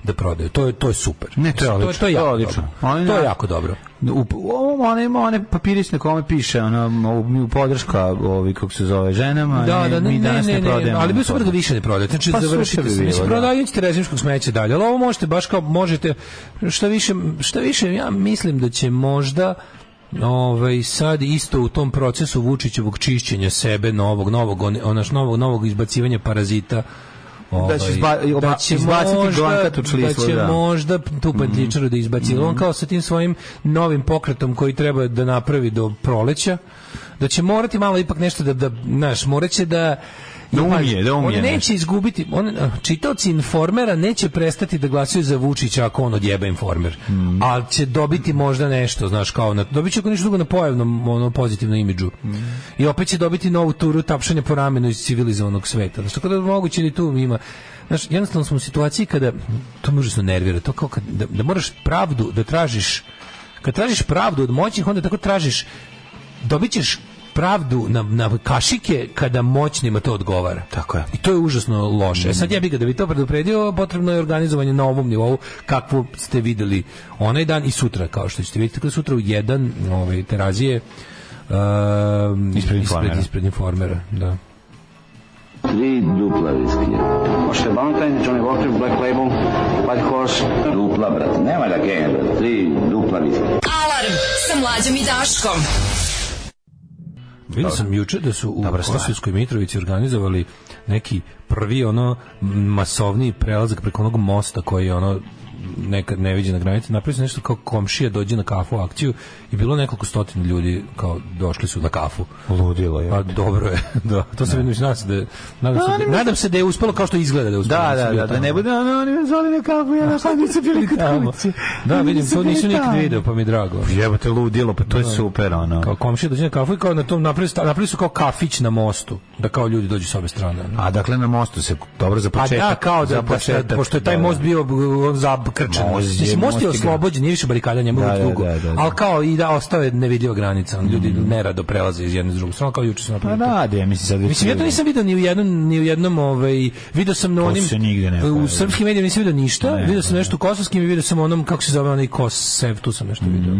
da prodaju. To je, to je super.
Ne, to je
Mislim,
odlično,
To je,
to je
jako
odlično. Oni
dobro. To je
na-
jako dobro.
U, u, one, ima one papirić na kome piše ona u, u podrška ovi kako se zove ženama
Da,
i
da, ne,
mi
ne,
danas
ne,
ne,
ne,
prodajemo
ali bi super da više ne prodajete. Znači,
Pa,
završite
super bi
se. Mislim,
bilo, da.
prodavat ćete rezimskog smeća dalje, ali ovo možete baš kao, možete, šta više, šta više, ja mislim da će možda ovaj sad isto u tom procesu Vučićevog čišćenja sebe novog novog on- onaš novog novog izbacivanja parazita ovaj,
će izba- oba- izbaciti Glanka Tučlisla,
da će
da.
možda tu
Mm.
pantičaru da izbaci. Jer On kao sa tim svojim novim pokretom koji treba da napravi do proleća, da će morati malo ipak nešto da, da znaš, morat će da...
Da
Jer, pazi,
umije, da umije
On
nešto.
neće izgubiti, on, eh, čitaoci informera neće prestati da glasaju za Vučića ako on odjeba informer. Ali će dobiti možda nešto, znaš, kao na, dobit će ako ništa drugo na pojavnom, ono, pozitivnom imidžu. I opet će dobiti novu turu tapšanja po ramenu iz civilizovanog sveta. Znaš, tako da moguće ni tu ima. Znaš, jednostavno smo u situaciji kada, to me užasno nervira, to kao kad, da, da moraš pravdu da tražiš, kad tražiš pravdu od moćnih, onda tako tražiš dobit ćeš pravdu na, na kašike kada moćnima to odgovara. Tako je. I to je užasno loše. E sad ja bih ga da bi to predupredio, potrebno je organizovanje na ovom nivou kakvo ste videli onaj dan i sutra, kao što ćete vidjeti. Tako da sutra u jedan ovaj, terazije um,
Ispred informera.
ispred informera, da.
Tri dupla viskija. Možete Valentine, Johnny Walker, Black Label, White Horse. Dupla, brate. Nema da genja, brate. Tri dupla viskija.
Alarm sa mlađom i Daškom.
Vidio sam juče da su u Kosovskoj Mitrovici organizovali neki prvi ono masovni prelazak preko onog mosta koji je ono nekad neviđena granica. Napravili su nešto kao komšija dođe na kafu akciju i bilo nekoliko stotina ljudi kao došli su na kafu.
ludilo je
Pa dobro je, da. To se vidim, nadam se da, nadam se, da, nadam se da je uspelo kao što izgleda da je uspelo.
Da,
Nisam
da,
Znači, bio
da, da
tamo.
ne bude ono, oni me zvali na kafu, ja na sad nisam bili kod
Tamo.
kuće.
Da, vidim, to
Nisam
nisu
bili
nikad
tamo.
video, pa mi je drago.
Jebote ludilo, pa to je super, ono.
Kao komšija dođe na kafu i kao na tom napravili, sta- napravili su kao kafić na mostu, da kao ljudi dođu s obe strane. ono.
A dakle na mostu se dobro za
Pa
početak.
da, kao da,
za
da, da, pošto je taj
da,
most bio uh, zakrčen.
Most je-
Mislim, most
most
je
je
oslobođen, nije više barikada njemu
Da,
da,
da,
dugo.
da, da, da.
Ali kao i da ostao je nevidljiva granica. ono, Ljudi nerado prelaze iz jedne iz druge strane, kao juče su
Pa
napravili. to.
da, da, ja mislim sad već.
Mislim, ja to nisam vidio ni u jednom, ni u jednom ovaj, vidio sam na
To
onim,
se nigde ne
u
pojavljuje.
srpskim medijima nisam vidio ništa,
Ne,
vidio sam
ne.
nešto u kosovskim i vidio sam onom, kako se
Mhm.
zove onaj Kosev, tu sam nešto vidio.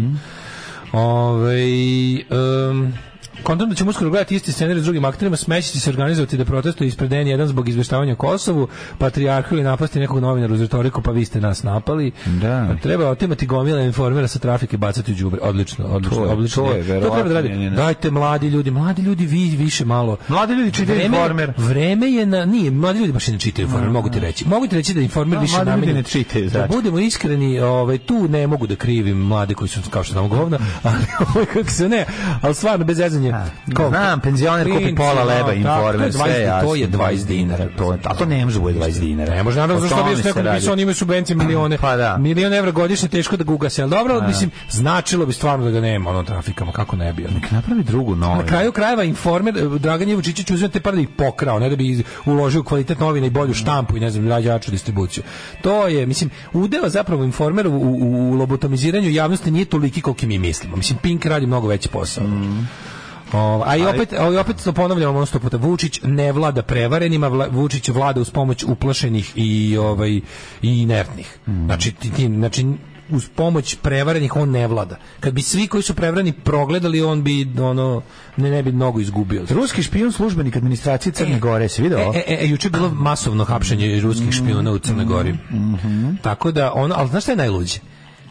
Ovaj, em, Kontam da ćemo uskoro gledati isti scenarij s drugim akterima, smeći će se organizovati da protestuje ispred N1 zbog izveštavanja o Kosovu, patrijarhu ili napasti nekog novinara uz retoriku, pa vi ste nas napali. Pa
Da.
Treba otimati gomila informera sa trafike, bacati u đubre. Odlično, odlično,
To je-
odlično.
to je
treba
verovatno
da radi.
njena-
Dajte mladi ljudi, mladi ljudi vi više malo.
Mladi ljudi čitaju
Vreme-
informer.
Vreme je na nije, mladi ljudi baš i ne čitaju informer, mogu ti reći. Mogu ti reći da informer
Da,
više
mladi ljudi
namenjen-
ne čitaju,
Da
znači.
budemo iskreni, ovaj tu ne mogu da krivim mlade koji su kao što znamo govna, ali ovaj kako se ne, ali stvarno bez zezanja. Kao-
Znam, penzioner kupi
Princip,
pola
no,
leba
tako,
informer,
to je
sve
20
je jasno.
To je 20 dinara.
To, a to ne može bude 20 dinara.
Ne može, naravno,
O
zašto
tome
bi još
se
neko
radi.
napisao, oni imaju subvencije milione.
Pa da.
Milion evra godišnje, teško da ga ugase, ali dobro,
Da.
mislim, značilo bi stvarno da ga nema, ono, trafikama, kako ne bi, ono.
Nek napravi drugu novinu.
Na kraju krajeva informer eh, Dragan je Vučićić uzeo te pare da ih pokrao, ne da bi uložio u kvalitet novina i bolju štampu i ne znam jaču distribuciju. To je, mislim, udeo zapravo informer u, u, u lobotomiziranju javnosti nije toliki koliki mi mislimo. Mislim Pink radi mnogo veći posao. O, Ovaj, a i opet, a i opet to ponavljamo ono sto puta. Vučić ne vlada prevarenima, vla- Vučić vlada uz pomoć uplašenih i ovaj i inertnih. Znači ti, ti- znači uz pomoć prevarenih on ne vlada. Kad bi svi koji su prevareni progledali, on bi ono ne, ne bi mnogo izgubio.
Ruski špijun službenik administracije Crne Gore, si video?
E, e, e, juče je bilo masovno hapšenje ruskih špijuna u Crnoj Gori. Tako da, ono, ali znaš šta je najluđe?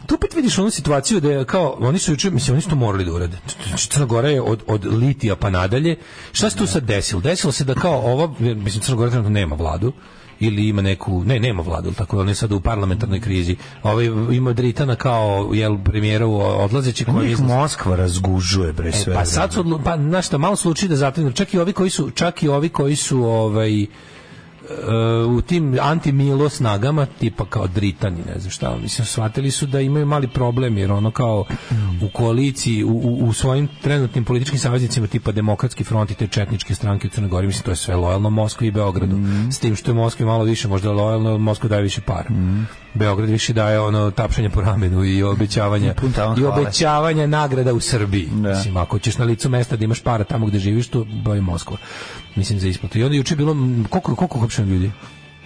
Tu opet vidiš onu situaciju da je kao, oni su juče, mislim, oni su to morali da urade. Znači, Crna Gora je od, od litija pa nadalje. Šta se tu sad desilo? Desilo se da kao ova, mislim, Crna Gora trenutno nema vladu, ili ima neku, ne, nema vladu, jel tako, on je sad u parlamentarnoj krizi. Ovaj ima Dritana kao, jel, premijerovu odlazeći koji
Njih Moskva razgužuje, bre, sve.
Pa E, pa sad su odlu- pa znaš šta, malo slučaj da zatvore, čak i ovi koji su, čak i ovi koji su ovaj e, u tim anti-milo snagama, tipa kao dritani, ne znam šta, mislim, shvatili su da imaju mali problem, jer ono kao u koaliciji, u, u, u svojim trenutnim političkim saveznicima, tipa demokratski front i te četničke stranke u Crnoj Gori, mislim, to je sve lojalno Moskvi i Beogradu,
Mhm.
s tim što je Moskvi malo više, možda lojalno, Moskva daje više para.
Mhm.
Beograd više daje ono tapšanje po ramenu i obećavanja
Pun tavan
i
hvale.
obećavanja nagrada u Srbiji.
Da.
Mislim, ako ćeš na licu mesta da imaš para tamo gde živiš, to je Moskva. Mislim, za isplatu. I onda je juče bilo, m, koliko, koliko uhapšeno ljudi?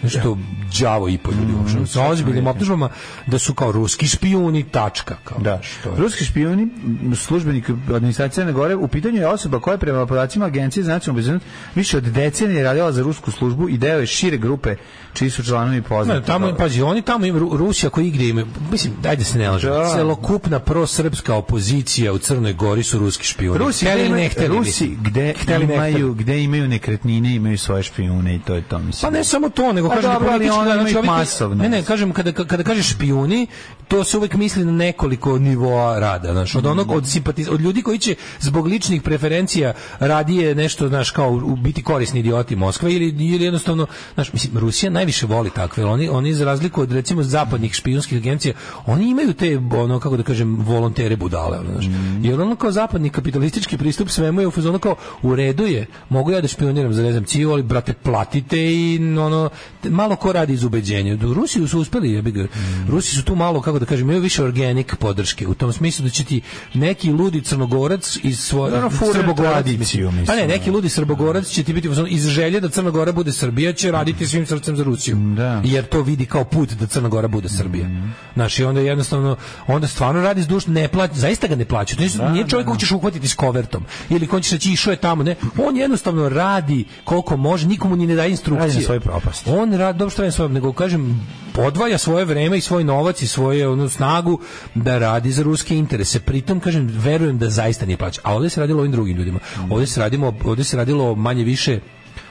Nešto đavo i po ljudi
Mhm,
uhapšeno. Sa ozbiljnim optužbama da su kao ruski špijuni, tačka. Kao,
Da.
Što je-
Ruski špijuni, m, službenik administracije Crne Gore, u pitanju je osoba koja je prema podacima Agencije za nacionalnu bezbednost više od decenije radila za rusku službu i deo je šire grupe čiji su članovi poznati.
Ne, tamo, pa, pazi, oni tamo imaju, Ru- Rusija koji igde imaju, mislim, dajde se ne lažemo,
Da.
celokupna prosrpska opozicija u Crnoj Gori su ruski špijuni.
Rusi,
Hteli
gde
ili
imaju,
ne hteli,
Rusi
mislim.
gde,
Hteli, ne
imaju, gde imaju nekretnine, imaju svoje špijune i to je to,
Pa
mislim.
ne samo to, nego
Pa
kažem
dobro, ali
politički,
oni
znači,
imaju
ovi koji-
masovno.
Ne, ne, kažem kada kada kažeš špijuni, to se uvek misli na nekoliko nivoa rada, znači od onog od simpatiz od ljudi koji će zbog ličnih preferencija radije nešto, znaš, kao u- biti korisni idioti Moskve ili ili jednostavno, znaš, mislim Rusija najviše voli takve, jer oni oni za razliku od recimo zapadnih špijunskih agencija, oni imaju te ono kako da kažem volontere budale, ono, znaš.
Mhm.
Jer ono kao zapadni kapitalistički pristup svemu je u fazonu kao u redu je, mogu ja da špioniram za ne znam ciju, ali brate platite i ono te- malo ko radi iz ubeđenja. Do Rusiju su uspeli, jebi ga.
Mhm.
Rusi su tu malo kako da kažem, imaju više organik podrške u tom smislu da će ti neki ludi crnogorac iz svoje
Ono, fure
srbogorac
tradiciju,
Pa ne,
mislim,
neki
ono.
ludi srbogorac će ti biti u fazonu, iz želje da Crna Gora bude Srbija će raditi svim srcem za Rusiju.
Da. Mhm.
Jer to vidi kao put da Crna Gora bude Srbija. Znaš, i onda jednostavno, onda stvarno radi zdušno, ne plaća, zaista ga ne plaćaju. To nisu- nije čovjek kog ćeš uhvatiti s kovertom, ili ko ćeš reći išao je tamo, ne. On jednostavno radi koliko može, nikomu ni ne daje instrukcije.
Radi na svojoj propasti.
On radi, dobro što je svoj, nego kažem, podvaja svoje vreme i svoj novac i svoje onu snagu da radi za ruske interese. Pritom, kažem, verujem da zaista nije plaća. A ovdje se radilo o ovim drugim ljudima. Ovdje se, radimo, ovdje se radilo manje više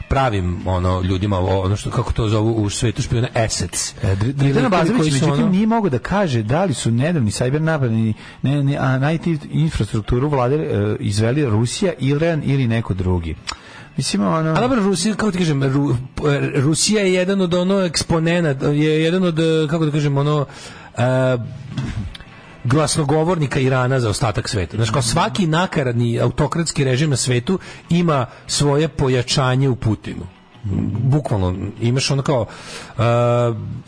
pravim ono ljudima o- ono što kako to zovu u svetu špijuna assets.
E, Dr- Dragan
Ili koji
Abazović,
su,
međutim,
ono-
nije mogao da kaže da li su nedavni sajber napadi ne, ne, a na IT infrastrukturu vlade e, izveli Rusija, Iran ili neko drugi. Mislim, ono...
A dobro, Rusija, kako ti kažem, Ru- e, Rusija je jedan od ono eksponenata, je jedan od, e, kako da kažem, ono, e, glasnogovornika Irana za ostatak sveta. Znaš, kao svaki nakaradni autokratski režim na svetu ima svoje pojačanje u Putinu. Bukvalno, imaš ono kao e,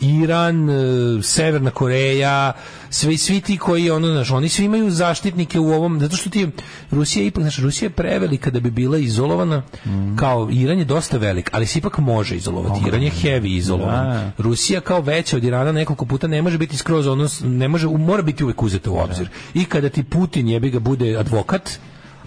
Iran, e, Severna Koreja, svi, svi ti koji, ono, znaš, oni svi imaju zaštitnike u ovom, zato što ti Rusija je ipak, znaš, Rusija je prevelika da bi bila izolovana, kao Iran je dosta velik, ali se ipak može izolovati. Iran je heavy izolovan.
Da.
Rusija kao veća od Irana nekoliko puta ne može biti skroz ono odnos, ne može, mora biti uvek uzeta u obzir. I kada ti Putin jebi ga bude advokat,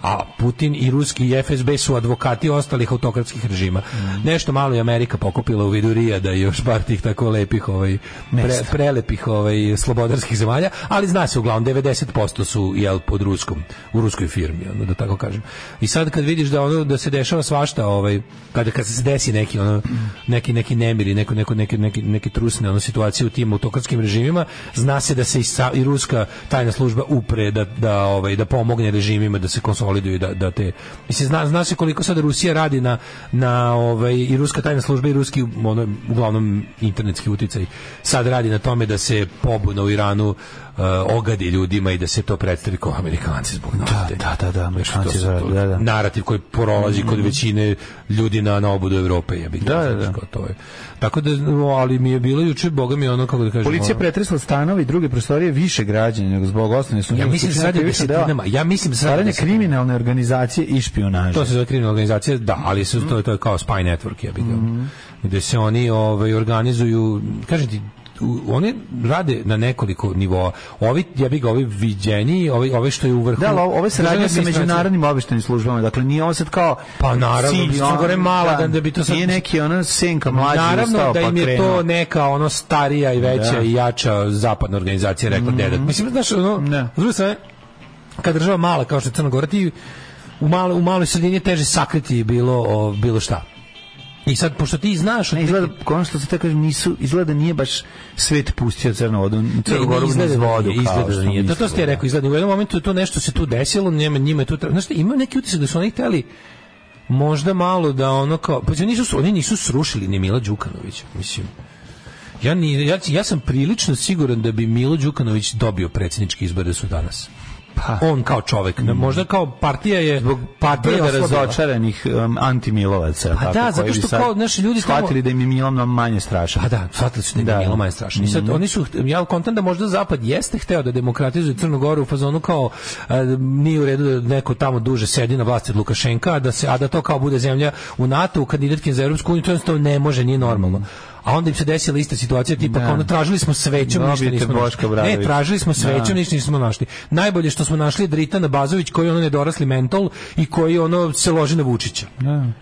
a Putin i ruski i FSB su advokati ostalih autokratskih režima. Nešto malo je Amerika pokupila u vidu Rijada i još par tih tako lepih ovaj pre,
Mesta.
prelepih ovaj slobodarskih zemalja, ali zna se uglavnom 90% su jel pod ruskom, u ruskoj firmi, ono da tako kažem. I sad kad vidiš da ono da se dešava svašta, ovaj kada kad se desi neki ono neki neki nemiri, neko neko neki neki neki trusne ono situacije u tim autokratskim režimima, zna se da se i, sa, i ruska tajna služba upre da da ovaj da pomogne režimima da se konsoliduju da da te mislim zna, zna se koliko sad Rusija radi na na ovaj i ruska tajna služba i ruski ono uglavnom internetski uticaj sad radi na tome da se pobuna u Iranu eh, ogadi ljudima i da se to predstavi kao Amerikanci zbog nafte.
da, da, da, Amerikanci
To su-
zaradi,
to-
da, da.
Narativ koji prolazi kod većine ljudi na, na obodu Evrope. Ja
Mhm.
znači,
Da, da, da.
To je. Tako da, no, ali mi je bilo juče, boga mi ono, kako da kažem...
Policija
ono-
pretresla stanovi i druge prostorije više građana nego zbog osnovne sumnje.
Ja mislim
za
sad je u
krivično delo
desetinama. Ja mislim sad
stvaranje
da se-
kriminalne organizacije i špionaže.
To se zove kriminalna organizacija, da, ali su, to, to je kao spy network, ja bih
Mhm.
mm gde se oni ovaj, organizuju, kažem ti, u- oni rade na nekoliko nivoa. Ovi, ja bih ga, ovi viđeni, ovi, ovi što je u vrhu...
Da, ali ovo je saradnja
državne
sa
administracije.
međunarodnim obaveštenim službama. Dakle, nije ovo sad kao
Pa naravno,
cilj,
mislim,
ono,
gore mala, da- da bi to sad-
Nije neki ona senka mlađi
Naravno
ustao
da
pa
im je
krenuo.
to neka ono starija i veća
Da. Mhm.
i jača zapadna organizacija rekla dedat. Mislim, znaš, ono, s druge strane, kad država mala kao što je Crna Gora, ti u, malo, u maloj sredini je teže sakriti bilo, o, bilo šta. I sad, pošto ti znaš...
Ne, izgleda, ono što se tako kažem, nisu, izgleda nije baš svet pustio crnu vodu, crnu goru
izgleda
niz
da
vodu.
nije,
kao
izgleda da
što
nije. To, to
mislilo.
ste rekao, izgleda. U jednom momentu je to nešto se tu desilo, njima, njima je tu... tra- Znaš, šta, imam neki utisak da su oni hteli možda malo da ono kao... Pa oni nisu, oni nisu srušili ni Mila Đukanovića, mislim. Ja, ni, ja, ja sam prilično siguran da bi Milo Đukanović dobio predsjednički izbor da su danas.
Pa,
On kao čovek, ne, možda kao partija je zbog partija je
brda
oslabila.
razočaranih um, antimilovaca.
Pa
tako,
da, zato
koji bi
što
sad
kao, znaš, ljudi tamo-
Shvatili da im je Milan mnogo manje strašan.
Pa da, shvatili su da im je Milo manje strašan. I sad,
Mm-hmm.
oni su, ja kontam da možda Zapad jeste hteo da demokratizuje Crnu Goru u fazonu kao e, nije u redu da neko tamo duže sedi na vlasti od Lukašenka, a da, se, a da to kao bude zemlja u NATO, u kandidatke za Europsku uniju, to jednostavno ne može, nije normalno. A onda im se desila ista situacija, tipa
Da.
kao ono, tražili smo svećom, ništa
Dobijete
nismo
Boška
našli.
Obradovića.
Ne, tražili smo
Da.
svećom, ništa nismo našli. Najbolje što smo našli je Dritana Bazović koji je ono nedorasli mentol i koji ono se loži na Vučića.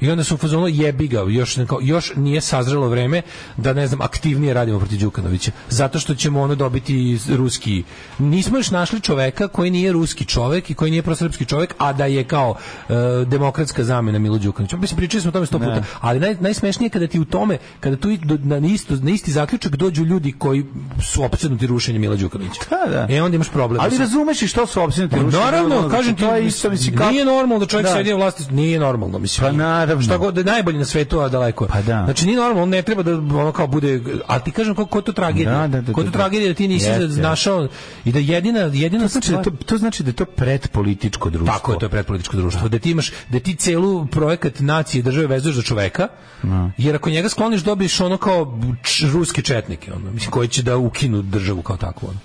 I onda su u fazonu jebi ga, još, kao, još nije sazrelo vreme da ne znam aktivnije radimo protiv Đukanovića. Zato što ćemo ono dobiti ruski. Nismo još našli čoveka koji nije ruski čovek i koji nije prosrpski čovek, a da je kao e, demokratska zamena Milo Đukanovića. Mislim pričali smo o tome sto puta, ali naj, najsmešnije je kada ti u tome, kada tu i do- na, istu, na isti zaključak dođu ljudi koji su opsednuti rušenjem Mila Đukanovića.
Da, da.
E onda imaš problem.
Ali
Mislim,
razumeš i što su opsinuti
Pa Naravno, kažem ti,
znači, to je isto, mislim, kako...
nije normalno da čovjek
Da.
sedi u vlasti, nije normalno, mislim.
Pa naravno.
Šta god, da je najbolji na svetu, a daleko je.
Pa da.
Znači, nije normalno, on ne treba da ono kao bude, ali ti kažem, ko, ko je to tragedija?
Da, da, da,
ko je to
da, da.
tragedija da ti nisi
Jeste, jeste.
našao i da jedina, jedina
Znači da to, to znači da je to predpolitičko društvo.
tako je, to je pretpolitičko društvo. Da ti imaš, da ti celu projekat nacije i države vezuješ za čoveka, jer ako njega skloniš dobiješ ono kao č- ruske četnike, ono, mislim, koji će da ukinu državu kao takvu. Ono.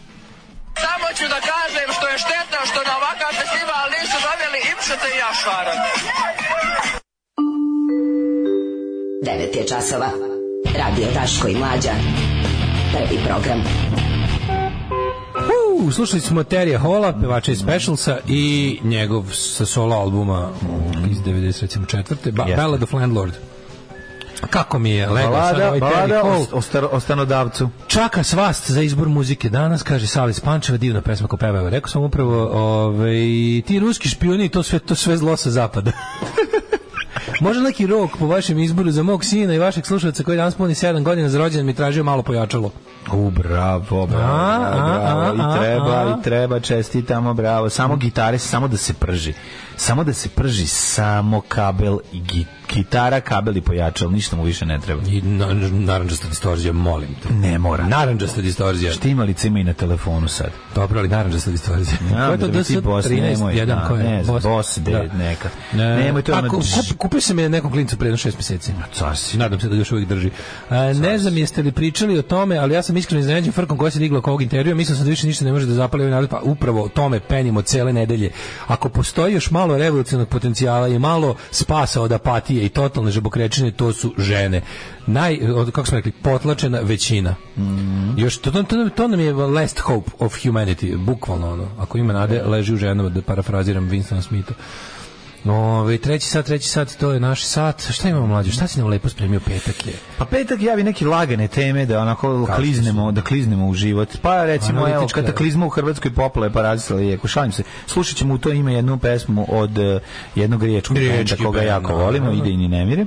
Samo ću da kažem što je štetno što na ovakav festival nisu doveli Ipšeta i Jašara.
9 je časova. Radio Daško i Mlađa. Prvi program.
Uh, slušali smo Terija Hola, pevača iz Specialsa i njegov sa solo albuma iz 94. Ba,
Jeste.
Ballad of Landlord. Kako mi je legao sad
Balada,
ovaj
balada
Terry Hall.
o, o, star, o stanodavcu.
Čaka svast za izbor muzike danas, kaže Salis Pančeva, divna pesma ko peva. Evo, Rekao sam upravo, ovaj, ti ruski špioni, to sve, to sve zlo sa zapada. Može neki rok po vašem izboru za mog sina i vašeg slušalca koji danas puni 7 godina za rođendan mi tražio malo pojačalo.
U, bravo, bravo,
A,
bravo,
a,
bravo.
a,
I
a,
treba,
a.
i treba, čestitamo, bravo. Samo gitare, samo da se prži. Samo da se prži, samo kabel i gi- gitara, kabel i pojačal, ništa mu više ne treba.
I na, naranđasta distorzija, molim te.
Ne mora.
Naranđasta distorzija.
Štimalice ima i na telefonu sad.
Dobro, ali naranđasta distorzija.
Ja,
Ko je to
da bi ti
DS?
Bos,
13,
nemoj,
jedan,
da,
ko je?
ne znam,
Bos.
Bos de-
Da.
neka.
E,
Nemoj to
a
ono-
ku- kup- kupio sam je nekom klincu pre jedno šest meseci.
Car si.
Nadam se da ga još uvijek drži. A, ne znam jeste li pričali o tome, ali ja sam iskreno iznenađen frkom koja se digla oko ovog intervjua. Mislim sam da više ništa ne može da zapali ovaj narod, pa upravo o tome penimo cele nedelje. Ako postoji još malo revolucionog potencijala i malo spasa od apatije nasilje i totalne žabokrečenje, to su žene. Naj, od- kako smo rekli, potlačena većina. Još, to, to, to, to nam je last hope of humanity, bukvalno ono. Ako ima nade, leži u ženama, da parafraziram Winstona Smitha. Ove, treći sat, treći sat, to je naš sat. Šta imamo mlađe? Šta si nam lepo spremio petak je?
Pa petak javi neki lagane teme da onako
Kakve su?
kliznemo, da kliznemo u život. Pa recimo evo
Analitičke.
kataklizma u Hrvatskoj poplave pa razisla je, šalim se. Slušat ćemo u to ime jednu pesmu od eh, jednog riječkog benda
Riječki
koga
bend,
jako
da,
volimo,
da, da.
ide i ni nemire.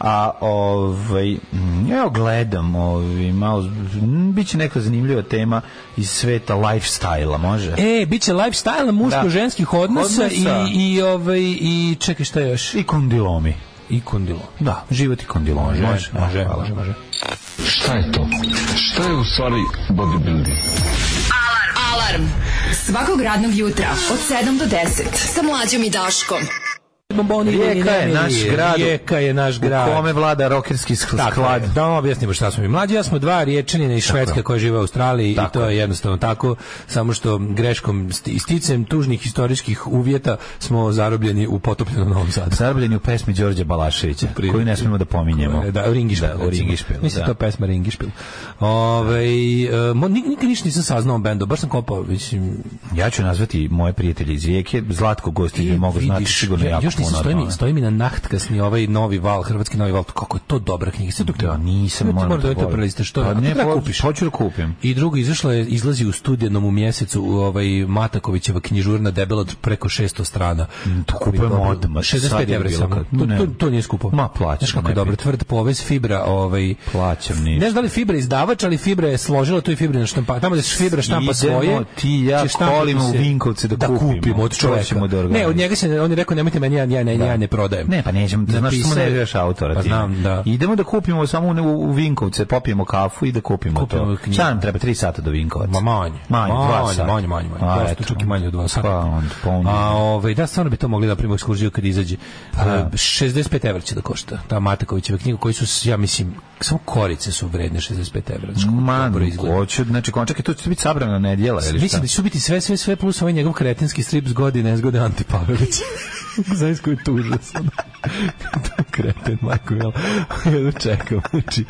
A ovaj mm, evo gledam, ovaj malo mm, biće neka zanimljiva tema iz sveta lifestyle-a, može?
E, bit će lifestyle muško-ženskih odnosa,
Odnosa.
i, i, ovaj, i čekaj šta još?
I kondilomi.
I kondilomi.
Da, život i kondilomi. Može, može, može, može,
Šta je to? Šta je u stvari bodybuilding?
Alarm. Alarm. Svakog radnog jutra od 7 do 10 sa Mlađom i Daškom.
Bomboni,
Rijeka je naš grad.
Rijeka je naš
u
grad.
kome vlada rokerski sk-
Tako
sklad.
je. Da vam objasnimo šta smo mi. Mlađi, ja smo dva riječanina iz Švedske koji žive u Australiji i to je jednostavno tako, samo što greškom sti- sticem tužnih historijskih uvjeta smo zarobljeni u potopljenom Novom Sadu.
Zarobljeni u pesmi Đorđe Balaševića, koju ne smemo da pominjemo.
E, Da, o Ringišpilu.
Da, o
recimo.
Ringišpilu,
Mislim,
da.
to je pesma Ringišpilu. Ove, e, mo- nik- nikad ništa nisam saznao o bendu, baš sam kopao, mislim,
Ja ću nazvati moje prijatelje iz Rijeke, Zlatko Gostić bi mogu znati
E, Vidiš,
sigurno
ja-
jako
još nisam
puno o
stoji mi,
tome.
stoji mi na nahtkasni ovaj novi val, hrvatski novi val, kako je to dobra knjiga. Sve dok te,
Nisam,
Ja ti
moram
moram
to
da to
volim.
preliste, što je?
Pa
A to
ne,
treba
po-
kupiš.
Hoću da kupim.
I drugo, izašla je, izlazi u studenom u mjesecu u ovaj Matakovićeva knjižurna debela od preko 600 strana.
Mm, To kupujem odmah.
65 evra samo. To, to, to nije skupo.
Ma, plaćam,
Znaš kako je
ne
dobro,
bi.
tvrd povez fibra. Ovaj,
Plaćam ništa.
Ne znam da li fibra izdavač, ali fibra je složila tu i fibra na štampa. Tamo da se fibra štampa
Idemo
svoje.
ti i ja
će štampati
kolima u
se-
Vinkovce da kupimo.
od
To
čoveka.
ćemo da
ne,
organizujemo.
od njega se, on je rekao nemojte meni, ja, ja, ne, ja ne prodajem.
Ne, pa nećemo, da znaš što
Napisao je-
ne vjeraš autora.
Pa
ti.
znam, da.
Idemo da kupimo samo u, u Vinkovce, popijemo kafu i da kupimo,
Kupimo
to.
knjigu.
Šta nam treba, tri sata do Vinkovaca?
Ma manje.
Manje, dva
manje,
sata.
manje, manje, manje.
A,
Dosta,
eto.
čak i manje od dva sata.
Pa onda, pa onda.
A ovaj da stvarno bi to mogli da primimo ekskurziju kad izađe.
Pa
E, 65 evra će da košta. Ta Matakovićeva knjiga koji su s- ja mislim samo korice su vredne 65 evra. Znaš kako
Man,
dobro izgleda.
hoću, znači, kon- čekaj, to će biti sabrana nedjela, ili šta?
Mislim da će tu biti sve, sve, sve, plus ovaj njegov kretenski strip zgodi i nezgode Ante Pavelić. Znaš koji je to užasno. Kreten, majko, jel? Jedno čekam, znači,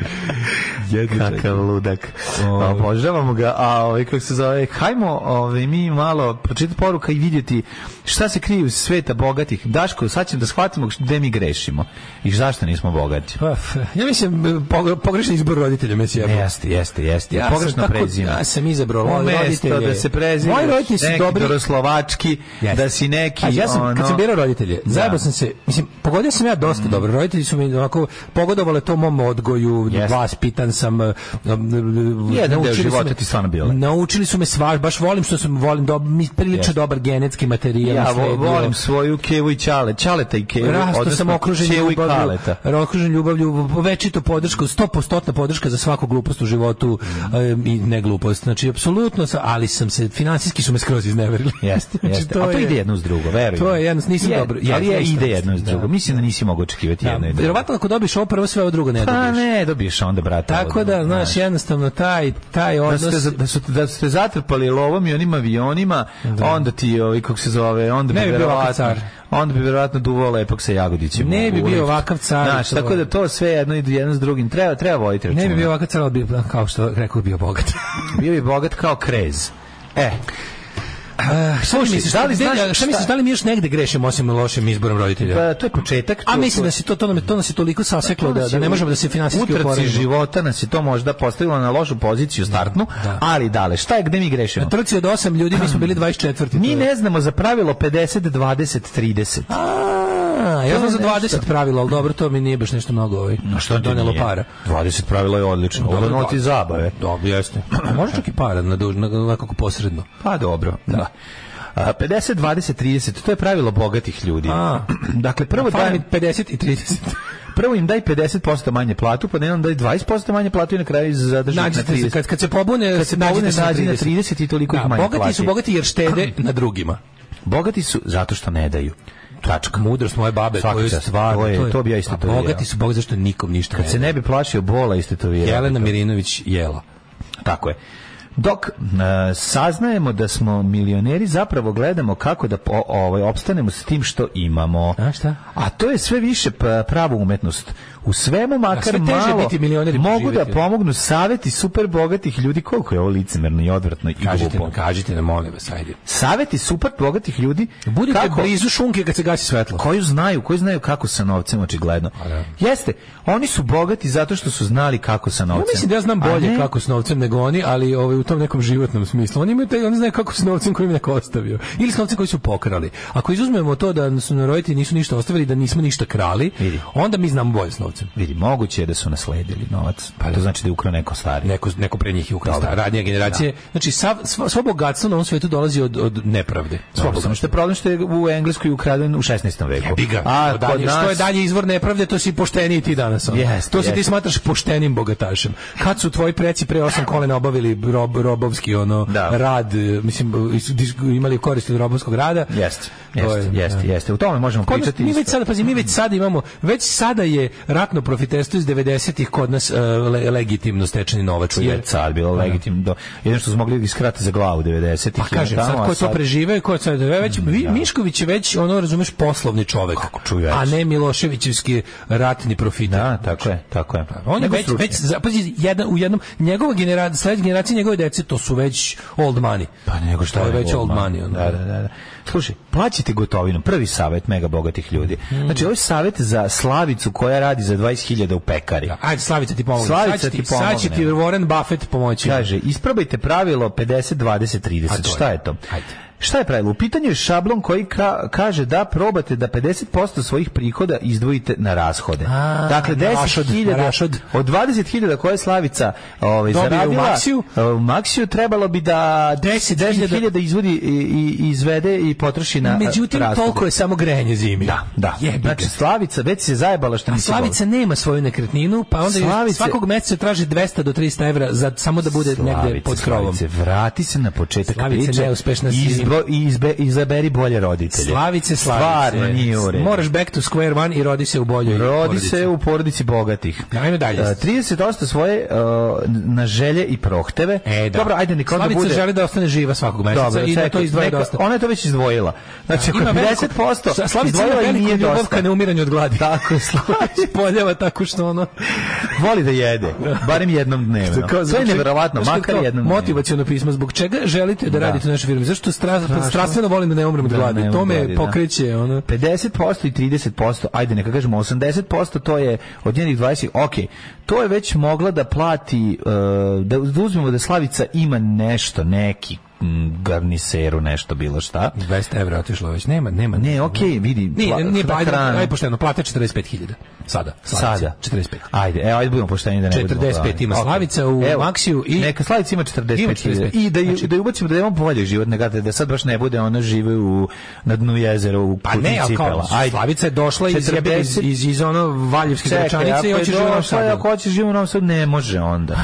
jedno čekam.
Kakav ludak. Pa,
Ovaj.
Obožavamo ga, a ovaj kako se zove, hajmo ovaj, mi malo pročitati poruka i vidjeti šta se krije iz sveta bogatih. Daško, sad ćemo da shvatimo gde mi grešimo i zašto nismo bogati.
Pa, f- ja mislim, pog- pogrešan izbor roditelja me sjebao.
Jeste, jeste, jeste.
Ja sam
Pogrešno
tako-
prezime.
ja sam izabrao moje
Umesto
roditelje.
Pa da se prezime.
Moji roditelji su dobri.
Doroslovački, da si neki
A ja sam,
ono, Mm.
kad sam birao roditelje, zajebao sam se, mislim, pogodio sam ja dosta dobro, roditelji su mi onako pogodovali to mom odgoju,
Jeste.
vas pitan sam, um, um,
Jedan deo
naučili su
života
me-
ti stvarno bio lep.
Naučili su me sva, baš volim što sam, volim, dob, mi prilično
Jeste.
dobar genetski materijal. ono.
Ja vo-
nasledio.
volim svoju kevu i čale, čaleta i kevu,
Rasto sam
odnosno
okružen
Kevu i
ljubavlju,
kaleta.
okružen ljubavlju, večito podršku, 100% podrška za svaku glupost u životu em, i ne glupost. Znači, apsolutno, sam, ali sam se, financijski su me skroz izneverili.
Jeste,
Znači,
jeste. A to
je-
ide jedno uz drugo, verujem.
To je jedno, nisam dobro.
ali
jeste,
je,
jeste,
ide
jeste,
jedno uz
da.
drugo. Mislim da nisi mogao očekivati
Da,
jedno i drugo.
Vjerovatno ako dobiješ ovo prvo, sve ovo drugo ne
Pa
dobiješ.
ne, dobiješ onda, brate.
Tako
ovo,
da, znaš, jednostavno, taj, taj
Da
odnos...
ste, za- da, su, da ste zatrpali lovom i onim avionima, onda ti, ovaj, kako se zove, onda bi,
Ne bi bio
verovatno,
ovakav car.
onda bi verovatno duvao lepog sa jagodićem.
Ne
u-
bi bio
u liftu.
ovakav car,
Znaš,
to-
tako da to sve jedno ide jedno s drugim. Treba, treba voditi računa.
Ne bi bio ovakav car, ali bi, kao što rekao, bio bogat.
Bio bi bogat kao krez. E,
Šta mi
Slušaj,
misliš,
da
da
li
li,
znaš šta-
misliš, da li mi još negde grešimo osim lošim izborom roditelja?
pa, to Pa je početak.
A mislim da se to, to, nam, je- to nas je toliko saseklo da, da ne možemo da se finansijski
utrci
oporavimo.
života nas je to možda postavilo na lošu poziciju startnu, ali dale, šta je, gde mi grešimo?
Na trci od osam ljudi mi smo bili 24. to
Mi
je-
ne znamo za pravilo 50, 20, 30.
A, ja
To
sam
je
za 20 pravilo, ali dobro, to mi nije baš nešto mnogo ovaj.
A šta ti
donelo
nije?
para.
20 pravilo je odlično. Ovo je noti zabave.
Dobro, jeste. A Može čak i para, na, duž, na, na kako posredno.
Pa dobro, da. A, 50, 20, 30, to je pravilo bogatih ljudi.
A.
Dakle, prvo,
Fala
daj,
mi 50 i 30.
prvo im daj 50% manje platu, pa ne daj 20% manje platu i na kraju zadrži na
Nađite se,
30.
kad, kad se pobune,
Kad se pobune, nađi na 30 i toliko
Da,
ih manje
bogati su
plati.
bogati jer štede na drugima.
Bogati su zato što ne daju. Tačka.
Mudrost moje babe,
Svaka
koju
čast.
stvarno...
To je- to bi ja
A
istetovirao.
Bogati su bogati zašto nikom ništa
Kad se
ne
ne bi plašio bola isto to
da. Jelena Mirinović jela.
Tako je. Dok e, saznajemo da smo milioneri, zapravo gledamo kako da po, ovaj, opstanemo s tim što imamo. A šta? A to je sve više p- prava umetnost. U svemu makar
sve teže je
malo
biti pa milioner i
mogu da
preživjeti.
pomognu saveti super bogatih ljudi. Koliko je ovo licemerno i odvratno i
Kažite
glupo.
nam, kažite nam, molim vas, ajde.
Saveti super bogatih ljudi Budite
blizu šunke kad se gasi svetlo.
Koju znaju, koji znaju kako sa novcem očigledno. Jeste, oni su bogati zato što su znali kako sa novcem.
Ja mislim da ja znam
A
bolje
ne-
kako s novcem nego oni, ali ovaj, u tom nekom životnom smislu. Oni, imaju taj, oni znaju kako s novcem koji im je neko ostavio. Ili s novcem koji su pokrali. Ako izuzmemo to da su nam roditelji nisu ništa ostavili, da nismo ništa krali, onda mi znamo bolje s novcem.
Vidi, moguće je da su nasledili novac. Pa to znači da je ukrao neko stari.
Neko, neko pre njih je ukrao, sta- radnije generacije. Znači, sav, sva, svo bogatstvo na ovom svetu dolazi od, od nepravde. Svo
Dobro, samo
bogatstvo.
što je problem što je u Engleskoj ukraden u 16. veku.
Jebi ga.
A
To dalje,
kod nas...
Što je dalje izvor nepravde, to si pošteniji ti danas. ono.
Jeste,
to se ti
jeste.
smatraš poštenim bogatašem. Kad su tvoji preci pre osam kolena obavili rob, robovski ono, rad, e, mislim, e, su dis- imali koristi od robovskog rada.
Jeste,
To je,
jeste, jeste,
da.
jeste. U tome možemo
Kod nas-
pričati.
mi
isto.
već sada, pazi, mi već sada imamo, već sada je ratno profiterstvo iz 90-ih kod nas e, le- legitimno stečeni novac.
Jer
Jer,
car bilo legitimno. Do... Jedno što su mogli iskrati za glavu 90-ih.
pa kažem,
tamo,
sad
a Mm,
ko to prežive, ko sad, već, Vi- Mišković je već, ono, razumeš, poslovni čovek.
čuvač.
A ne Miloševićevski ratni profiter.
Da, tako je, tako Pa je.
Pa On je
Nego
već,
stručni.
već zapazi, jedan, u jednom, njegova generacija, sledeća generacija njegove dece, to su već old money.
Pa nego šta
To je
nego
već old
odmah.
money. ono.
Da, da, da. da. Slušaj, plaćite gotovinom, prvi savjet mega bogatih ljudi.
Hmm.
Znači, ovo je savjet za Slavicu koja radi za 20.000 u pekari.
Ajde, Slavica ti pomogne.
Slavica
Sad će
ti
Sad će ti Warren Buffett pomoći.
Kaže, isprobajte pravilo 50, 20,
A to
30.
je.
Šta je to? Šta je pravilo? U pitanju je šablon koji ka- kaže da probate da 50% svojih prihoda izdvojite na rashode.
A,
dakle,
na rašod, na
10.000
rašod.
od 20.000 koje je Slavica ovaj,
Dobije u
zaradila,
Maxiju?
e, u Maxiju trebalo bi da 10.000 izvodi i, i izvede i potroši na e,
Međutim,
rashode.
toliko je samo grejanje zimi.
Da, da.
Jebi ga.
Znači, Slavica već se zajebala što
A
nisi
Slavica nema svoju nekretninu, pa onda
Slavice-
Slavice... svakog meseca traži 200 do 300 evra za, samo da bude negde
Slavice,
pod krovom.
Slavice, vrati se na početak
Slavice,
priče.
neuspešna si.
izbo- izbe- izaberi bolje roditelje.
Slavice, Slavice.
Stvarno nije u redu.
Moraš back to square one i rodi se u boljoj
Rodi
porodici.
se u porodici bogatih.
Ajme dalje.
E, 30% svoje uh, na želje i prohteve.
E, da.
Dobro, ajde, neka onda
Slavica
bude...
želi da ostane živa svakog meseca
Dobro,
i da to
čekaj,
izdvoji
neka-
dosta.
Ona je to već izdvojila. Znači, ako
Ima
je
veliku-
50%
Slavica ima
izdvojila i
veliku
nije
ljubav
dosta.
ka neumiranju od gladi.
Tako je, Slavica.
Poljava tako što ono...
Voli da jede, barem jednom dnevno.
Kao znači,
To je
zbog čega-
nevjerovatno,
znaš kako
makar
to
jednom dnevno.
Motivacijono pismo, zbog čega želite da,
Da.
radite u našoj firmi? Zašto stra,
Strašno.
strastveno volim da ne umrem od
Da, ne
gladi?
umrem
To
od
me
gladi, da.
pokreće, ono...
50% i 30%, ajde neka kažemo 80%, to je od njenih 20, ok, to je već mogla da plati, e, da da uzmemo da Slavica ima nešto, neki mm, garniseru, nešto, bilo šta.
200 evra otišlo već, nema, nema.
Ne, ok, vidi,
Nije,
pla-
nije, pa ajde,
hrana.
ajde pošteno, plate 45.000. Sada. Slavice,
Sada.
45.
Ajde, evo, ajde budemo pošteni da ne budemo
45
pravi.
ima
Ok.
Slavica u
Evo,
Maxiju i-
Neka Slavica ima 45.
Ima 45.
I da, ju-
Znači-
da ju ubacimo da imamo bolje život, neka da sad baš ne bude ona žive u, na dnu jezera u
Pa ne, ali kao,
cipela. Ajde.
Slavica je došla iz,
40
iz, iz, iz ono Valjevske zračanice i
ako je
hoće živjeti u Novom
došla i
Sadu.
Ako hoće živjeti u Novom Sadu, ne može onda.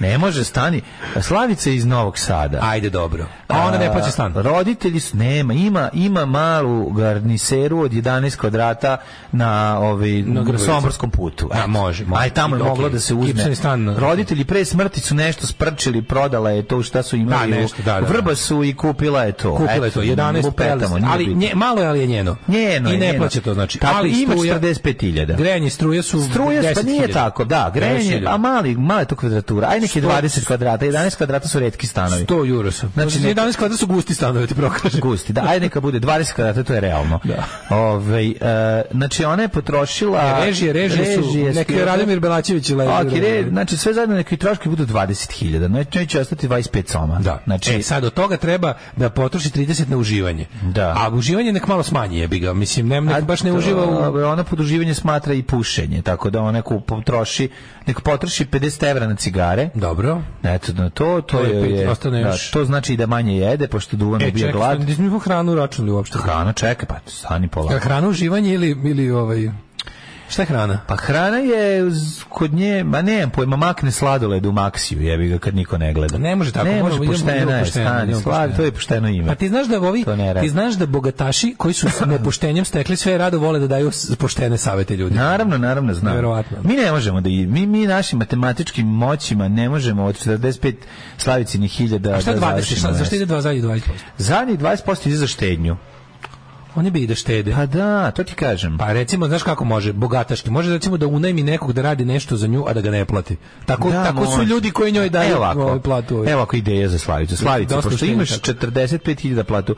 Ne može, stani. Slavica je iz Novog Sada.
Ajde, dobro. A ona ne plaća stan.
Roditelji su, nema, ima, ima malu garniseru od 11 kvadrata na ovaj,
Na
na
Grbavici.
Somborskom putu.
A, može, može.
Aj, tamo je
Okej.
moglo da se uzme.
Gibsoni stan.
Roditelji pre smrti su nešto sprčili, prodala je to šta su imali.
Da,
u-
nešto, da, da, da.
Vrba su i kupila je to.
Kupila je to,
Eto,
11
lupetamo,
pelest.
nije
Ali
bitno.
nje, malo je, ali je njeno.
Njeno
I
je,
ne
njeno.
plaća to, znači.
Tako,
ali
ima
struja-
45.000.
Grejanje i struje su
Struje, pa
10.000.
nije tako, da, grejanje,
10.000.
a mali, mala je to kvadratura, aj neki
Sto-
20 kvadrata, 11 kvadrata su redki stanovi.
100 euro su.
Znači,
Znači,
neka-
11 kvadrata su gusti stanovi, ti prokaže.
Gusti, da, aj neka bude 20 kvadrata, to je realno. Da. Ove, znači, ona je potrošila...
Ne, E, režije, režije su- neki
skroz-
Radomir Belačević i Levi
Ok, re,
Rudolf.
znači, sve zajedno neki troškovi budu 20.000, znači, neće ostati 25 soma. Da. Znači,
E, sad od toga treba da potroši 30 na uživanje. Da. A uživanje nek malo smanji, jebi ga. Mislim, ne, nek baš ne uživa u...
Dobro, ona poduživanje smatra i pušenje, tako da ona neko potroši, neko potroši 50 evra na cigare.
Dobro.
Eto, na to, to,
To je
joj
Ovaj pet,
je,
ostane
da,
još.
to znači i da manje jede, pošto duvan
E,
ubija
čekaj, glad.
glad.
nismo njihovu hranu računali uopšte.
Hrana čeka, pa stani
Jel
polako.
Hrana uživanje ili, ili ovaj... Šta je hrana?
Pa hrana je uz- kod nje, ma ne, pojma makne sladoled u maksiju, jebi ga kad niko ne gleda.
Ne može tako,
ne,
može,
može
idemo- idemo
pošteno, je,
pošteno,
stani,
idemo
slavi,
pošteno.
to je pošteno ime.
Pa ti znaš da ovi,
To ne radi.
ti znaš da bogataši koji su s nepoštenjem stekli sve rado vole da daju s- poštene savete ljudi.
Naravno, naravno, znam.
Verovatno.
Mi ne možemo da i- mi mi našim matematičkim moćima ne možemo od 45 slavicinih hiljada
A šta
da
20?
završimo
Šta,
nešto.
zašto ide 2 zadnji 20%?
Zadnjih 20% ide za štednju.
Oni bi i da štede.
Pa da, to ti kažem.
Pa recimo, znaš kako može, bogataški. Može recimo da unajmi nekog da radi nešto za nju, a da ga ne plati. Tako,
Da,
tako su
može.
ljudi koji njoj daju
Evo ovako.
ovaj, platu. ovaj.
Evo ako ideja za Slavicu. Slavica,
Dosta
pošto
štednje
imaš
tako.
45.000 platu,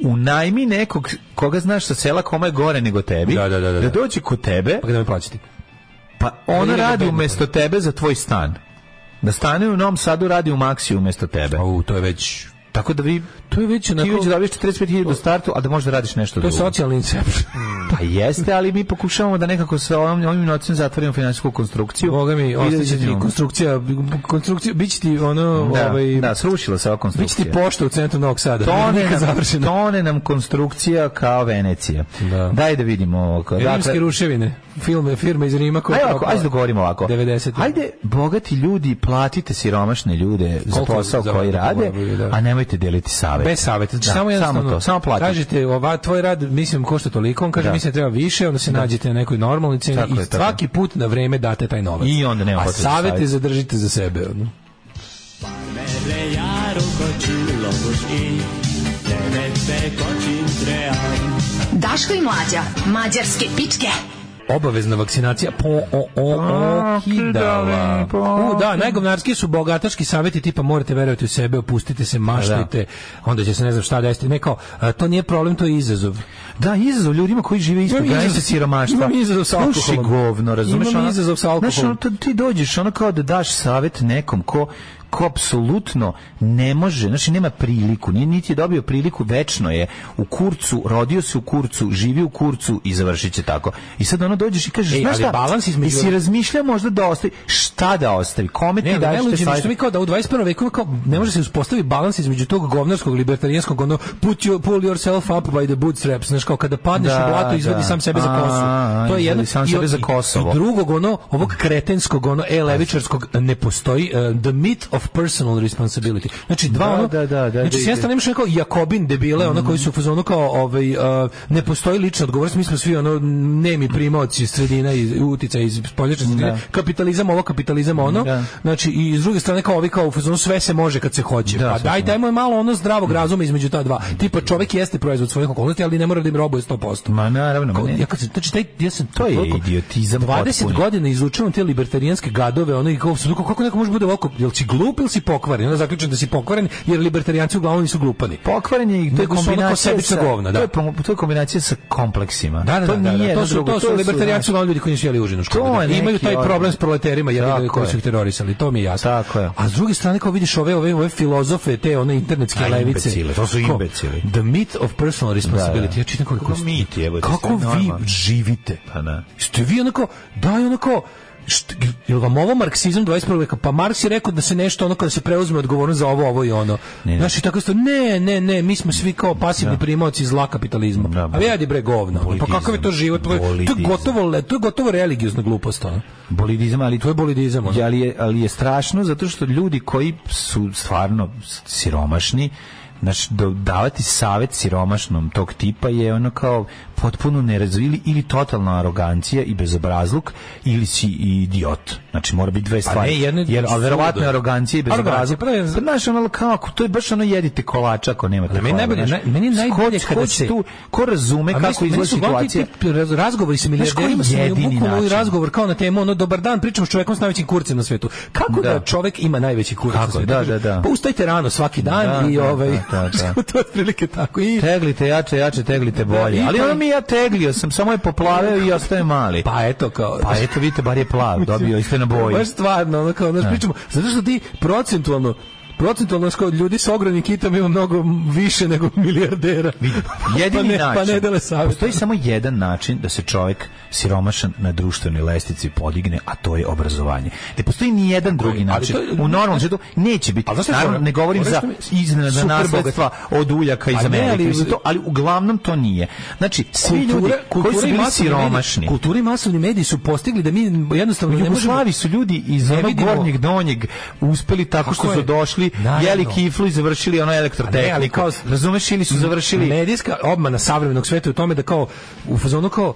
unajmi nekog koga znaš sa sela koma je gore nego tebi,
Da, da, da, da.
dođe kod tebe,
Pa ga da mi plaćati.
pa
Ili
ona
da
radi
bedno.
umesto tebe za tvoj stan. Da stane u Novom Sadu, radi u Maxiju umesto tebe.
Pa U, to je već...
Tako da vi
To je već
ti
onako...
već dobiješ 45.000 u startu, a da možda radiš nešto
To je
drugo.
socijalni inception.
Pa jeste, ali mi pokušavamo da nekako sa ovim, ovim nocem zatvorimo finansijsku konstrukciju.
Boga mi,
Vidjet
ostaće ti
ćemo.
konstrukcija, konstrukcija, bit će ti ono,
Da,
ovaj,
da, srušila se ova
bit će
konstrukcija.
ti pošta u centru Novog Sada.
Tone
Nikad
nam,
završena.
tone nam konstrukcija kao Venecija.
Da.
Daj da vidimo ovo.
Rimske ruševine, Dakle, filme, firme iz Rima koje
Ajde, ovako, ajde da govorimo ovako.
90.
Ajde, bogati ljudi, platite siromašne ljude za
Koliko
posao
za-
koji
za-
rade,
da.
a nemojte deliti savete.
Bez saveta, znači
Da,
samo jednostavno.
Samo to, samo platite.
Kažete, ova, tvoj rad, mislim, košta toliko, on kaže,
Da.
mislim, treba više, onda se nađete na nekoj normalnoj ceni
Tako
i
je, tako
svaki put na vreme date taj novac.
I onda nema
A
potrebe za
savete
savjet.
zadržite za sebe. Ono.
Daško i Mlađa, mađarske pičke.
Obavezna vakcinacija po o o o kidala. U, da, najgovnarski su bogataški saveti tipa morate verovati u sebe, opustite se, maštajte, onda će se ne znam šta desiti. Ne kao, a, to nije problem, to je izazov.
Da, izazov ljudima koji žive ispod
Imam
granice
izazov-
siromaštva.
imam izazov sa alkoholom.
Slušaj, govno, razumeš?
Imam
ono-
izazov sa alkoholom.
Znaš, ono, to- ti dođeš ono kao da daš savjet nekom ko ko apsolutno ne može, znači nema priliku, nije niti je dobio priliku, večno je u kurcu, rodio se u kurcu, živi u kurcu i završit će tako. I sad ono dođeš i kažeš,
Ej,
znaš
ali
šta,
balans između-
si razmišljao možda da ostavi, šta da ostavi, kome ti
Ne, ne,
daješ te
luđe, mi što
savjete?
mi kao da u 21. veku kao ne može se uspostavi balans između tog govnarskog libertarijanskog ono put you, pull yourself up by the bootstraps, znaš kao kada padneš
Da,
u blato izvadi
da.
sam sebe za
A,
kosu.
a,
to je
izvadi
jedno
sam
i-
sebe za
i-
Kosovo.
I drugog ono ovog kretenskog ono e levičarskog ne postoji uh, the myth of personal responsibility. Znači dva
Da,
ono
da, da, da,
znači
da,
s jedne
da.
strane imaš neko Jakobin debile ono
Mm.
koji su u fazonu kao ovaj uh, ne postoji lična odgovornost, mi smo svi ono nemi primaoci sredina iz utica iz spoljačne sredine. Kapitalizam ovo, kapitalizam ono.
Da.
Znači i s druge strane kao ovi kao u fazonu sve se može kad se hoće.
Da,
pa
sve
daj
se
dajmo je malo ono zdravog razuma između ta dva. Tipa čovjek jeste proizvod svojih okolnosti, ali ne mora da im robuje 100%.
Ma naravno, ma
Ko-
ne.
Ja kad sam, znači, taj, ja sam
To je
toliko-
idiotizam
20
potpuni.
godina izučavam te libertarijanske gadove, ono i kao sam rekao, kako neko može bude ovako, jel si glup ili si pokvaren? Onda zaključujem da si pokvaren, jer libertarijanci uglavnom nisu glupani.
Pokvaren je i to je
Nego su ono kao
kombinacija
sebična
sa
govna, da.
To je, pom- to je kombinacija sa kompleksima.
Da, da,
to
da, da,
nije
da,
jedno
to su,
drugo,
to su libertarijanci uglavnom ljudi koji nisu jeli užinu u školi.
To je
Da,
neki
Imaju taj
odnos.
problem s proleterima jer
Tako
koji su
je.
ih terorisali, to mi je jasno.
Tako je.
A s druge strane kao vidiš ove ove ove filozofe, te one internetske
A,
levice.
imbecili, to su
Kao,
imbecili.
The myth of personal responsibility.
Da, da.
Ja čitam koliko
Kako
ste-
mit, jebote, to
Kako
je
vi
normalno.
živite?
Pa da.
Ste vi onako, daj onako, št, jel vam ovo marksizam 21. veka? Pa Marks je rekao da se nešto ono kada se preuzme odgovornost za ovo, ovo i ono.
Ne.
Znaš, i tako isto, ne, ne, ne, mi smo svi kao pasivni primaoci zla kapitalizma.
Da,
A
ba-
vidi bre govno. Pa
Bolidizam.
kakav je to život? To je, to je
Bolidizam.
gotovo, le- to je gotovo religiozna glupost. Ono.
Bolidizam, ali
To je bolidizam. Ono.
Ja, ali, je, ali je strašno zato što ljudi koji su stvarno siromašni, znači da- davati savet siromašnom tog tipa je ono kao potpuno nerazvili ili totalna arogancija i bezobrazluk ili si i idiot. Znači mora biti dve stvari.
Pa ne, jedno je
Jer, a
suludo.
verovatno je arogancija i bezobrazluk.
Arogancija, pa ne,
Pa, znaš, ono, kako, to je baš ono jedite kolača ako nemate
Ali meni
kolača,
najbolje,
znaš.
naj- meni je najbolje
Ko-
kada
ko
se-
tu, ko razume
A
E, kako
mislim, meni
izgleda
su uglavnom ti
situacija.
tip raz- razgovori sa milijarderima
koji
su mi
jedini
bukvalno ovaj
način?
razgovor kao na temu ono dobar dan pričam s čovjekom s najvećim kurcem na svetu. Kako da,
Da.
čovjek ima najveći kurac na
Kako?
svetu?
Da,
Kaže,
da, da.
Pa ustajte rano svaki dan
Da,
i
da,
ovaj
da, da, da.
to je otprilike tako i
Teglite jače, jače, teglite bolje.
i
Ali
to-
ono mi ja teglio sam, samo je poplavio i ostaje mali.
pa eto kao
Pa eto, vidite, bar je plav, dobio iste na boji.
Baš stvarno, ono kao, znaš, pričamo, zato što ti procentualno procentualno skoro ljudi sa ogromnim kitama ima mnogo više nego milijardera.
Jedini
pa ne,
način.
Pa ne dele savjet.
Postoji samo jedan način da se čovjek siromašan na društvenoj lestici podigne, a to je obrazovanje. Ne postoji ni jedan drugi način.
to je-
U normalnom svetu neće biti.
znaš šta je
Naravno,
fora?
ne govorim
Fora
za
što mi-
iznenadna
super
nasledstva od uljaka iz
A ne,
Amerike.
ali-
mislim to, ali uglavnom to nije. Znači, svi ljudi
Kultura- kultura
koji su
i
bili
masovni mediji-
siromašni,
Kultura i masovni mediji su postigli da mi jednostavno ne možemo...
Jugoslavi su ljudi iz
Ne
onog
vidimo-
gornjeg donjeg uspeli tako što
Tako
su
je.
došli,
Naravno.
jeli kiflu i završili ono
A ne, ali
elektrotehniku.
kao- Mm,
Razumeš ili su završili
medijska obmana savremenog sveta je u tome da kao u fazonu kao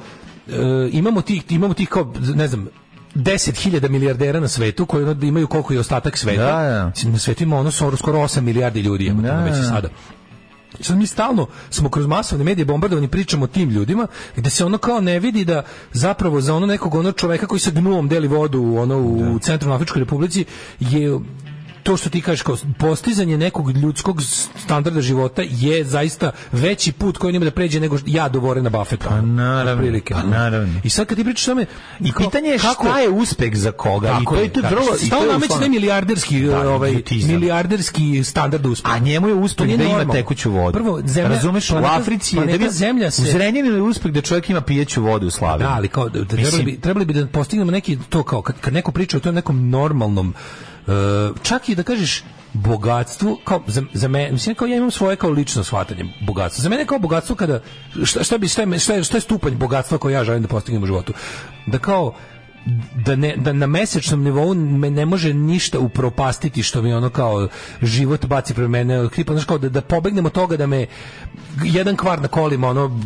e, imamo ti imamo ti kao ne znam 10.000 milijardera na svetu koji ono imaju koliko i ostatak sveta.
Da, da.
Mislim, Na svetu ima ono skoro- skoro 8 milijardi ljudi, jebote, ono već i
da.
sada. I Sad mi stalno smo kroz masovne medije bombardovani pričamo o tim ljudima gde se ono kao ne vidi da zapravo za ono nekog ono čoveka koji sa gnuom deli vodu u ono u Centralnoj Afričkoj Republici je to što ti kažeš kao postizanje nekog ljudskog standarda života je zaista veći put koji on ima da pređe nego što- ja do Vorena Buffetta. Pa
naravno, pa naravno.
I sad kad ti pričaš o tome
I
kao,
pitanje je
kako-
šta je uspeh za koga? I
Tako
to
je,
je tu
tako
vrlo...
je.
i to
Stalno
je
nameće
stvarno-
taj milijarderski,
Da,
ovaj,
idiotizam.
milijarderski standard uspeha.
A njemu je
To
uspeh
nije
da ima
normalno.
tekuću vodu.
Prvo, zemlja-
Razumeš, u
planeta-
Africi je... Da
planeta
bi,
zemlja se-
U Zrenjaninu je uspeh da čovjek ima pijeću vodu u Slaviji.
Da, ali kao da- da
Mislim-
trebali bi trebali bi da postignemo neki to kao kad, kad neko priča o tom nekom normalnom e, čak i da kažeš bogatstvu kao za, za me, mislim kao ja imam svoje kao lično shvatanje bogatstva. Za mene je kao bogatstvo kada šta, šta bi šta je, šta je, šta je stupanj bogatstva koji ja želim da postignem u životu. Da kao da, ne, da na mesečnom nivou me ne može ništa upropastiti što mi ono kao život baci pre mene kripa, znaš kao da, da pobegnem od toga da me jedan kvar na kolima ono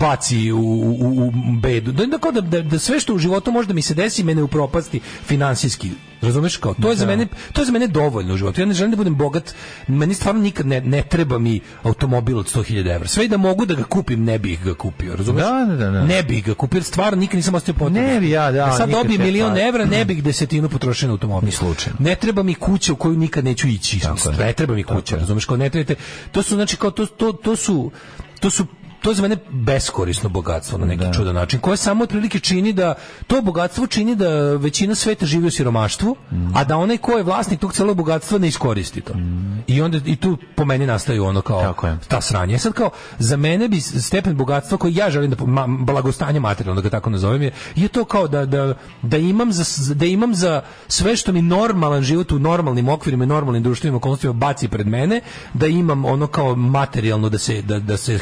baci u, u, u bedu da, da, kao da, da, da sve što u životu može da mi se desi mene upropasti finansijski razumeš kao to je za mene to je za mene dovoljno u životu ja ne želim da budem bogat meni stvarno nikad ne, ne treba mi automobil od 100.000 evra sve i da mogu da ga kupim ne bih ga kupio razumeš
Da, da, da, da.
ne bih ga kupio jer stvarno nikad nisam ostao potrebu
Ne bi ja, da,
da sad
nikad
dobijem
te-
milion
pa-
evra, ne bih desetinu potrošio na automobil.
Ni slučajno.
Ne treba mi kuća u koju nikad neću ići.
je.
Ne treba mi kuća, razumeš, kao ne trebate. To su znači kao to to to su to su to je za mene beskorisno bogatstvo na neki čudan način, koje samo otprilike čini da to bogatstvo čini da većina sveta živi u siromaštvu,
Mhm.
a da onaj ko je vlasnik tog celog bogatstva ne iskoristi to. I onda i tu po meni nastaju ono kao
Mhm. Tako je.
ta sranja. E Sad kao, za mene bi stepen bogatstva koji ja želim da po- ma, blagostanje materijalno da ga tako nazovem je, je to kao da, da, da, imam za, da imam za sve što mi normalan život u normalnim okvirima i normalnim društvenim okolnostima baci pred mene, da imam ono kao materijalno da se, da, da se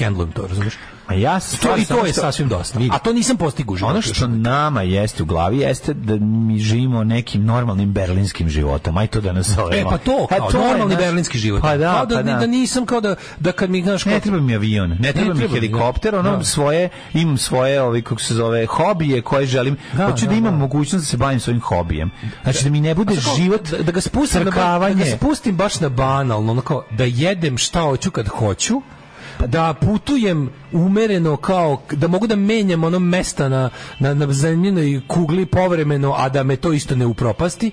handlujem to, razumiješ?
A ja
To,
stvar
I
Pa samo
to je
što-
sasvim dosta.
Vidi.
A to nisam postigao u životu.
Ono što nama jeste u glavi jeste da mi živimo nekim normalnim berlinskim životom, aj to da nas
E
zovemo.
pa to, kao,
je
normalni
naš-
berlinski život.
Pa da,
Kao da,
pa da. E,
da nisam kao da, da kad mi, znaš, kao,
Ne treba mi avion, ne treba mi
treba mi,
helikopter,
da.
ono
Da.
svoje, imam svoje, ovi, kako se zove, hobije koje želim.
Da,
Hoću da,
da,
imam
da.
mogućnost da se bavim svojim hobijem. Znači da mi ne bude
Znaš, kao,
život
da, da ga spustim na ba- da
trkavanje.
ga spustim baš na banalno ono kao da jedem šta hoću kad hoću da putujem umereno kao da mogu da menjam ono mesta na, na, na zemljenoj kugli povremeno, a da me to isto ne upropasti.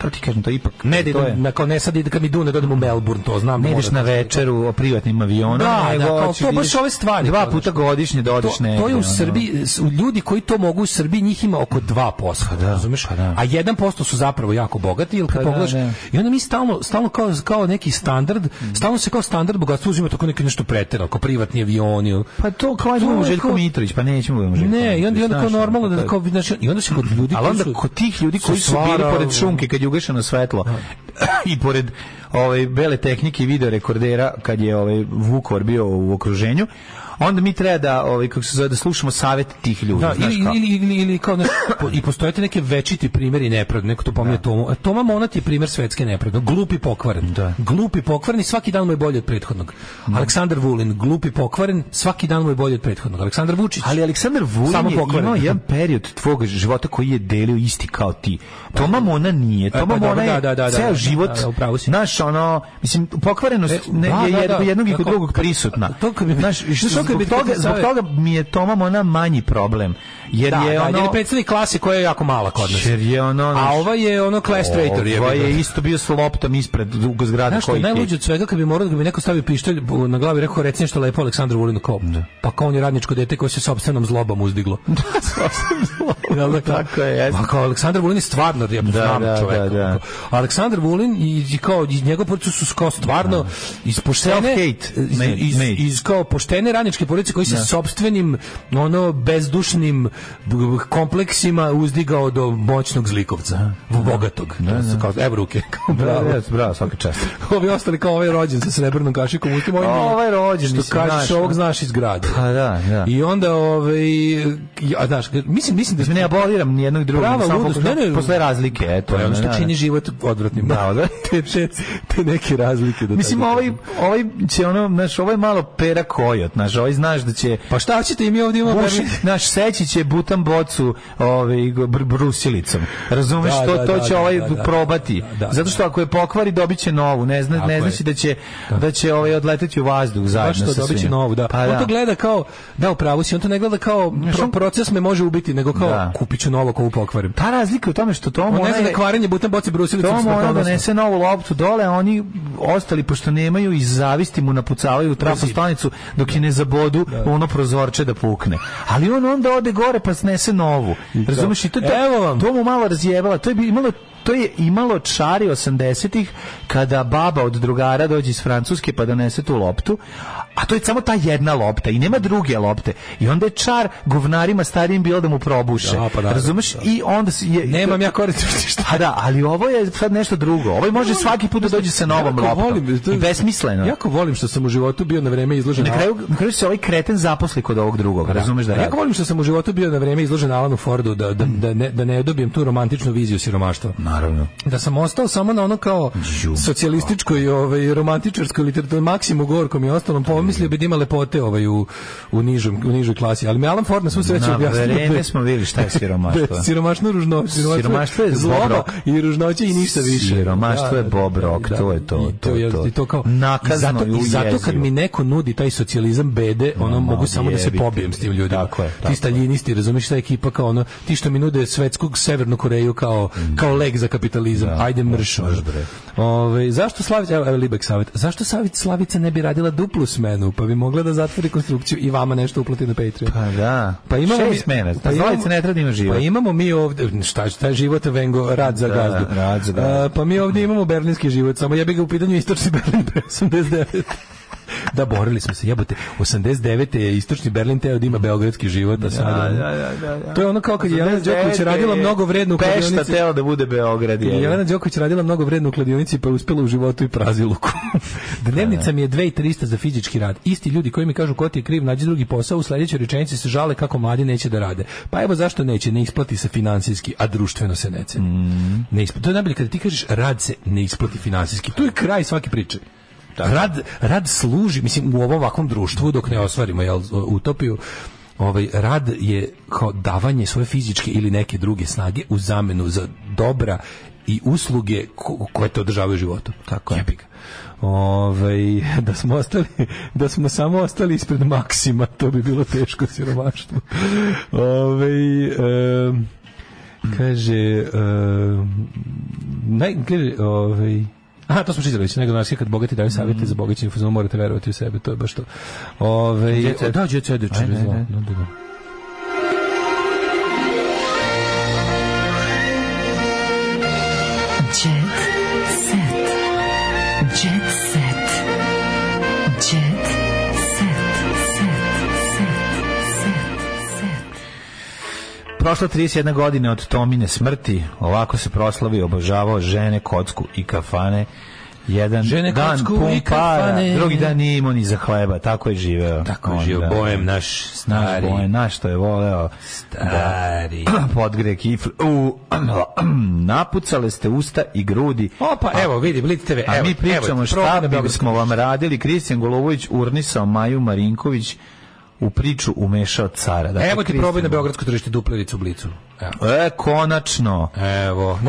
To ti kažem, to je ipak...
Ne da
to je.
idem, na, kao ne sad idem kad mi dune, da odem u Melbourne, to znam. da
Ne ideš
može
na
tako.
večeru privatnim avionom,
Da,
nego
da, kao
hoćeš
to
da
baš
ideš
ove stvari,
Dva
kao,
puta
znaš.
godišnje da odeš
to,
negde,
to je u
ono. Pa
Srbiji, s- ljudi koji to mogu u Srbiji, njih ima oko 2%, razumeš? A 1% su zapravo jako bogati, ili kad
Pa da,
pogledaš,
da. Mm.
i onda mi stalno, stalno kao, kao neki standard, stalno se kao standard bogatstva uzima tako neki nešto pretjerano, kao privatni avioni,
Pa to kao
To
ajmo
je
Željko
kao-
Mitrović, pa nećemo budemo Željko
Ne, i onda, i onda kao
Mitrović, znaš,
normalno da
ono, to
kao,
je-
znači, i onda se kod ljudi
Ali
koji
onda
su-
kod tih ljudi koji su bili
svara-
pored šunke kad je ugašeno svetlo i pored ovaj bele tehnike i video rekordera kad je ovaj Vukovar bio u okruženju, onda mi treba da ovaj kako se zove da slušamo savet tih ljudi,
Da,
znaš
ili,
kao.
ili, ili, ili kao, znaš, po- i postoje te neke večiti primjeri nepravde, neko to pominje Tomu. A Toma Monat je primjer svetske nepravde, glupi pokvaren.
Da.
Glupi pokvaren i svaki dan mu je bolje od prethodnog. Aleksandar Vulin, glupi pokvaren, svaki dan mu je bolje od prethodnog. Aleksandar Vučić.
Ali Aleksandar Vulin
Samo
je
pokvaren.
imao jedan period tvog života koji je delio isti kao ti. Toma Mona nije.
pa
Toma
dobro,
Mona je
da, da, da, da,
ceo
da,
život,
da, da, upravo si.
naš ono, mislim, pokvarenost
E,
ne,
da,
je
da,
jed-
da.
jednog i kod
Tako,
drugog
kad-
prisutna.
to kad bi-
Znaš,
znaš,
što
ono kad je
zbog,
bitno
toga,
kod
zbog
Save.
toga mi je Toma Mona manji problem. Jer
da,
je
da,
ono...
jer je predsednik klase koja je jako mala kod nas.
Jer je ono...
A ova je ono class traitor. je
Ovo je
bilo.
isto bio s loptom ispred drugog zgrada
Znaš što je
koji
najluđe od svega kad bi morao da bi neko stavio pištolj bu- na glavi i rekao reci nešto lepo Aleksandru Vulinu kao pa kao on je radničko dete koje se sopstvenom zlobom uzdiglo. Jel da,
Tako je, jeste.
Pa kao Aleksandar Vulin je stvarno ja znam
da,
čoveka. ono
da, da.
Aleksandar Vulin i, i kao i njegov porodica su kao stvarno iz poštene
Self-hate
iz,
made-
iz,
made.
iz kao poštene radničke porodice koji se
Da.
sopstvenim ono bezdušnim b- b- kompleksima uzdigao do moćnog zlikovca, bogatog. Kao evo ruke. Kao, bravo.
Da, da, bravo, svaka čast.
Ovi ostali kao ovaj rođen sa srebrnom kašikom, utim ovaj nije.
Ovaj rođen,
što
mislim,
kažeš,
znaš,
ovog
da.
znaš iz grada.
Pa da, da.
I onda ovaj ja znaš, mislim mislim da
Mislim, ne aboliram ni jednog drugog,
Prava
samo
ludost,
pokušavam-
ne, ne.
posle razlike, eto.
to je ono što
da, da.
čini život odvratnim.
Da, da.
te, te, te neke razlike da
Mislim,
tako
ovaj, ovaj će ono, znaš, ovaj malo pera kojot, znaš, ovaj znaš da će...
Pa šta ćete i mi ovdje imamo
Buši, naš seći će butan bocu ovaj, br- brusilicom. Razumeš,
Da,
to,
da,
to
da,
će
da,
ovaj
da, da,
probati.
da, da,
Zato što ako je pokvari, dobit će novu. Ne, zna,
Tako je.
ne znači da će, da će ovaj odleteti u vazduh zajedno
Zašto
sa
dobit će
svim.
novu, da.
Pa
On to
da.
gleda kao, da, u pravu si, on to ne gleda kao, pro-
on-
proces me može ubiti, nego kao,
Da.
kupit ću novo kovu pokvarim.
Ta razlika je u tome što Tom
On Ono ne
onaj-
zna da kvarenje butan boci brusilicom
Tom ona
smrtonosno.
donese novu loptu dole, a oni ostali, pošto nemaju, iz zavisti mu napucavaju u trafu stanicu, dok je ne zabodu, ono prozorče da pukne. Ali on onda ode gore pa snese novu. Razumeš? I to, to,
Evo vam.
to mu malo razjebala. To je bi- imalo to je imalo čari 80-ih kada baba od drugara dođe iz Francuske pa donese tu loptu, a to je samo ta jedna lopta i nema druge lopte. I onda je čar govnarima starijim bilo da mu probuše.
Da, pa naravno,
Razumeš? I onda se je,
Nemam ja koristi što šta.
a da, ali ovo je sad nešto drugo. Ovo može svaki put da dođe sa novom
Jako
loptom.
volim, to je-
I besmisleno. je.
Jako volim što sam u životu bio na vreme izložen
Na kraju, na kraju se ovaj kreten zaposli kod ovog drugog, razumeš da
A
radi.
Jako volim što sam u životu bio na vrijeme izložen Alanu Fordu da, da, da, ne, da ne dobijem tu romantičnu viziju siromaštva.
Naravno.
Da sam ostao samo na ono kao socijalističkoj, ovaj, romantičarskoj literaturi, Maksimu Gorkom i ostalom, pomislio bi da ima lepote ovaj, u, u, nižom, u nižoj klasi. Ali mi Alan Ford na svu sreću
Na
objasnio. da je-
vreme smo vidjeli šta je siromaštvo.
da je Siromaštvo ružno, siromaštvo,
Siromaštvo je
zloba
bobrok.
i ružnoće i ništa više.
Siromaštvo je bobrok,
da,
to je to,
I
to je
je-
to.
I to kao,
Nakazno
i zato,
i
i zato kad
ujezivo.
mi neko nudi taj socijalizam bede, ono
ma,
mogu samo da se
jebite.
pobijem s tim ljudima.
Tako je, tako
Ti staljinisti, razumiješ ta ekipa kao ono, ti što mi nude svetsku Severnu Koreju kao,
Mhm.
kao leg za kapitalizam. Ajde mrš. ono. Ove, zašto Slavica, evo, evo Libek savjet, zašto savjet Slavica ne bi radila duplu smenu, pa bi mogla da zatvori konstrukciju i vama nešto uplati na Patreon?
Pa da.
Pa imamo
Šest
mi-
mene.
pa
Pa
imamo-
ne treba da ima život.
Pa imamo mi ovdje, šta, šta je život Vengo, rad za
Da,
gazdu.
rad za gazdu.
A, pa mi ovdje imamo berlinski život, samo ja bih ga u pitanju istočni Berlin pre 89. Da, borili smo se, jebote. 89. je istočni Berlin teo da ima beogradski život, a sada... To je ono kao kad je Jelena Đoković radila mnogo vrednu u
Pešta
kladionici.
teo da bude Beograd. je.
Jelena Đoković radila mnogo vrednu u kladionici pa je uspela u životu i praziluku. Dnevnica mi je 2300 za fizički rad. Isti ljudi koji mi kažu ko ti je kriv, nađi drugi posao, u sledećoj rečenici se žale kako mladi neće da rade. Pa evo zašto neće, ne isplati se financijski, a društveno se ne ceni. Ne isplati. To je najbolje kada ti kažeš rad se ne isplati financijski. Tu je kraj svake priče. Rad, rad služi, mislim, u ovom ovakvom društvu dok ne ostvarimo jel, utopiju, ovaj rad je kao davanje svoje fizičke ili neke druge snage u zamenu za dobra i usluge ko- koje te održavaju u životu. Tako je. Ovaj, da smo ostali da smo samo ostali ispred maksima to bi bilo teško siromaštvo ovaj em, kaže em, naj, kaže, ovaj, Aha, to smo čitali već, nego znači kad bogati daju
Mm.
savjete za bogaćenje, u fazonu morate verovati u sebe, to je baš to. Ove,
Jet set.
da, Jet Set je čudo
E Ajde, ajde.
zlo. Da, da, da.
Jet set. Jet set. Jet set.
Prošla 31 godine od Tomine smrti, ovako se proslavi obožavao žene, kocku i kafane. Jedan
Žene,
dan
kocku
pun
i
para,
kafane.
drugi dan nije imao ni za hleba, tako je živeo.
Tako je
Onda,
živio Bojem, naš
Naš
stari.
bojem, naš što je voleo.
Stari.
Podgrek i... fl- U, napucale ste usta i grudi.
Opa, evo, vidi, Blitz TV,
A
evo,
mi pričamo
evo,
šta
program
bi
Beogradskog.
smo vam radili. Kristijan Golovović urnisao Maju Marinković u priču umešao cara. Dakle,
Evo ti
Kristovo.
probaj na beogradsko tržište duplericu u blicu. Evo.
E, konačno.
Evo,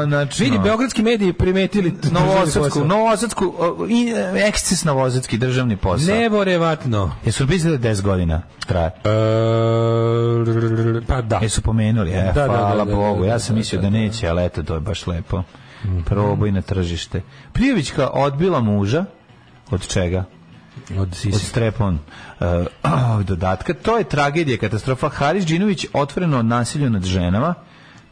konačno.
Vidi, beogradski mediji primetili t- znači, državni
Novosadsku,
posao.
Novosadsku, o, i, e, eksces Novosadski državni posao.
Nevorevatno. E,
Jesu li pisali da 10 godina traje?
pa da.
Jesu pomenuli, e,
Da, da, da,
hvala
da,
Bogu.
da,
Ja
da,
sam
da,
mislio
da, Mhm.
da neće, ali eto, to je baš lepo. Proboj na tržište. Prijevićka odbila muža, od čega?
Od
Od strepon e, dodatka. To je tragedija, katastrofa. Haris Đinović otvoreno o nasilju nad ženama.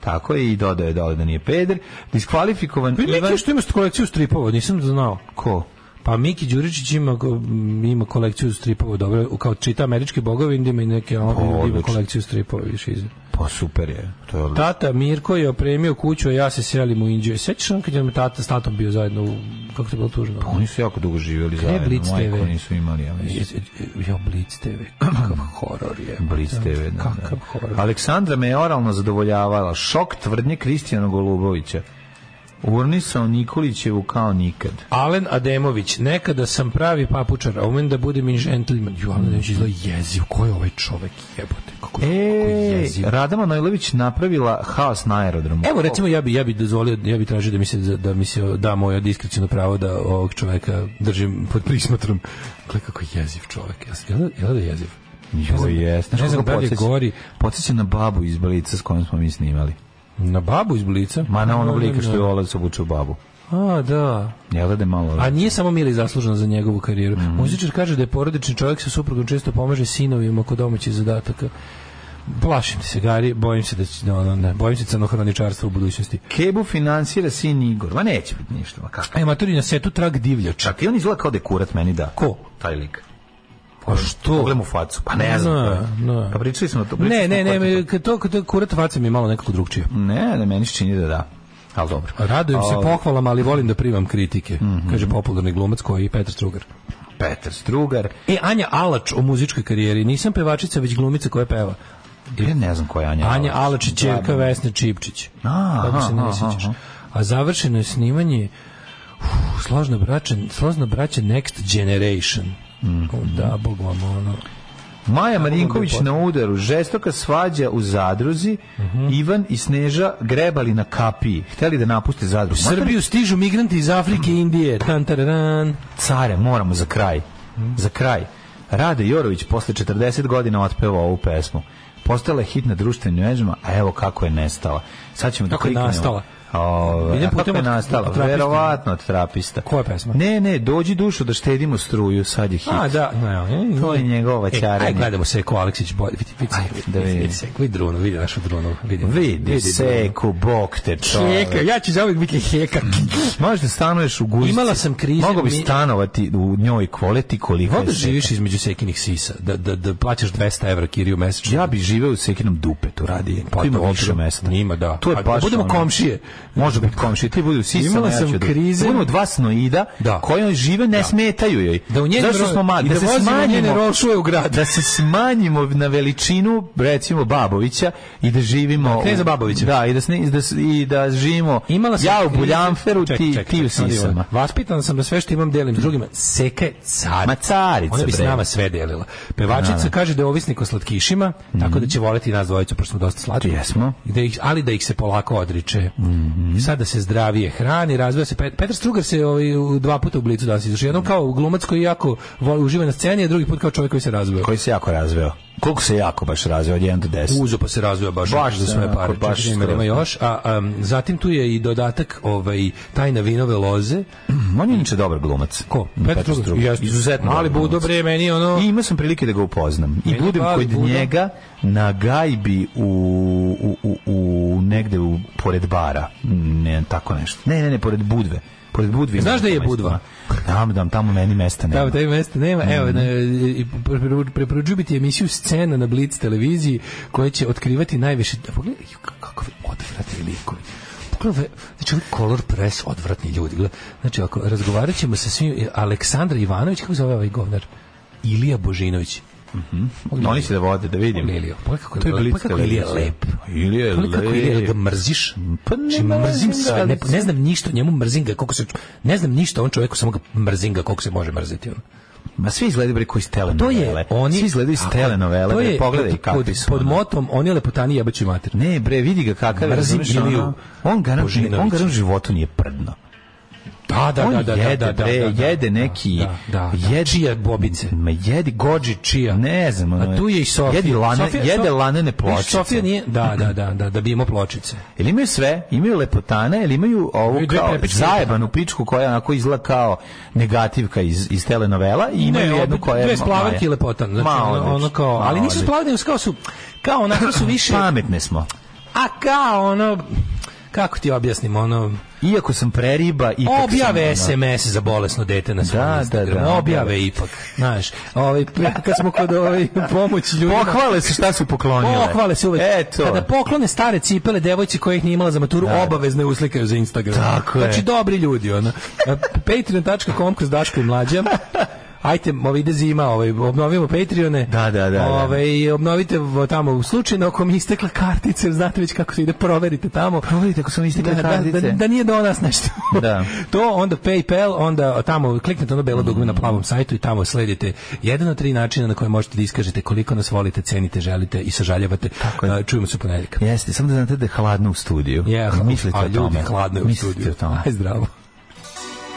Tako je i dodao je dole da nije peder. Diskvalifikovan Ivan...
Miki što ima kolekciju stripova, nisam znao.
Ko?
Pa Miki Đuričić ima, ima kolekciju stripova, dobro, kao čita američki bogovi, ima i neke, on ima
odlično.
kolekciju stripova, više iz...
Pa super je. To je odlično.
Tata Mirko je opremio kuću, a ja se selim u Indiju. Sećaš on kad je tata s tatom bio zajedno u... Kako to je bilo tužno?
Pa Oni su jako dugo živjeli
Gde je
zajedno.
Blitz
Majko,
TV?
nisu imali, ja mislim.
Jo, Blitz TV, kakav horor je.
Blitz TV, da,
Kakav horor.
da. Aleksandra me je oralno zadovoljavala. Šok tvrdnje Kristijana Golubovića. Urnisao Nikolićevu kao nikad.
Alen Ademović, nekada sam pravi papučar, a umem da budem i gentleman. Ju, Alen Ademović izgleda jeziv, ko je ovaj čovek jebote? Kako,
E,
jezivo.
Rada Manojlović napravila haos na aerodromu.
Evo recimo ja bi ja bi dozvolio ja bi tražio da mi se da mi se da moje diskreciono pravo da ovog čoveka držim pod prismotrom. Gle kako je jeziv čovek. Jel- Jel jel da je jeziv? Ne
Jo,
znam-
jes.
Ne znam da li je gori
Podsjeća na babu iz Blica s kojom smo mi snimali.
na babu iz Blica.
Ma na onog lika što je
Da,
Olac obučio babu.
A, da.
Jel da je malo...
A nije samo Mili zaslužena za njegovu karijeru.
Mhm.
Muzičar kaže da je porodični čovjek sa suprugom često pomaže sinovima kod domaćih zadataka. Plašim se, Gari, bojim se da će, no, no, ne, bojim se crnohroničarstva u budućnosti.
Kebu finansira sin Igor. Ma neće biti ništa. Ma kako?
E, maturi na setu trag divljača.
Čak i on izgleda kao da je kurat meni da.
Ko?
Taj lik.
Pa što?
Pogledaj mu facu. Pa ne znam.
Da, da.
Pa pričali smo to. pričali
Ne,
smo
ne, ne,
ko je to.
me- kad to, kad to kurat vaca mi je malo nekako drugčije.
Ne, ne, meni se čini da da. Ali dobro.
Pa
Ovaj,
Radujem se
A,
pohvalama, ali volim da primam kritike, kaže popularni glumac koji je Petar Strugar.
Petar Strugar.
E, Anja Alač o muzičkoj karijeri. Nisam pevačica, već glumica koja peva.
Ja ne znam ko je Anja
Anja Alač i
Da,
čerka
da.
Vesne Čipčić.
A,
Kako se
aha,
ne sjećaš.
aha.
A završeno je snimanje uf, složno braće, složno braće Next Generation. O, da, bog vam ono.
Maja Marinković
lepote.
na udaru, žestoka svađa u Zadruzi,
Mhm.
Ivan i Sneža grebali na kapiji, hteli da napuste Zadru.
U Srbiju stižu migranti iz Afrike i Indije. Tan, tararan.
Care, moramo za kraj.
Mhm.
Za kraj. Rade Jorović posle 40 godina otpeva ovu pesmu. Postala je hit na društvenim mrežama, a evo kako je nestala. Sad ćemo da
Kako je
kliknemo.
nastala?
Ove,
Idem
a kako
putem
je
od-
nastala?
od trapista.
Verovatno od trapista.
Koja pesma?
Ne, ne, dođi dušu da štedimo struju, sad je hit.
A, da. No,
To je njegova čarenja.
Aj, gledamo se ko Aleksić bolje. Vidi, vidi,
Ajde,
vidi,
da
vidi,
vidim.
vidi, Seko, vidi drunu, vidi našu drunu. Vidi,
Vidi seku, bok te
drunu.
čovek.
Heka, ja ću za uvijek biti heka.
Možeš da stanuješ u guzici.
Imala sam krizu,
Mogu bi
mi-
stanovati u njoj koleti koliko
Voda
je
živiš između sekinih sisa, da, da, da plaćaš 200 evra kiriju mesečno.
Ja bi živeo u sekinom dupetu, radi. Pa ima
dobro,
više mesta.
Ima, da.
To je
A
baš
budemo
ono-
komšije.
Može biti komšija, ti budi u sisama.
Imala
ja
sam
ću da-
krize-
Budemo dva snoida
Da.
koji on žive, ne smetaju joj.
Da u njenim
Zašto
ro-
smo mali?
i da vozimo njene rošule u grad.
Da se smanjimo na veličinu, recimo, Babovića i da živimo...
Da, kneza
u-
Babovića.
Da, i da, sne- i da, s- i da živimo
Imala sam
ja u
krizu-
Buljanferu, ti,
Čekaj, čekaj,
ti
čekaj,
u
samo da
sisama.
imam. Vaspitan sam da sve što imam delim s drugima. Seka je car.
Ma carica,
Ona bi s
bre.
nama sve delila. Pevačica
Da, da.
kaže da je ovisnik o slatkišima, tako da će voleti i nas dvojicu, pošto smo dosta slatki.
Jesmo.
Da ih, ali da ih se polako odriče.
Mhm.
I sad da se zdravije hrani, razvija se. Pet- Petar Strugar se ovaj, u- dva puta u blicu danas izašao. Jednom kao glumac koji jako voli, uživa na sceni, a drugi put kao čovjek koji se razvija.
Koji se jako razveo. Koliko se jako baš razveo od 1 do 10?
Uzo pa se razvija baš,
Baš
za
se
sve
onako,
pare.
baš
Baš ima,
strašno.
nema još. A, am, zatim tu je i dodatak ovaj, tajna vinove loze. Mm,
On je inače dobar glumac.
Ko?
Petar
Mm, Petar
Strugar.
Strugar.
Izuzetno.
Ali
dobar
Budo,
glumac.
bre, meni ono-
I imao sam prilike da ga upoznam. I
Meni
budem
fali
kod
Budo.
njega na gajbi u, u, u, u negde u, pored bara. Ne, tako nešto. Ne, ne, ne, pored Budve. Pored Budve.
Znaš
ima
da je
neko mesto.
Budva?
Tam, tam, tamo meni mesta nema.
Da, taj mesta nema. Evo, na- i preporu- preporučujem ti emisiju Scena na Blitz televiziji koja će otkrivati najviše... Pogledaj, ju, ka- kakvi odvratni likovi. Pogledaj, ove- znači ovi color press odvratni ljudi. Gle, Znači, ako razgovarat ćemo sa svim... Aleksandra Ivanović, kako zove ovaj govnar? Ilija Božinović.
No, Oni će da vode, da vidim.
Pogledaj Iliju. Pogledaj Pa kako je,
To je
lep.
Blitz
Pogledaj kako je Ilija
televizija.
lep.
Ilija je
Pogledaj kako je Ilija, jel ga
lep.
mrziš?
Pa ne
Znači, mrzim
mrzim ga,
sve, ne,
ali-
ne znam ništa o njemu, mrzim ga koliko se... Ne znam ništa o ovom čovjeku, samo ga mrzim ga koliko se može mrziti. Ono.
Ma svi izgledaju bre koji iz
To je,
telenovele.
oni
svi izgledaju iz
Tako je.
telenovele,
To
bre,
je
pogledaj
pod-
kakvi
pod-
su.
Pod
ono.
motom oni lepotanije jebaće mater.
Ne, bre, vidi ga kakav je,
Mrzim
razumeš,
Iliju
ono, On ga on
Božinovića.
ga u životu nije prdno.
Da, da,
on
da, da,
jede,
da, da,
bre,
da, da,
jede
da,
neki,
da, da, da.
jede
čija bobice.
Ma jedi gođi čija. Ne znam, ono,
A tu je i Sofija.
Jedi lane,
Sofija-
jede
Sof-
lanene
Viš,
pločice.
Sofija nije, da, da, da, da, da bi imao pločice.
Ili imaju sve, imaju lepotane, ili imaju ovu
Imaju dve
kao
prepičke
zajebanu pičku koja onako izgleda kao negativka iz, iz telenovela i imaju
Ne,
jednu
obi-
koja je...
dve splavanke
Maja.
i lepotan. Znači,
Ma,
ono- ono
odlično,
kao- ali nisu
ma, odlično. Pa-
splavanke, nego su kao su- kao onako su više-
Pametne smo.
A kao ono, kako ti objasnim, ono,
Iako sam preriba, ipak sam,
Objave
ono-
SMS za bolesno dete na svom
Da, da,
Instagramu.
da, objave.
objave ipak. Znaš, ovaj, kad smo kod ovaj, pomoći ljudima...
Pohvale se šta su poklonile.
Pohvale se uvek.
Eto.
Kada poklone stare cipele devojci kojih nije imala za maturu, obavezno je uslikaju za Instagram.
Tako je.
znači, dobri ljudi, ono. E, Patreon.com kroz Daško i Mlađa. Ajte, ovaj ide zima, ovaj, obnovimo Patreone.
Da, da, da, da.
Ovaj, obnovite vo- tamo u slučajno ako mi je istekla kartica, jer znate već kako se ide, proverite tamo.
Proverite ako su mi istekle
Da, da,
kartice.
da, da nije do nas nešto.
Da.
to onda PayPal, onda tamo kliknete ono belo dugme na plavom sajtu i tamo sledite jedan od tri načina na koje možete da iskažete koliko nas volite, cenite, želite i sažaljevate. A, Čujemo se u ponedjeljak.
Jeste, samo da znate da je hladno u studiju.
Je, hladno,
Mislite
a
o
ljudi,
tome.
hladno je u
Mislite
studiju.
o tome.
Aj, zdravo.